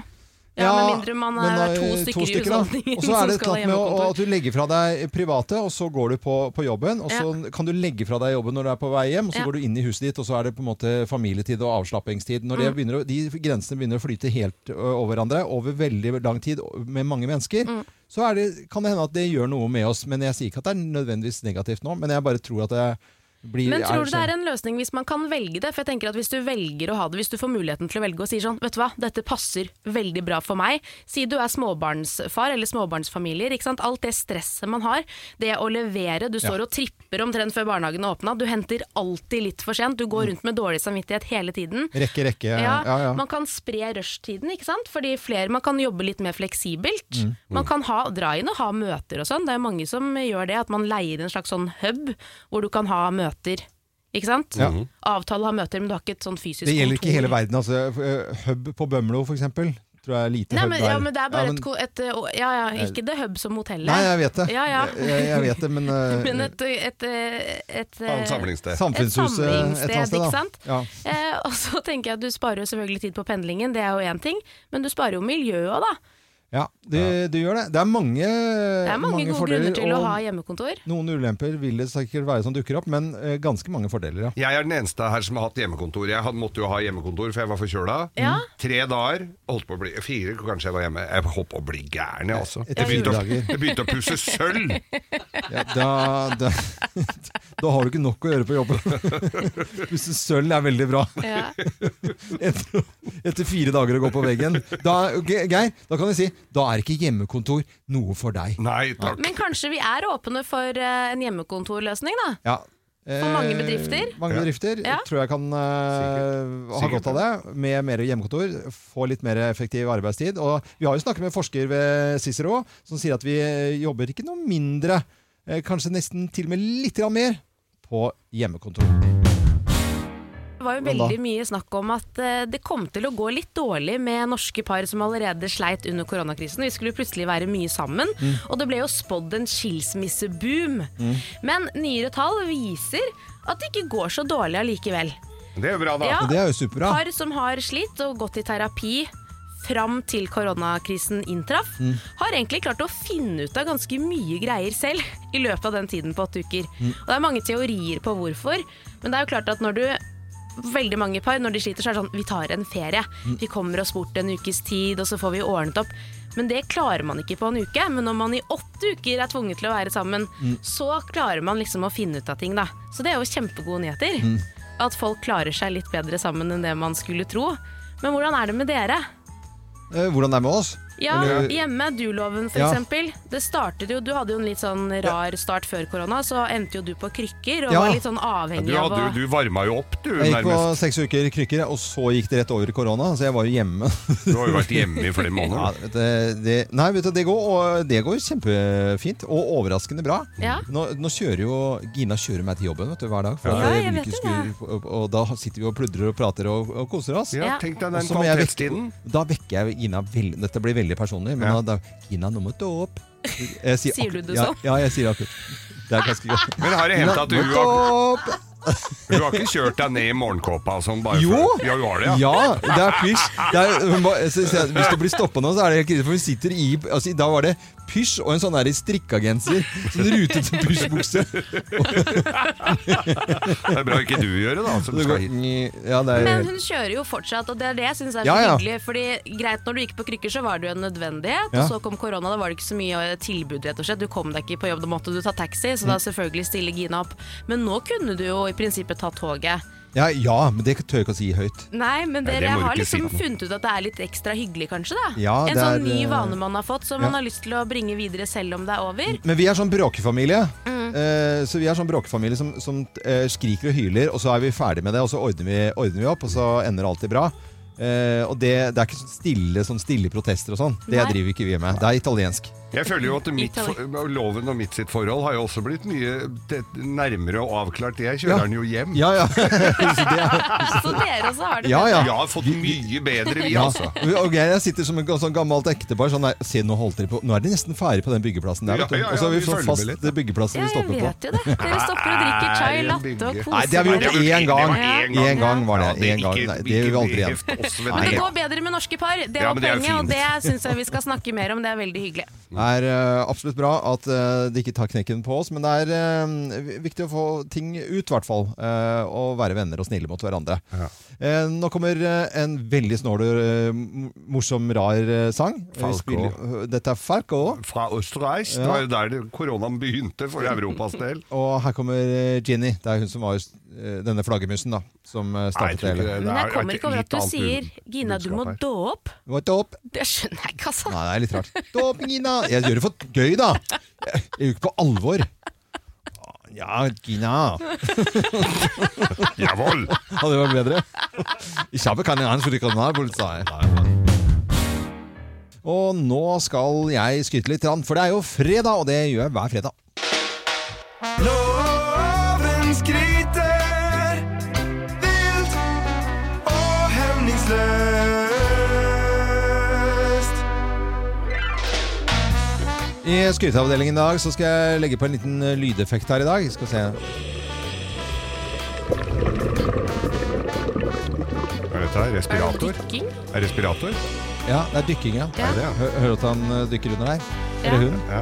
Speaker 3: Ja,
Speaker 1: Ja,
Speaker 3: Med mindre man
Speaker 1: men da
Speaker 3: er to
Speaker 1: er det
Speaker 3: stykker, i
Speaker 1: da.
Speaker 3: husholdningen
Speaker 1: Og så er det
Speaker 3: som skal ha
Speaker 1: klart med å,
Speaker 3: hjemmekontor.
Speaker 1: at du legger fra deg private, og så går du på, på jobben. Og så kan du legge fra deg jobben når du er på vei hjem, og så
Speaker 3: Ja.
Speaker 1: går du inn i huset ditt, og så er det på en måte familietid og avslappingstid. Når det
Speaker 3: Mm.
Speaker 1: begynner, å- de grensene begynner å flyte helt ø, over hverandre over veldig lang tid og med mange mennesker,
Speaker 3: Mm.
Speaker 1: så er det, kan det hende at det gjør noe med oss. Men jeg sier ikke at det er nødvendigvis negativt nå, men jeg bare tror at det blir
Speaker 3: Men tror du det er en løsning hvis man kan velge det? For jeg tenker at Hvis du velger å ha det, hvis du får muligheten til å velge og sier sånn, vet du hva, dette passer veldig bra for meg. Si du er småbarnsfar eller småbarnsfamilier. ikke sant? Alt det stresset man har, det å levere. Du står og tripper omtrent før barnehagen er åpna. Du henter alltid litt for sent. Du går rundt med dårlig samvittighet hele tiden.
Speaker 1: Rekke, rekke.
Speaker 3: Ja,
Speaker 1: ja, ja.
Speaker 3: Man kan spre rushtiden, ikke sant? Fordi flere, man kan jobbe litt mer fleksibelt.
Speaker 1: Mm.
Speaker 3: Man kan ha, dra inn og ha møter og sånn. Det er jo mange som gjør det, at man leier en slags sånn hub hvor du kan ha møter. Ikke sant?
Speaker 1: Ja.
Speaker 3: Avtale å ha møter, men du har ikke et sånn fysisk
Speaker 1: Det gjelder ikke
Speaker 3: kontor.
Speaker 1: hele verden. Altså, Ø, hub på Bømlo, for eksempel, tror jeg er lite
Speaker 3: Nei,
Speaker 1: hub
Speaker 3: men,
Speaker 1: der.
Speaker 3: ja, men det er bare
Speaker 1: Ja,
Speaker 3: et, ko- et å, Ja ja, ikke det hub som hotellet.
Speaker 1: Nei, jeg vet det.
Speaker 3: Ja, ja.
Speaker 1: Jeg, jeg vet det, men, eh,
Speaker 3: Men et, et, et, et eh,
Speaker 2: Annet samlingssted.
Speaker 1: samfunnshuset eh,
Speaker 3: Et
Speaker 1: et eller annet sted,
Speaker 3: samlingssted,
Speaker 1: da.
Speaker 3: ikke sant?
Speaker 1: Ja.
Speaker 3: Eh, og så tenker jeg at du sparer jo selvfølgelig tid på pendlingen, det er jo én ting, men du sparer jo miljøet da.
Speaker 1: Ja, det, det gjør det. Det er mange,
Speaker 3: Det er mange, gode
Speaker 1: fordeler,
Speaker 3: grunner til å
Speaker 1: og
Speaker 3: ha hjemmekontor.
Speaker 1: Noen ulemper vil det sikkert være som dukker opp, men eh, ganske mange fordeler, ja.
Speaker 2: Jeg er den eneste her som har hatt hjemmekontor. Jeg hadde, måtte jo ha hjemmekontor, for jeg var forkjøla.
Speaker 3: Ja.
Speaker 2: Tre dager. Holdt på å bli, fire, kanskje jeg var hjemme. Jeg holdt på å bli gæren, jeg også.
Speaker 1: Etter
Speaker 2: Jeg
Speaker 1: fire
Speaker 2: begynte, å,
Speaker 1: dager.
Speaker 2: jeg begynte å pusse sølv!
Speaker 1: ja da, da, da har du ikke nok å gjøre på jobben. Hvis sølv er veldig bra.
Speaker 3: Ja.
Speaker 1: etter, etter fire dager å gå på veggen. Da, Ge- Geir, da kan jeg si da er ikke hjemmekontor noe for deg.
Speaker 2: Nei takk.
Speaker 3: Men kanskje vi er åpne for eh, en hjemmekontorløsning, da?
Speaker 1: Ja. For
Speaker 3: mange bedrifter?
Speaker 1: Eh, Mange
Speaker 2: Ja.
Speaker 1: bedrifter
Speaker 3: Ja.
Speaker 1: tror jeg kan eh, ha
Speaker 2: Sikkert.
Speaker 1: godt av det. Med mer hjemmekontor, få litt mer effektiv arbeidstid. Og vi har jo snakket med forsker ved Cicero som sier at vi eh, jobber ikke noe mindre, eh, kanskje nesten til og med litt grann mer, på hjemmekontor.
Speaker 3: Det var jo
Speaker 1: Men da-
Speaker 3: veldig mye snakk om at eh, det kom til å gå litt dårlig med norske par som allerede sleit under koronakrisen. Vi skulle plutselig være mye sammen,
Speaker 1: Mm.
Speaker 3: og det ble jo spådd en skilsmisseboom. Men nyere tall viser at det ikke går så dårlig allikevel.
Speaker 2: Det er jo bra, da.
Speaker 3: Ja.
Speaker 1: Men det er jo superbra.
Speaker 3: Par som har slitt og gått i terapi fram til koronakrisen inntraff, har egentlig klart å finne ut av ganske mye greier selv i løpet av den tiden på åtte uker. Og det er mange teorier på hvorfor, men det er jo klart at når du Veldig mange par, når de sliter, så er det sånn Vi tar en ferie.
Speaker 1: Mm.
Speaker 3: Vi kommer oss bort en ukes tid, og så får vi ordnet opp. Men det klarer man ikke på en uke. Men når man i åtte uker er tvunget til å være sammen,
Speaker 1: Mm.
Speaker 3: så klarer man liksom å finne ut av ting, da. Så det er jo kjempegode nyheter
Speaker 1: Mm.
Speaker 3: at folk klarer seg litt bedre sammen enn det man skulle tro. Men hvordan er det med dere?
Speaker 1: Eh, Hvordan det er med oss?
Speaker 3: Ja,
Speaker 1: Eller-
Speaker 3: hjemme, du-loven for
Speaker 1: Ja.
Speaker 3: eksempel. Det startet jo, du hadde jo en litt sånn rar start før korona, så endte jo du på krykker og
Speaker 1: Ja.
Speaker 3: var litt sånn
Speaker 2: Du,
Speaker 3: avhengig av
Speaker 2: hadde, jo-
Speaker 3: å
Speaker 2: du varma jo opp, du,
Speaker 1: Jeg gikk på
Speaker 2: nærmest.
Speaker 1: seks uker krykker, og så gikk det rett over i korona, så jeg var jo hjemme.
Speaker 2: Du har jo vært hjemme i flere
Speaker 1: Ja,
Speaker 2: måneder.
Speaker 1: vet du, det, nei, vet du, det går, og det går kjempefint, og overraskende bra.
Speaker 3: Ja.
Speaker 1: Nå, nå kjører jo Gina kjører meg til jobben vet du, hver dag, for
Speaker 3: Ja,
Speaker 1: at eh,
Speaker 3: jeg
Speaker 1: vi
Speaker 3: vet
Speaker 1: ikke
Speaker 3: det,
Speaker 1: skulle- og, og da sitter vi og pludrer og prater og, og koser oss.
Speaker 2: Ja,
Speaker 3: Ja.
Speaker 2: tenk deg
Speaker 1: Og
Speaker 2: den
Speaker 1: så må jeg vekke-
Speaker 2: kvalitetstiden.
Speaker 1: da vekker jeg Gina veldig Dette blir veldig personlig, men da,
Speaker 2: Ja.
Speaker 1: da, Gina, nå må du opp. Jeg
Speaker 3: Sier du det
Speaker 1: ja,
Speaker 3: sånn?
Speaker 1: Ja, jeg sier det akkurat. Det er ganske godt.
Speaker 2: Men har det hendt at du
Speaker 1: Nå må
Speaker 2: har,
Speaker 1: du opp!
Speaker 2: du har ikke kjørt deg ned i morgenkåpa og sånn? Bare
Speaker 1: Jo!
Speaker 2: For, ja, du har det, ja.
Speaker 1: Ja, det er pysj. Det er, hun ba- så- så- hvis du blir stoppa nå, så er det helt krise. For hun sitter i altså, Da var det pysj og en sånn der strikkagenser. Sånn rutete pysjbukse.
Speaker 2: Det er bra ikke du gjør det, da. Som
Speaker 1: Det går-
Speaker 2: skal hit.
Speaker 1: Ja, det
Speaker 3: Men
Speaker 1: er,
Speaker 3: hun kjører jo fortsatt, og det er det jeg syns er
Speaker 1: Eh,
Speaker 3: så
Speaker 1: Ja, ja.
Speaker 3: hyggelig. Fordi greit, når du gikk på krykker, så var det jo en nødvendighet.
Speaker 1: Ja.
Speaker 3: Og så kom korona, da var det ikke så mye eh, tilbud, rett og slett. Du kom deg ikke på jobb, da måtte du ta taxi, så
Speaker 1: Mm.
Speaker 3: da selvfølgelig stiller Gina opp. Men nå kunne du jo i prinsippet ta toget.
Speaker 1: ja, ja, men det tør jeg ikke å si høyt.
Speaker 3: Nei, men
Speaker 2: Nei,
Speaker 3: dere
Speaker 2: det må du
Speaker 3: har
Speaker 2: ikke si.
Speaker 3: liksom funnet ut at det er litt ekstra hyggelig, kanskje? da?
Speaker 1: Ja,
Speaker 3: en
Speaker 1: det er,
Speaker 3: sånn ny
Speaker 1: eh,
Speaker 3: vane man har fått, som
Speaker 1: ja.
Speaker 3: man har lyst til å bringe videre selv om det er over.
Speaker 1: Men vi er sånn bråkefamilie.
Speaker 3: Mm.
Speaker 1: Eh, så vi er sånn bråkefamilie som, som eh, skriker og hyler, og så er vi ferdig med det, og så ordner vi, ordner vi opp, og så ender alltid bra. Eh, og det, det er ikke sånn stille, sånn stille protester og sånn. Det
Speaker 3: Nei.
Speaker 1: driver ikke vi med. Det er italiensk.
Speaker 2: Jeg føler jo at mitt
Speaker 3: Italy.
Speaker 2: for, loven og mitt sitt forhold har jo også blitt mye te- nærmere og avklart. Jeg kjører
Speaker 1: Ja.
Speaker 2: den jo hjem.
Speaker 1: Ja, ja. Så det er,
Speaker 3: Så Altså, dere også har det
Speaker 1: ja, ja.
Speaker 2: Jeg har fått mye bedre, vi,
Speaker 1: Ja,
Speaker 2: altså.
Speaker 1: og Geir, jeg sitter som et sånn gammelt ektepar. Sånn, nei, se, nå, holdt dere på. nå er de nesten ferdig på den byggeplassen der.
Speaker 2: Ja,
Speaker 1: vet du.
Speaker 2: ja, ja,
Speaker 1: og så har vi
Speaker 2: vi
Speaker 1: sånn
Speaker 2: følger
Speaker 1: fast
Speaker 2: med litt,
Speaker 1: det byggeplassen vi
Speaker 3: Jeg
Speaker 1: stopper på.
Speaker 3: vet jo det. Dere stopper og drikker chai,
Speaker 2: Nei,
Speaker 3: latte og
Speaker 2: bygge.
Speaker 3: koser
Speaker 1: Nei, det har vi gjort
Speaker 3: dere.
Speaker 2: Det var
Speaker 1: én gang.
Speaker 2: én gang.
Speaker 1: Én gang var det.
Speaker 2: Ja,
Speaker 1: en gang.
Speaker 2: ikke-
Speaker 1: Nei, det gjør vi aldri
Speaker 2: ikke
Speaker 1: igjen.
Speaker 2: heft oss ved
Speaker 1: Nei.
Speaker 3: Men det
Speaker 2: det.
Speaker 3: går bedre med norske par. Det
Speaker 2: Ja,
Speaker 3: var
Speaker 2: men det er jo
Speaker 3: poenget, og
Speaker 2: fint.
Speaker 3: det syns jeg vi skal snakke mer om. Det er veldig hyggelig.
Speaker 1: Det er eh, absolutt bra at eh, de ikke tar knekken på oss, men det er eh, viktig å få ting ut, i hvert fall. eh, og være venner og snille mot hverandre.
Speaker 2: Ja.
Speaker 1: Eh, nå kommer eh, en veldig snål og eh, morsom, rar eh, sang. Vi
Speaker 2: Falco.
Speaker 1: spiller- Dette er Falco.
Speaker 2: Fra Østerreich. Det var jo der det- koronaen begynte for Europas del.
Speaker 1: Og her kommer eh, Ginny. Det er hun som var eh, denne flaggermusen, da. Som eh,
Speaker 2: Nei, jeg
Speaker 1: startet
Speaker 2: tror
Speaker 1: det
Speaker 2: ikke
Speaker 1: hele.
Speaker 2: det. Det
Speaker 3: Men
Speaker 2: er
Speaker 3: jeg
Speaker 2: jo
Speaker 3: kommer
Speaker 2: et
Speaker 3: ikke over
Speaker 2: litt
Speaker 3: at du
Speaker 2: annet
Speaker 3: sier
Speaker 2: bud-
Speaker 3: 'Gina, du må
Speaker 2: budskap her.
Speaker 3: då opp'.
Speaker 1: What up?
Speaker 3: Det skjønner jeg ikke, altså.
Speaker 1: Nei, det er litt rart. Dåp, Gina! Jeg gjør det for gøy, da! Jeg gjør ikke på alvor. Ja, Gina.
Speaker 2: Jawohl!
Speaker 1: Ja, det var bedre. Ich habe keine Ahnung, for Kriminalpolitiet. Og nå skal jeg skryte litt, grann, for det er jo fredag, og det gjør jeg hver fredag.
Speaker 6: Loven skryter vilt og hemningsløst.
Speaker 1: I skryteavdelingen i dag så skal jeg legge på en liten eh, lydeffekt her i dag. Skal se.
Speaker 2: Hva er dette? her?
Speaker 3: Er det
Speaker 2: Respirator?
Speaker 3: dykking?
Speaker 2: Er det respirator?
Speaker 1: Ja, det er dykking, ja.
Speaker 3: Ja.
Speaker 2: Er det, ja?
Speaker 1: Hø- Hører du at han eh, dykker under der?
Speaker 3: Ja.
Speaker 1: Eller hun?
Speaker 2: Ja.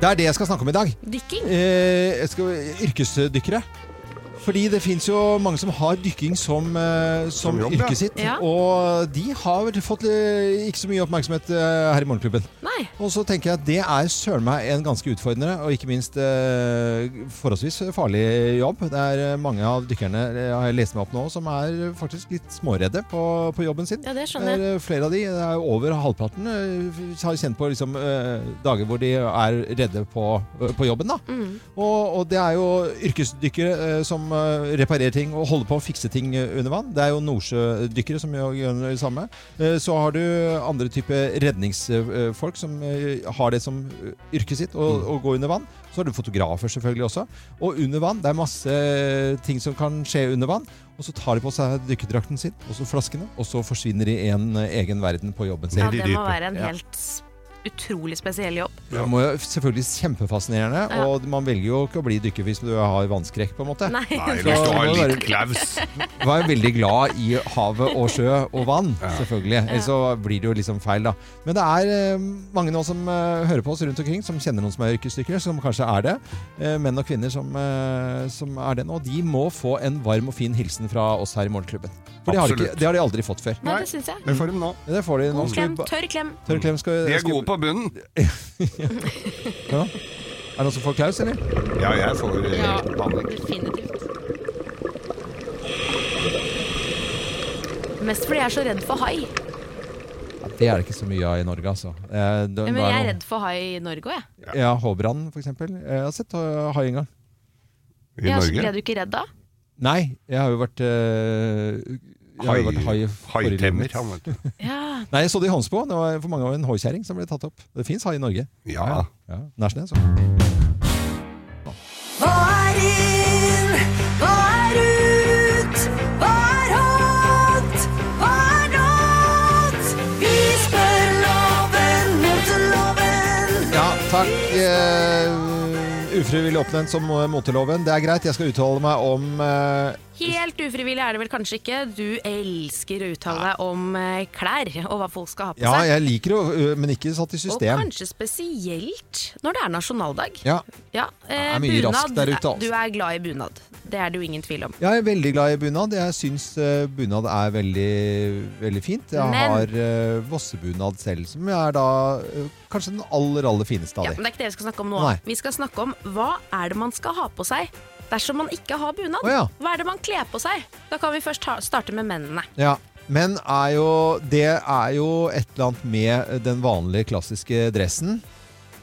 Speaker 1: Det er det jeg skal snakke om i dag.
Speaker 3: Dykking.
Speaker 1: Eh, jeg skal, yrkesdykkere. Fordi det fins jo mange som har dykking som, eh, som,
Speaker 2: Som jobb, ja.
Speaker 1: yrket sitt.
Speaker 3: Ja.
Speaker 1: Og de har vel fått eh, ikke så mye oppmerksomhet eh, her i Morgenklubben.
Speaker 3: Nei.
Speaker 1: Og så tenker jeg at det er søren meg en ganske utfordrende og ikke minst eh, forholdsvis farlig jobb. Det er eh, mange av dykkerne eh, har jeg lest meg opp nå, som er faktisk litt småredde på, på jobben sin.
Speaker 3: Ja, det skjønner
Speaker 1: Det
Speaker 3: jeg.
Speaker 1: er eh, flere av de, det er over halvparten, eh, har kjent på liksom, eh, dager hvor de er redde på, eh, på jobben. Da.
Speaker 3: Mm.
Speaker 1: Og, og det er jo yrkesdykkere eh, som eh, reparerer ting og holder på å fikse ting eh, under vann. Det er jo nordsjødykkere som gjør gjør det samme. Eh, Så har du andre typer redningsfolk som eh, har det som eh, yrket sitt,
Speaker 3: Mm.
Speaker 1: å å gå under vann. Så har du fotografer selvfølgelig også. Og under vann, det er masse ting som kan skje under vann. Og så tar de på seg dykkerdrakten sin, og så flaskene, og så forsvinner de i en eh, egen verden på jobben sin.
Speaker 3: Ja,
Speaker 2: Ned i
Speaker 3: det må
Speaker 2: dypet.
Speaker 3: være en
Speaker 1: Ja.
Speaker 3: helt s- utrolig spesiell jobb.
Speaker 1: Det må jo selvfølgelig kjempefascinerende,
Speaker 3: Ja.
Speaker 1: og man velger jo ikke å bli dykker hvis du har vannskrekk, på en måte.
Speaker 3: Nei.
Speaker 2: Nei, hvis du har litt klaus.
Speaker 1: var jo veldig glad i havet og sjø og vann, selvfølgelig. Ellers så blir det jo liksom feil, da. Men det er eh, mange nå som eh, hører på oss rundt omkring, som kjenner noen som er yrkesdykkere, som kanskje er det. Eh, menn og kvinner som, eh, som er det nå. De må få en varm og fin hilsen fra oss her i Morgenklubben. For det har, de
Speaker 2: Absolutt.
Speaker 1: ikke, det har de aldri fått før.
Speaker 3: Nei, det syns jeg.
Speaker 2: Det får de nå.
Speaker 1: Men Det får de nå.
Speaker 3: God
Speaker 1: Skal vi
Speaker 3: klem.
Speaker 1: ba-
Speaker 3: Tørr klem.
Speaker 1: Tørre klem skal
Speaker 2: De er
Speaker 1: skal-
Speaker 2: gode på bunnen.
Speaker 1: Ja. Er det noen som får klaus, eller?
Speaker 2: Ja, jeg får eh,
Speaker 3: Ja,
Speaker 2: panikk.
Speaker 3: definitivt. Mest fordi jeg er så redd for hai.
Speaker 1: Ja, det er det ikke så mye av i Norge, altså. Eh, det-
Speaker 3: Ja, men
Speaker 1: nå
Speaker 3: jeg er
Speaker 1: det
Speaker 3: redd for hai i Norge òg, jeg.
Speaker 1: noen- Ja, Håbrand, for eksempel. Jeg har sett eh, hai en gang.
Speaker 2: I
Speaker 3: Ja, så
Speaker 2: Norge.
Speaker 3: Ble du ikke redd da?
Speaker 1: Nei, jeg har jo vært eh, Jeg har jo vært hai
Speaker 2: Hai-
Speaker 1: forrige liv.
Speaker 2: Haitemmer. han vet du.
Speaker 3: Ja.
Speaker 1: Nei, jeg så det i Hånsbo. Det var for mange år en haikjerring som ble tatt opp. Det fins hai i Norge.
Speaker 2: Ja.
Speaker 1: Ja, Nærsnes.
Speaker 4: Hva er inn? Hva er ut? Hva er hot? Hva er not? Vi spør loven mot loven.
Speaker 1: Ja, takk. eh, ufrivillig oppnevnt som eh, moteloven. Det er greit, jeg skal uttale meg om eh,
Speaker 3: Helt ufrivillig er det vel kanskje ikke. Du elsker å uttale deg om eh, klær og hva folk skal ha på
Speaker 1: Ja,
Speaker 3: seg.
Speaker 1: jeg liker det, ø, men ikke satt i
Speaker 3: Og
Speaker 1: system.
Speaker 3: kanskje spesielt når det er nasjonaldag.
Speaker 1: Ja.
Speaker 3: Ja,
Speaker 1: Det
Speaker 3: eh,
Speaker 1: er mye raskt der ute, altså.
Speaker 3: Du er glad i bunad. Det er det jo ingen tvil om.
Speaker 1: Jeg er veldig glad i bunad. Jeg syns eh, bunad er veldig, veldig fint. Jeg
Speaker 3: Men-
Speaker 1: har eh, vossebunad selv, som er da eh, kanskje den aller, aller fineste
Speaker 3: Ja,
Speaker 1: av
Speaker 3: men
Speaker 1: de.
Speaker 3: det er ikke det vi skal snakke om nå.
Speaker 1: Nei.
Speaker 3: Vi skal snakke om hva er det man skal ha på seg dersom man ikke har bunad.
Speaker 1: Å, ja.
Speaker 3: Hva er det man kler på seg? Da kan vi først ta, starte med mennene.
Speaker 1: Ja. Men er jo, det er jo et eller annet med den vanlige, klassiske dressen.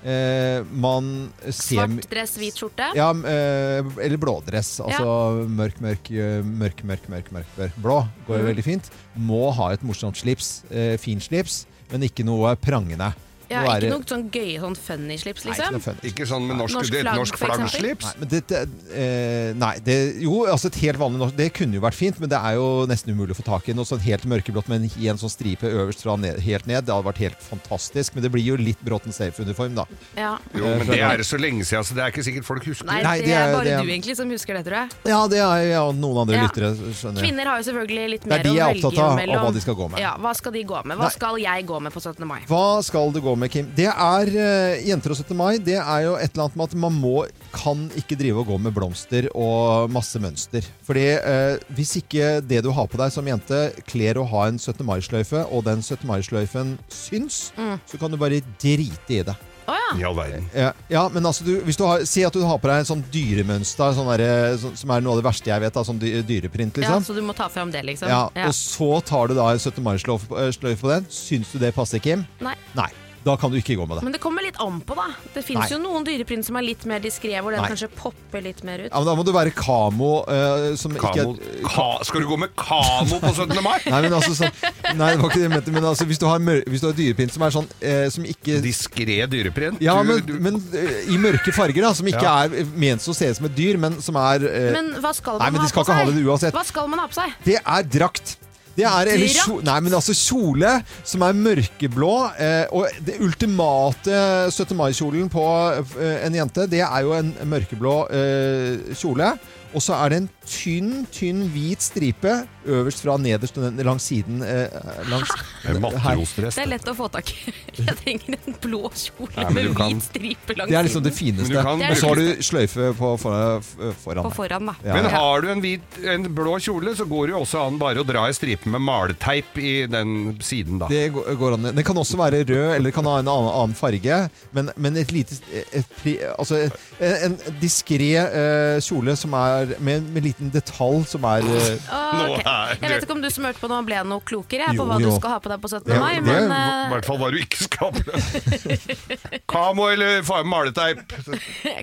Speaker 1: Eh, man ser
Speaker 3: Svart dress, hvit skjorte.
Speaker 1: Ja, m- eh, eller blådress. Altså mørk, mørk, eh, mørk, mørk, mørk, mørk, mørk. Blå går jo
Speaker 3: Mhm.
Speaker 1: veldig fint. Må ha et morsomt slips. Eh, fin slips, men ikke noe prangende.
Speaker 3: Ja,
Speaker 1: Må
Speaker 3: ikke
Speaker 1: være-
Speaker 3: noe sånn gøy sånn funny-slips,
Speaker 1: Nei, ikke
Speaker 3: liksom.
Speaker 1: noe fun.
Speaker 2: Ikke sånn med norsk,
Speaker 3: Norsk
Speaker 2: det er et
Speaker 3: flagg,
Speaker 2: norsk
Speaker 3: for eksempel.
Speaker 2: flaggslips.
Speaker 1: Nei, men det, det, eh, nei det, jo, altså et helt vanlig norsk Det kunne jo vært fint, men det er jo nesten umulig å få tak i noe sånn helt mørkeblått, men i en sånn stripe øverst fra ned, helt ned. Det hadde vært helt fantastisk, men det blir jo litt Bråten Safe-uniform, da.
Speaker 3: Ja.
Speaker 2: Jo, men det er så lenge siden, så det er ikke sikkert folk husker.
Speaker 3: Nei,
Speaker 1: Nei,
Speaker 3: det,
Speaker 1: det er-
Speaker 3: er bare
Speaker 1: det er-
Speaker 3: du egentlig som husker det, tror jeg.
Speaker 1: Ja, det er ja, noen andre
Speaker 3: Ja.
Speaker 1: lyttere, skjønner jeg.
Speaker 3: Kvinner har jo selvfølgelig litt
Speaker 1: Det er
Speaker 3: mer
Speaker 1: de
Speaker 3: å
Speaker 1: jeg er
Speaker 3: velge
Speaker 1: opptatt av, av
Speaker 3: mellom.
Speaker 1: hva de skal gå med.
Speaker 3: Ja, hva skal de gå med?
Speaker 1: Nei.
Speaker 3: Hva skal jeg gå med på 17. mai?
Speaker 1: Hva skal det gå med, Kim? Det er eh, jenter og 17. mai. Det er jo et eller annet med at man må, kan ikke drive og gå med blomster og masse mønster. Fordi eh, hvis ikke det du har på deg som jente kler å ha en 17. mai-sløyfe, og den 17. mai-sløyfen syns,
Speaker 3: Mm.
Speaker 1: så kan du bare drite i det.
Speaker 3: Å ja.
Speaker 2: I all verden.
Speaker 1: Ja, ja men altså, du, hvis du har, si at du har på deg en sånn dyremønster, sånn derre- sånn- som er noe av det verste jeg vet, da, sånn dy- dyreprint,
Speaker 3: ja,
Speaker 1: liksom.
Speaker 3: så du må ta fram det, liksom.
Speaker 1: Ja,
Speaker 3: Ja.
Speaker 1: Og så tar du da en 17. mai-sløyfe eh, på den. Syns du det passer, Kim?
Speaker 3: Nei.
Speaker 1: Nei. Da kan du ikke gå med det.
Speaker 3: Men det kommer litt an på, da. Det
Speaker 1: Nei.
Speaker 3: fins jo noen dyreprint som er litt mer diskré, hvor den
Speaker 1: Nei.
Speaker 3: kanskje popper litt mer ut.
Speaker 1: Ja, men Da må du være kamo eh, som
Speaker 2: Kamo.
Speaker 1: ikke
Speaker 2: Ka skal du gå med kamo på 17. mai?
Speaker 1: Nei, men altså sånn, Nei, det var ikke det jeg mente. Men altså, hvis du har, mør- hvis du har dyrepint som er sånn eh, Som ikke
Speaker 2: Diskré dyreprint.
Speaker 1: Ja,
Speaker 2: Du-
Speaker 1: men,
Speaker 2: du-
Speaker 1: men eh, i mørke farger, da. Som ikke
Speaker 2: Ja.
Speaker 1: er ment å se ut som et dyr, men som er eh,
Speaker 3: Men hva skal
Speaker 1: Nei,
Speaker 3: man
Speaker 1: men de
Speaker 3: ha
Speaker 1: skal
Speaker 3: på
Speaker 1: ikke ha
Speaker 3: seg?
Speaker 1: det uansett.
Speaker 3: Hva skal man ha på seg?
Speaker 1: Det er drakt. Det er, eller,
Speaker 3: Drakt?
Speaker 1: kjo- nei, men altså kjole som er mørkeblå. Eh, og det ultimate 17. mai-kjolen på eh, en jente, det er jo en mørkeblå eh, kjole. Og så er det en tynn, tynn hvit stripe øverst fra nederst og ned- langs siden. Eh, langs,
Speaker 2: Det er Matrosdress.
Speaker 3: Det er
Speaker 2: det.
Speaker 3: lett å få tak i. Jeg trenger en blå kjole
Speaker 2: Nei, men
Speaker 3: med
Speaker 2: du kan-
Speaker 3: hvit stripe langs
Speaker 1: Det er liksom det
Speaker 3: siden.
Speaker 2: Men
Speaker 1: fineste.
Speaker 2: du kan
Speaker 1: Og så har
Speaker 2: bruke-
Speaker 1: du sløyfe på foran. foran.
Speaker 3: På foran, da.
Speaker 1: Ja.
Speaker 2: Men har du en, hvit, en blå kjole, så går det jo også an bare å dra i stripen med maleteip i den siden, da.
Speaker 1: Det går går an. Den kan også være rød, eller kan ha en annen, annen farge. Men, men et lite et, pri- Altså en, en diskré eh, kjole som er med, med liten detalj som er eh,
Speaker 3: Å,
Speaker 2: Nå er
Speaker 3: ok.
Speaker 2: det-
Speaker 3: Jeg vet ikke om du som hørte på nå ble noe klokere jeg,
Speaker 1: Jo,
Speaker 3: på hva du
Speaker 1: jo.
Speaker 3: skal ha på deg på 17.
Speaker 1: Ja,
Speaker 3: mai,
Speaker 1: det-
Speaker 3: men
Speaker 2: I
Speaker 3: eh,
Speaker 2: hvert fall hva du ikke skal ha Kamo eller fa- maleteip.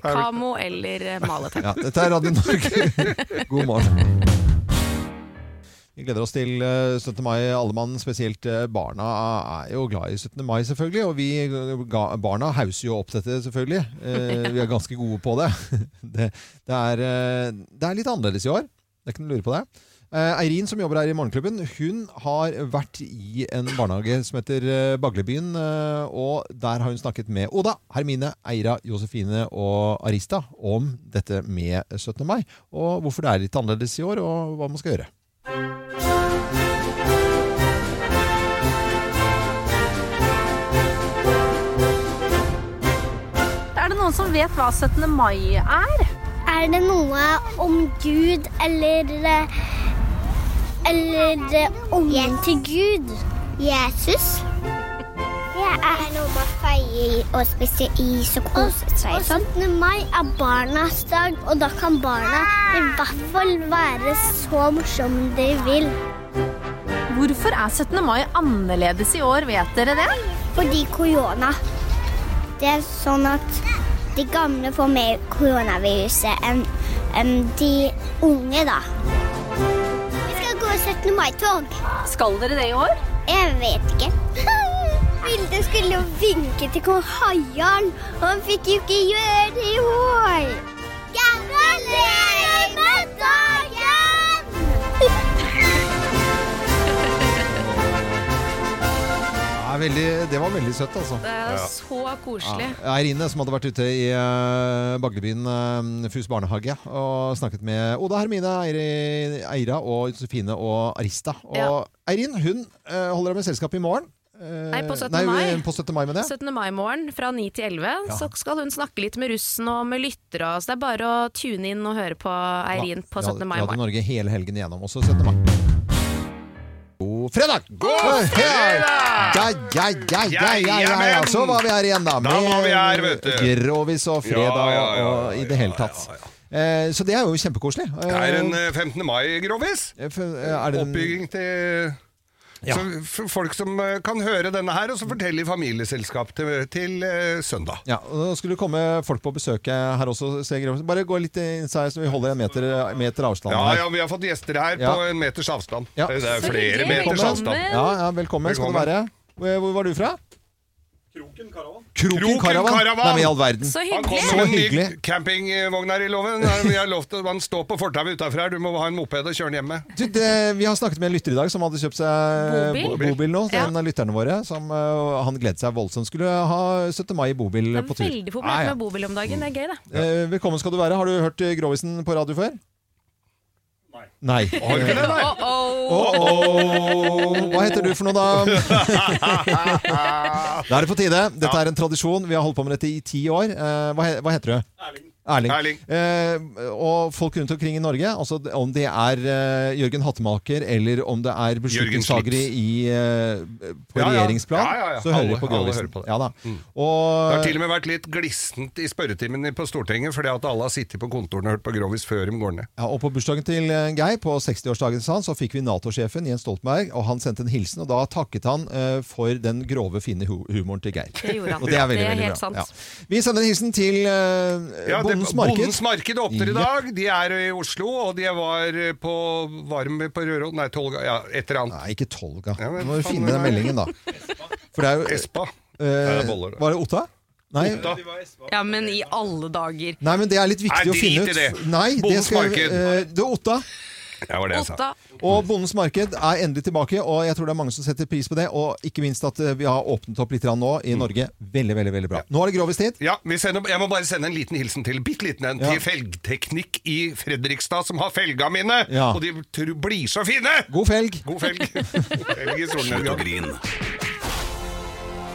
Speaker 3: kamo eh, eller eh, malet.
Speaker 1: Ja, dette er Radio Norge. God morgen. Vi gleder oss til eh, 17. mai, alle mann. Spesielt eh, barna er jo glad i 17. mai, selvfølgelig. Og vi eh, ga, barna hauser jo opp dette, selvfølgelig. Eh, Vi er ganske gode på det. Det, det, er, eh, det er litt annerledes i år. Det er ikke noe å lure på det. Eh, Eirin, som jobber her i Morgenklubben, hun har vært i en barnehage som heter eh, Baglebyen. eh, Og der har hun snakket med Oda, Hermine, Eira, Josefine og Arista om dette med 17. mai. Og hvorfor det er litt annerledes i år, og hva man skal gjøre.
Speaker 7: Er det noen som vet hva 17. mai er?
Speaker 8: Er det noe om Gud eller eh, Eller eh, ungen til Gud? Jesus. Det er noe man feirer og spiser is og koser seg. Og sånn. 17. mai er barnas dag, og da kan barna i hvert fall være så morsomme de vil.
Speaker 7: Hvorfor er 17. mai annerledes i år, vet dere det?
Speaker 8: Fordi korona. Det er sånn at de gamle får mer koronaviruset enn enn de unge, da. Vi skal gå 17. mai-tog.
Speaker 7: Skal dere det i år?
Speaker 8: Jeg vet ikke. Vilde skulle jo vinke til kong Haiarn, og han fikk jo ikke gjøre det i år. Gratulerer med dagen!
Speaker 1: Det, er veldig, det var veldig søtt, altså.
Speaker 3: Det er så koselig.
Speaker 1: Ja. Eirine, som hadde vært ute i eh, Baglebyen eh, Fus barnehage og snakket med Oda Hermine, Eiri, Eira og Josefine og Arista. Og
Speaker 3: Ja.
Speaker 1: Eirin hun eh, holder deg med selskap i morgen. Eh,
Speaker 3: Nei, på 17.
Speaker 1: nei,
Speaker 3: mai.
Speaker 1: På 17. mai med det.
Speaker 3: 17. mai-morgen fra 9 til 11 så skal hun snakke litt med russen og med lyttere. Så det er bare å tune inn og høre på Eirin på 17.
Speaker 1: Radio- Radio
Speaker 3: mai-morgen.
Speaker 1: Norge hele helgen igjennom, også 17. mai. God fredag!
Speaker 2: God fredag!
Speaker 1: Ja, ja, ja, ja, ja, ja, ja.
Speaker 2: Jajammen!
Speaker 1: Så var vi her igjen, da.
Speaker 2: Da var vi her, vet du.
Speaker 1: Grovis og fredag
Speaker 2: Ja, ja, ja,
Speaker 1: og i det hele tatt.
Speaker 2: ja, ja,
Speaker 1: Eh, Så det er jo kjempekoselig.
Speaker 2: Det er en eh, 15. mai-grovis.
Speaker 1: Eh, for- er det en-
Speaker 2: Oppbygging til så for folk som eh, kan høre denne her, og så fortelle i familieselskap til, til eh, søndag.
Speaker 1: Ja, og Nå skulle det komme folk på besøk her også. ser jeg. Bare gå litt inside, så vi holder en meter, meter avstand
Speaker 2: Ja,
Speaker 1: her.
Speaker 2: ja, vi har fått gjester her
Speaker 1: Ja.
Speaker 2: på en meters avstand.
Speaker 1: Ja.
Speaker 2: Det er
Speaker 3: Så
Speaker 2: flere
Speaker 3: hyggelig.
Speaker 2: meters
Speaker 1: Velkommen.
Speaker 2: avstand.
Speaker 1: Ja, ja, velkommen, skal du
Speaker 2: Velkommen.
Speaker 1: være. Hvor hvor var du fra? Kroken
Speaker 2: Kroken
Speaker 1: Karavan.
Speaker 2: Karavan!
Speaker 1: Nei, men i all verden.
Speaker 3: Så
Speaker 2: Han
Speaker 3: hyggelig!
Speaker 1: Så
Speaker 2: kommer med en ny
Speaker 1: hyggelig.
Speaker 2: campingvogn her i loven. Nei, Vi har lovt at han står på fortauet utafor her. Du må ha en moped og kjøre den hjemme.
Speaker 1: Du, det, vi har snakket med en lytter i dag som hadde kjøpt seg
Speaker 3: Bobil.
Speaker 1: bo- bobil nå. så
Speaker 3: Ja.
Speaker 1: En av lytterne våre. Som, øh, han gledet seg voldsomt. Skulle ha 17. mai i bobil
Speaker 3: Det er
Speaker 1: på tur.
Speaker 3: veldig
Speaker 1: Ja,
Speaker 3: populært
Speaker 1: ja.
Speaker 3: med bobil om dagen. Det er gøy, det.
Speaker 1: Eh, velkommen skal du være. Har du hørt eh, Grovisen på radio før? Nei.
Speaker 2: Har du ikke det, nei?
Speaker 1: Mm. Åh, Hva heter du for noe, da? da er det på tide. Dette er en tradisjon. Vi har holdt på med dette i ti år. Eh, Hva, he- hva heter du? Erling.
Speaker 2: Erling.
Speaker 1: Eh, og folk rundt omkring i Norge, altså d- om det er eh, Jørgen Hattemaker eller om det er beslutningstagere i, eh, på
Speaker 2: Ja, ja.
Speaker 1: regjeringsplan,
Speaker 2: Ja, ja, ja.
Speaker 1: så hører
Speaker 2: Alle-
Speaker 1: de på
Speaker 2: alle
Speaker 1: Grovisen.
Speaker 2: hører på det. Mm.
Speaker 1: Ja, da.
Speaker 2: Det har
Speaker 1: Og,
Speaker 2: til og med vært litt glissent i spørretimen på Stortinget, fordi at alle har sittet på kontorene og hørt på Grovis før de går ned.
Speaker 1: Ja, og På bursdagen til eh, Geir, på 60-årsdagen hans, så fikk vi Nato-sjefen Jens Stoltenberg. og Han sendte en hilsen, og da takket han eh, for den grove, fine hu humoren til Geir.
Speaker 3: Det gjorde han.
Speaker 1: Og det er veldig,
Speaker 3: Det er
Speaker 1: veldig
Speaker 3: helt
Speaker 1: bra.
Speaker 3: sant.
Speaker 1: Ja. Vi sender en hilsen til eh,
Speaker 2: Ja, det,
Speaker 1: Bondens Marked.
Speaker 2: Bondens Marked åpner
Speaker 1: Ja.
Speaker 2: i dag. De er i Oslo, og de var eh, på Varm på Røros Nei, Tolga. Ja, et eller annet.
Speaker 1: Nei, ikke Tolga.
Speaker 2: Ja, men
Speaker 1: Nå må du
Speaker 2: faen,
Speaker 1: finne den
Speaker 2: nei.
Speaker 1: meldingen, da. For det er jo
Speaker 2: Espa.
Speaker 1: eh,
Speaker 2: det er boller, da.
Speaker 1: Var det Otta? Nei.
Speaker 2: Da.
Speaker 3: Ja, men i alle dager.
Speaker 1: Nei, men det er litt viktig
Speaker 2: Nei,
Speaker 1: å finne ut.
Speaker 2: drit i det.
Speaker 1: Nei, det
Speaker 2: Bondens
Speaker 1: skal
Speaker 2: Marked.
Speaker 1: eh, Det er Otta.
Speaker 2: Det var det jeg sa.
Speaker 3: Åtta.
Speaker 1: Og Bondens marked er endelig tilbake, og jeg tror det er mange som setter pris på det. Og ikke minst at eh, vi har åpnet opp litt grann nå
Speaker 2: Mm.
Speaker 1: i Norge. Veldig, veldig veldig bra. Nå er det grovis tid.
Speaker 2: Ja, vi sender, jeg må bare sende en liten hilsen til bitte liten en til
Speaker 1: Ja.
Speaker 2: felgteknikk i Fredrikstad, som har felga mine!
Speaker 1: Ja.
Speaker 2: Og de tror blir så fine!
Speaker 1: God felg!
Speaker 2: God felg. God felg i
Speaker 6: Slutt å
Speaker 2: solnedgang.
Speaker 6: grin.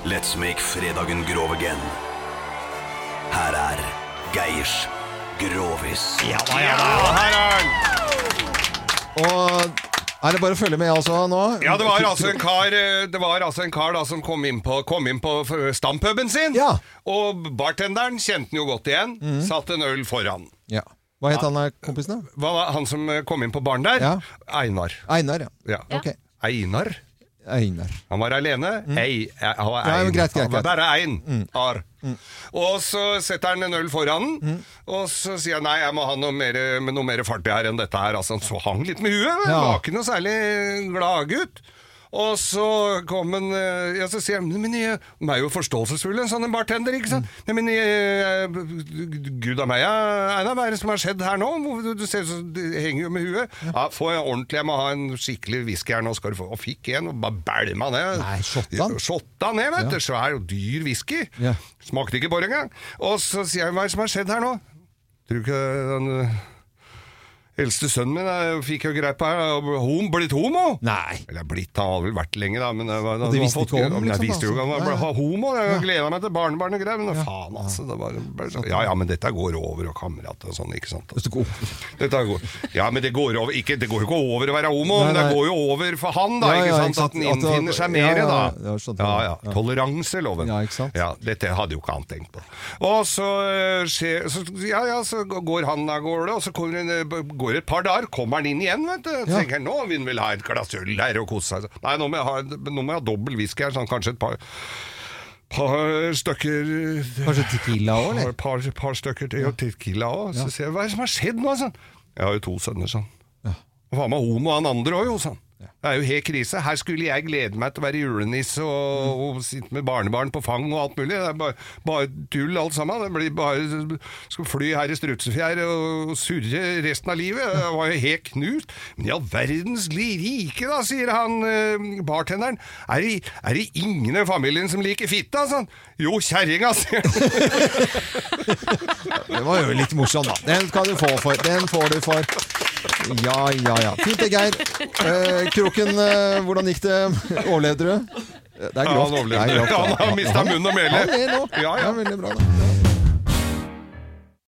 Speaker 6: Let's make fredagen grov again. Her er Geirs Grovis.
Speaker 2: Ja, her er den!
Speaker 1: Og er det bare å følge med altså nå?
Speaker 2: Ja, det var altså en kar, eh, det var altså en kar da, som kom inn på, kom inn på f- stampuben sin.
Speaker 1: Ja. Mhm.
Speaker 2: Og bartenderen kjente den jo godt igjen. Satt en øl foran.
Speaker 1: Ja. Hva het han der kompisen, da?
Speaker 2: Hva var han som eh, kom inn på baren der?
Speaker 1: Ja.
Speaker 2: Einar.
Speaker 1: Einar, ja.
Speaker 2: Ja.
Speaker 1: Ok.
Speaker 2: Einar?
Speaker 1: Einar.
Speaker 2: Han var alene. Ei, eh, han var
Speaker 1: Mhm. Ja,
Speaker 2: ein.
Speaker 1: men greit, greit,
Speaker 2: Han var
Speaker 1: greit.
Speaker 2: bare én. Ar. Og så setter han en øl foran den, og så sier han nei, jeg må ha noe mer, med noe mer fart i her enn dette her. Altså, han så hang litt med huet, men
Speaker 1: Ja.
Speaker 2: var ikke noe særlig gladgutt. Og så kom han eh, Ja, så sier han Men jeg, de er jo forståelsesfulle, en sånn en bartender, ikke sant? Nei, Men jeg, gud a meg, ja, Einar, hva er det som har skjedd her nå? Hvor- Du, du ser så du henger jo med huet. Ja, få en ordentlig, jeg må ha en skikkelig whisky her nå, skal du få. Og fikk en, og bare bælma ned.
Speaker 1: Nei, shotta han?
Speaker 2: Shotta ned, vet
Speaker 1: Ja.
Speaker 2: du. Svær og dyr whisky.
Speaker 1: Ja.
Speaker 2: Smakte ikke bare engang. Og så sier jeg hva er det som har skjedd her nå? Tror du ikke den eh, eldste sønnen min eh, fikk jo greie på her? og Hom, blitt homo?
Speaker 1: Nei.
Speaker 2: Eller blitt, han har vel vært lenge, da. Men det var,
Speaker 1: de
Speaker 2: han
Speaker 1: visste
Speaker 2: har fått-
Speaker 1: ikke om,
Speaker 2: Ja, men
Speaker 1: liksom,
Speaker 2: Jeg visste jo
Speaker 1: da,
Speaker 2: ikke om
Speaker 1: så-
Speaker 2: han ble
Speaker 1: Nei, nei.
Speaker 2: homo. Jeg gleda meg til barnebarn og greier. Men faen, altså. Det var, bare, ja ja, men dette går over, og kamerat og sånn, ikke sant.
Speaker 1: Hvis du går-
Speaker 2: Dette går, ja, men det går, over, ikke, det går jo ikke over å være
Speaker 1: Nei,
Speaker 2: homo, men det
Speaker 1: nei.
Speaker 2: går jo over for han, da.
Speaker 1: Ja, ja,
Speaker 2: ikke sant?
Speaker 1: ikke sant?
Speaker 2: At
Speaker 1: At
Speaker 2: han
Speaker 1: det-
Speaker 2: innfinner seg
Speaker 1: ja,
Speaker 2: mer,
Speaker 1: ja,
Speaker 2: da.
Speaker 1: ja, jeg skjønte det.
Speaker 2: Ja, ja.
Speaker 1: Ja.
Speaker 2: Toleranseloven.
Speaker 1: Ja, ikke sant?
Speaker 2: Ja, dette hadde jo ikke han tenkt på. Og så, eh, skjer, så Ja, ja, så går han av gårde, og så kommer han, eh, går det et par dager, kommer han inn igjen, vet du.
Speaker 1: Ja.
Speaker 2: Tenker han, nå vil han vel ha et glass øl her og kose seg. Nei, nå må jeg ha, nå må jeg ha dobbel whisky her, sånn kanskje et par, par stykker eh,
Speaker 1: Kanskje Tequila òg,
Speaker 2: et
Speaker 1: eller?
Speaker 2: par, par stykker til, og tequila òg. Så sier jeg 'hva er det som har skjedd nå?' sånn. 'Jeg har jo to sønner', sånn. Og faen meg homo han andre òg, jo, sånn. Det er jo helt krise. Her skulle jeg glede meg til å være julenisse og, og sitte med barnebarn på fang og alt mulig. Det er bare, bare tull alt sammen. Det blir bare Skal fly her i strutsefjær og surre resten av livet. Jeg var jo helt knust. Men i all verdens li- rike, da, sier han eh, bartenderen. Er det, er det ingen i familien som liker fitta, sånn? Jo, kjerringa, sier han.
Speaker 1: Det var jo litt morsom, da. Den skal du få for. Den får du for. Ja, ja, ja. Fint det, Geir. Eh, kroken, eh, hvordan gikk det? Overlevde du? Eh, Det er
Speaker 2: Ja,
Speaker 1: grovt.
Speaker 2: han overlevde.
Speaker 1: Det er grovt,
Speaker 2: Ja, han har mistet munn og mele.
Speaker 1: Ja, det er nå.
Speaker 2: Ja, ja.
Speaker 1: Det er veldig bra, da.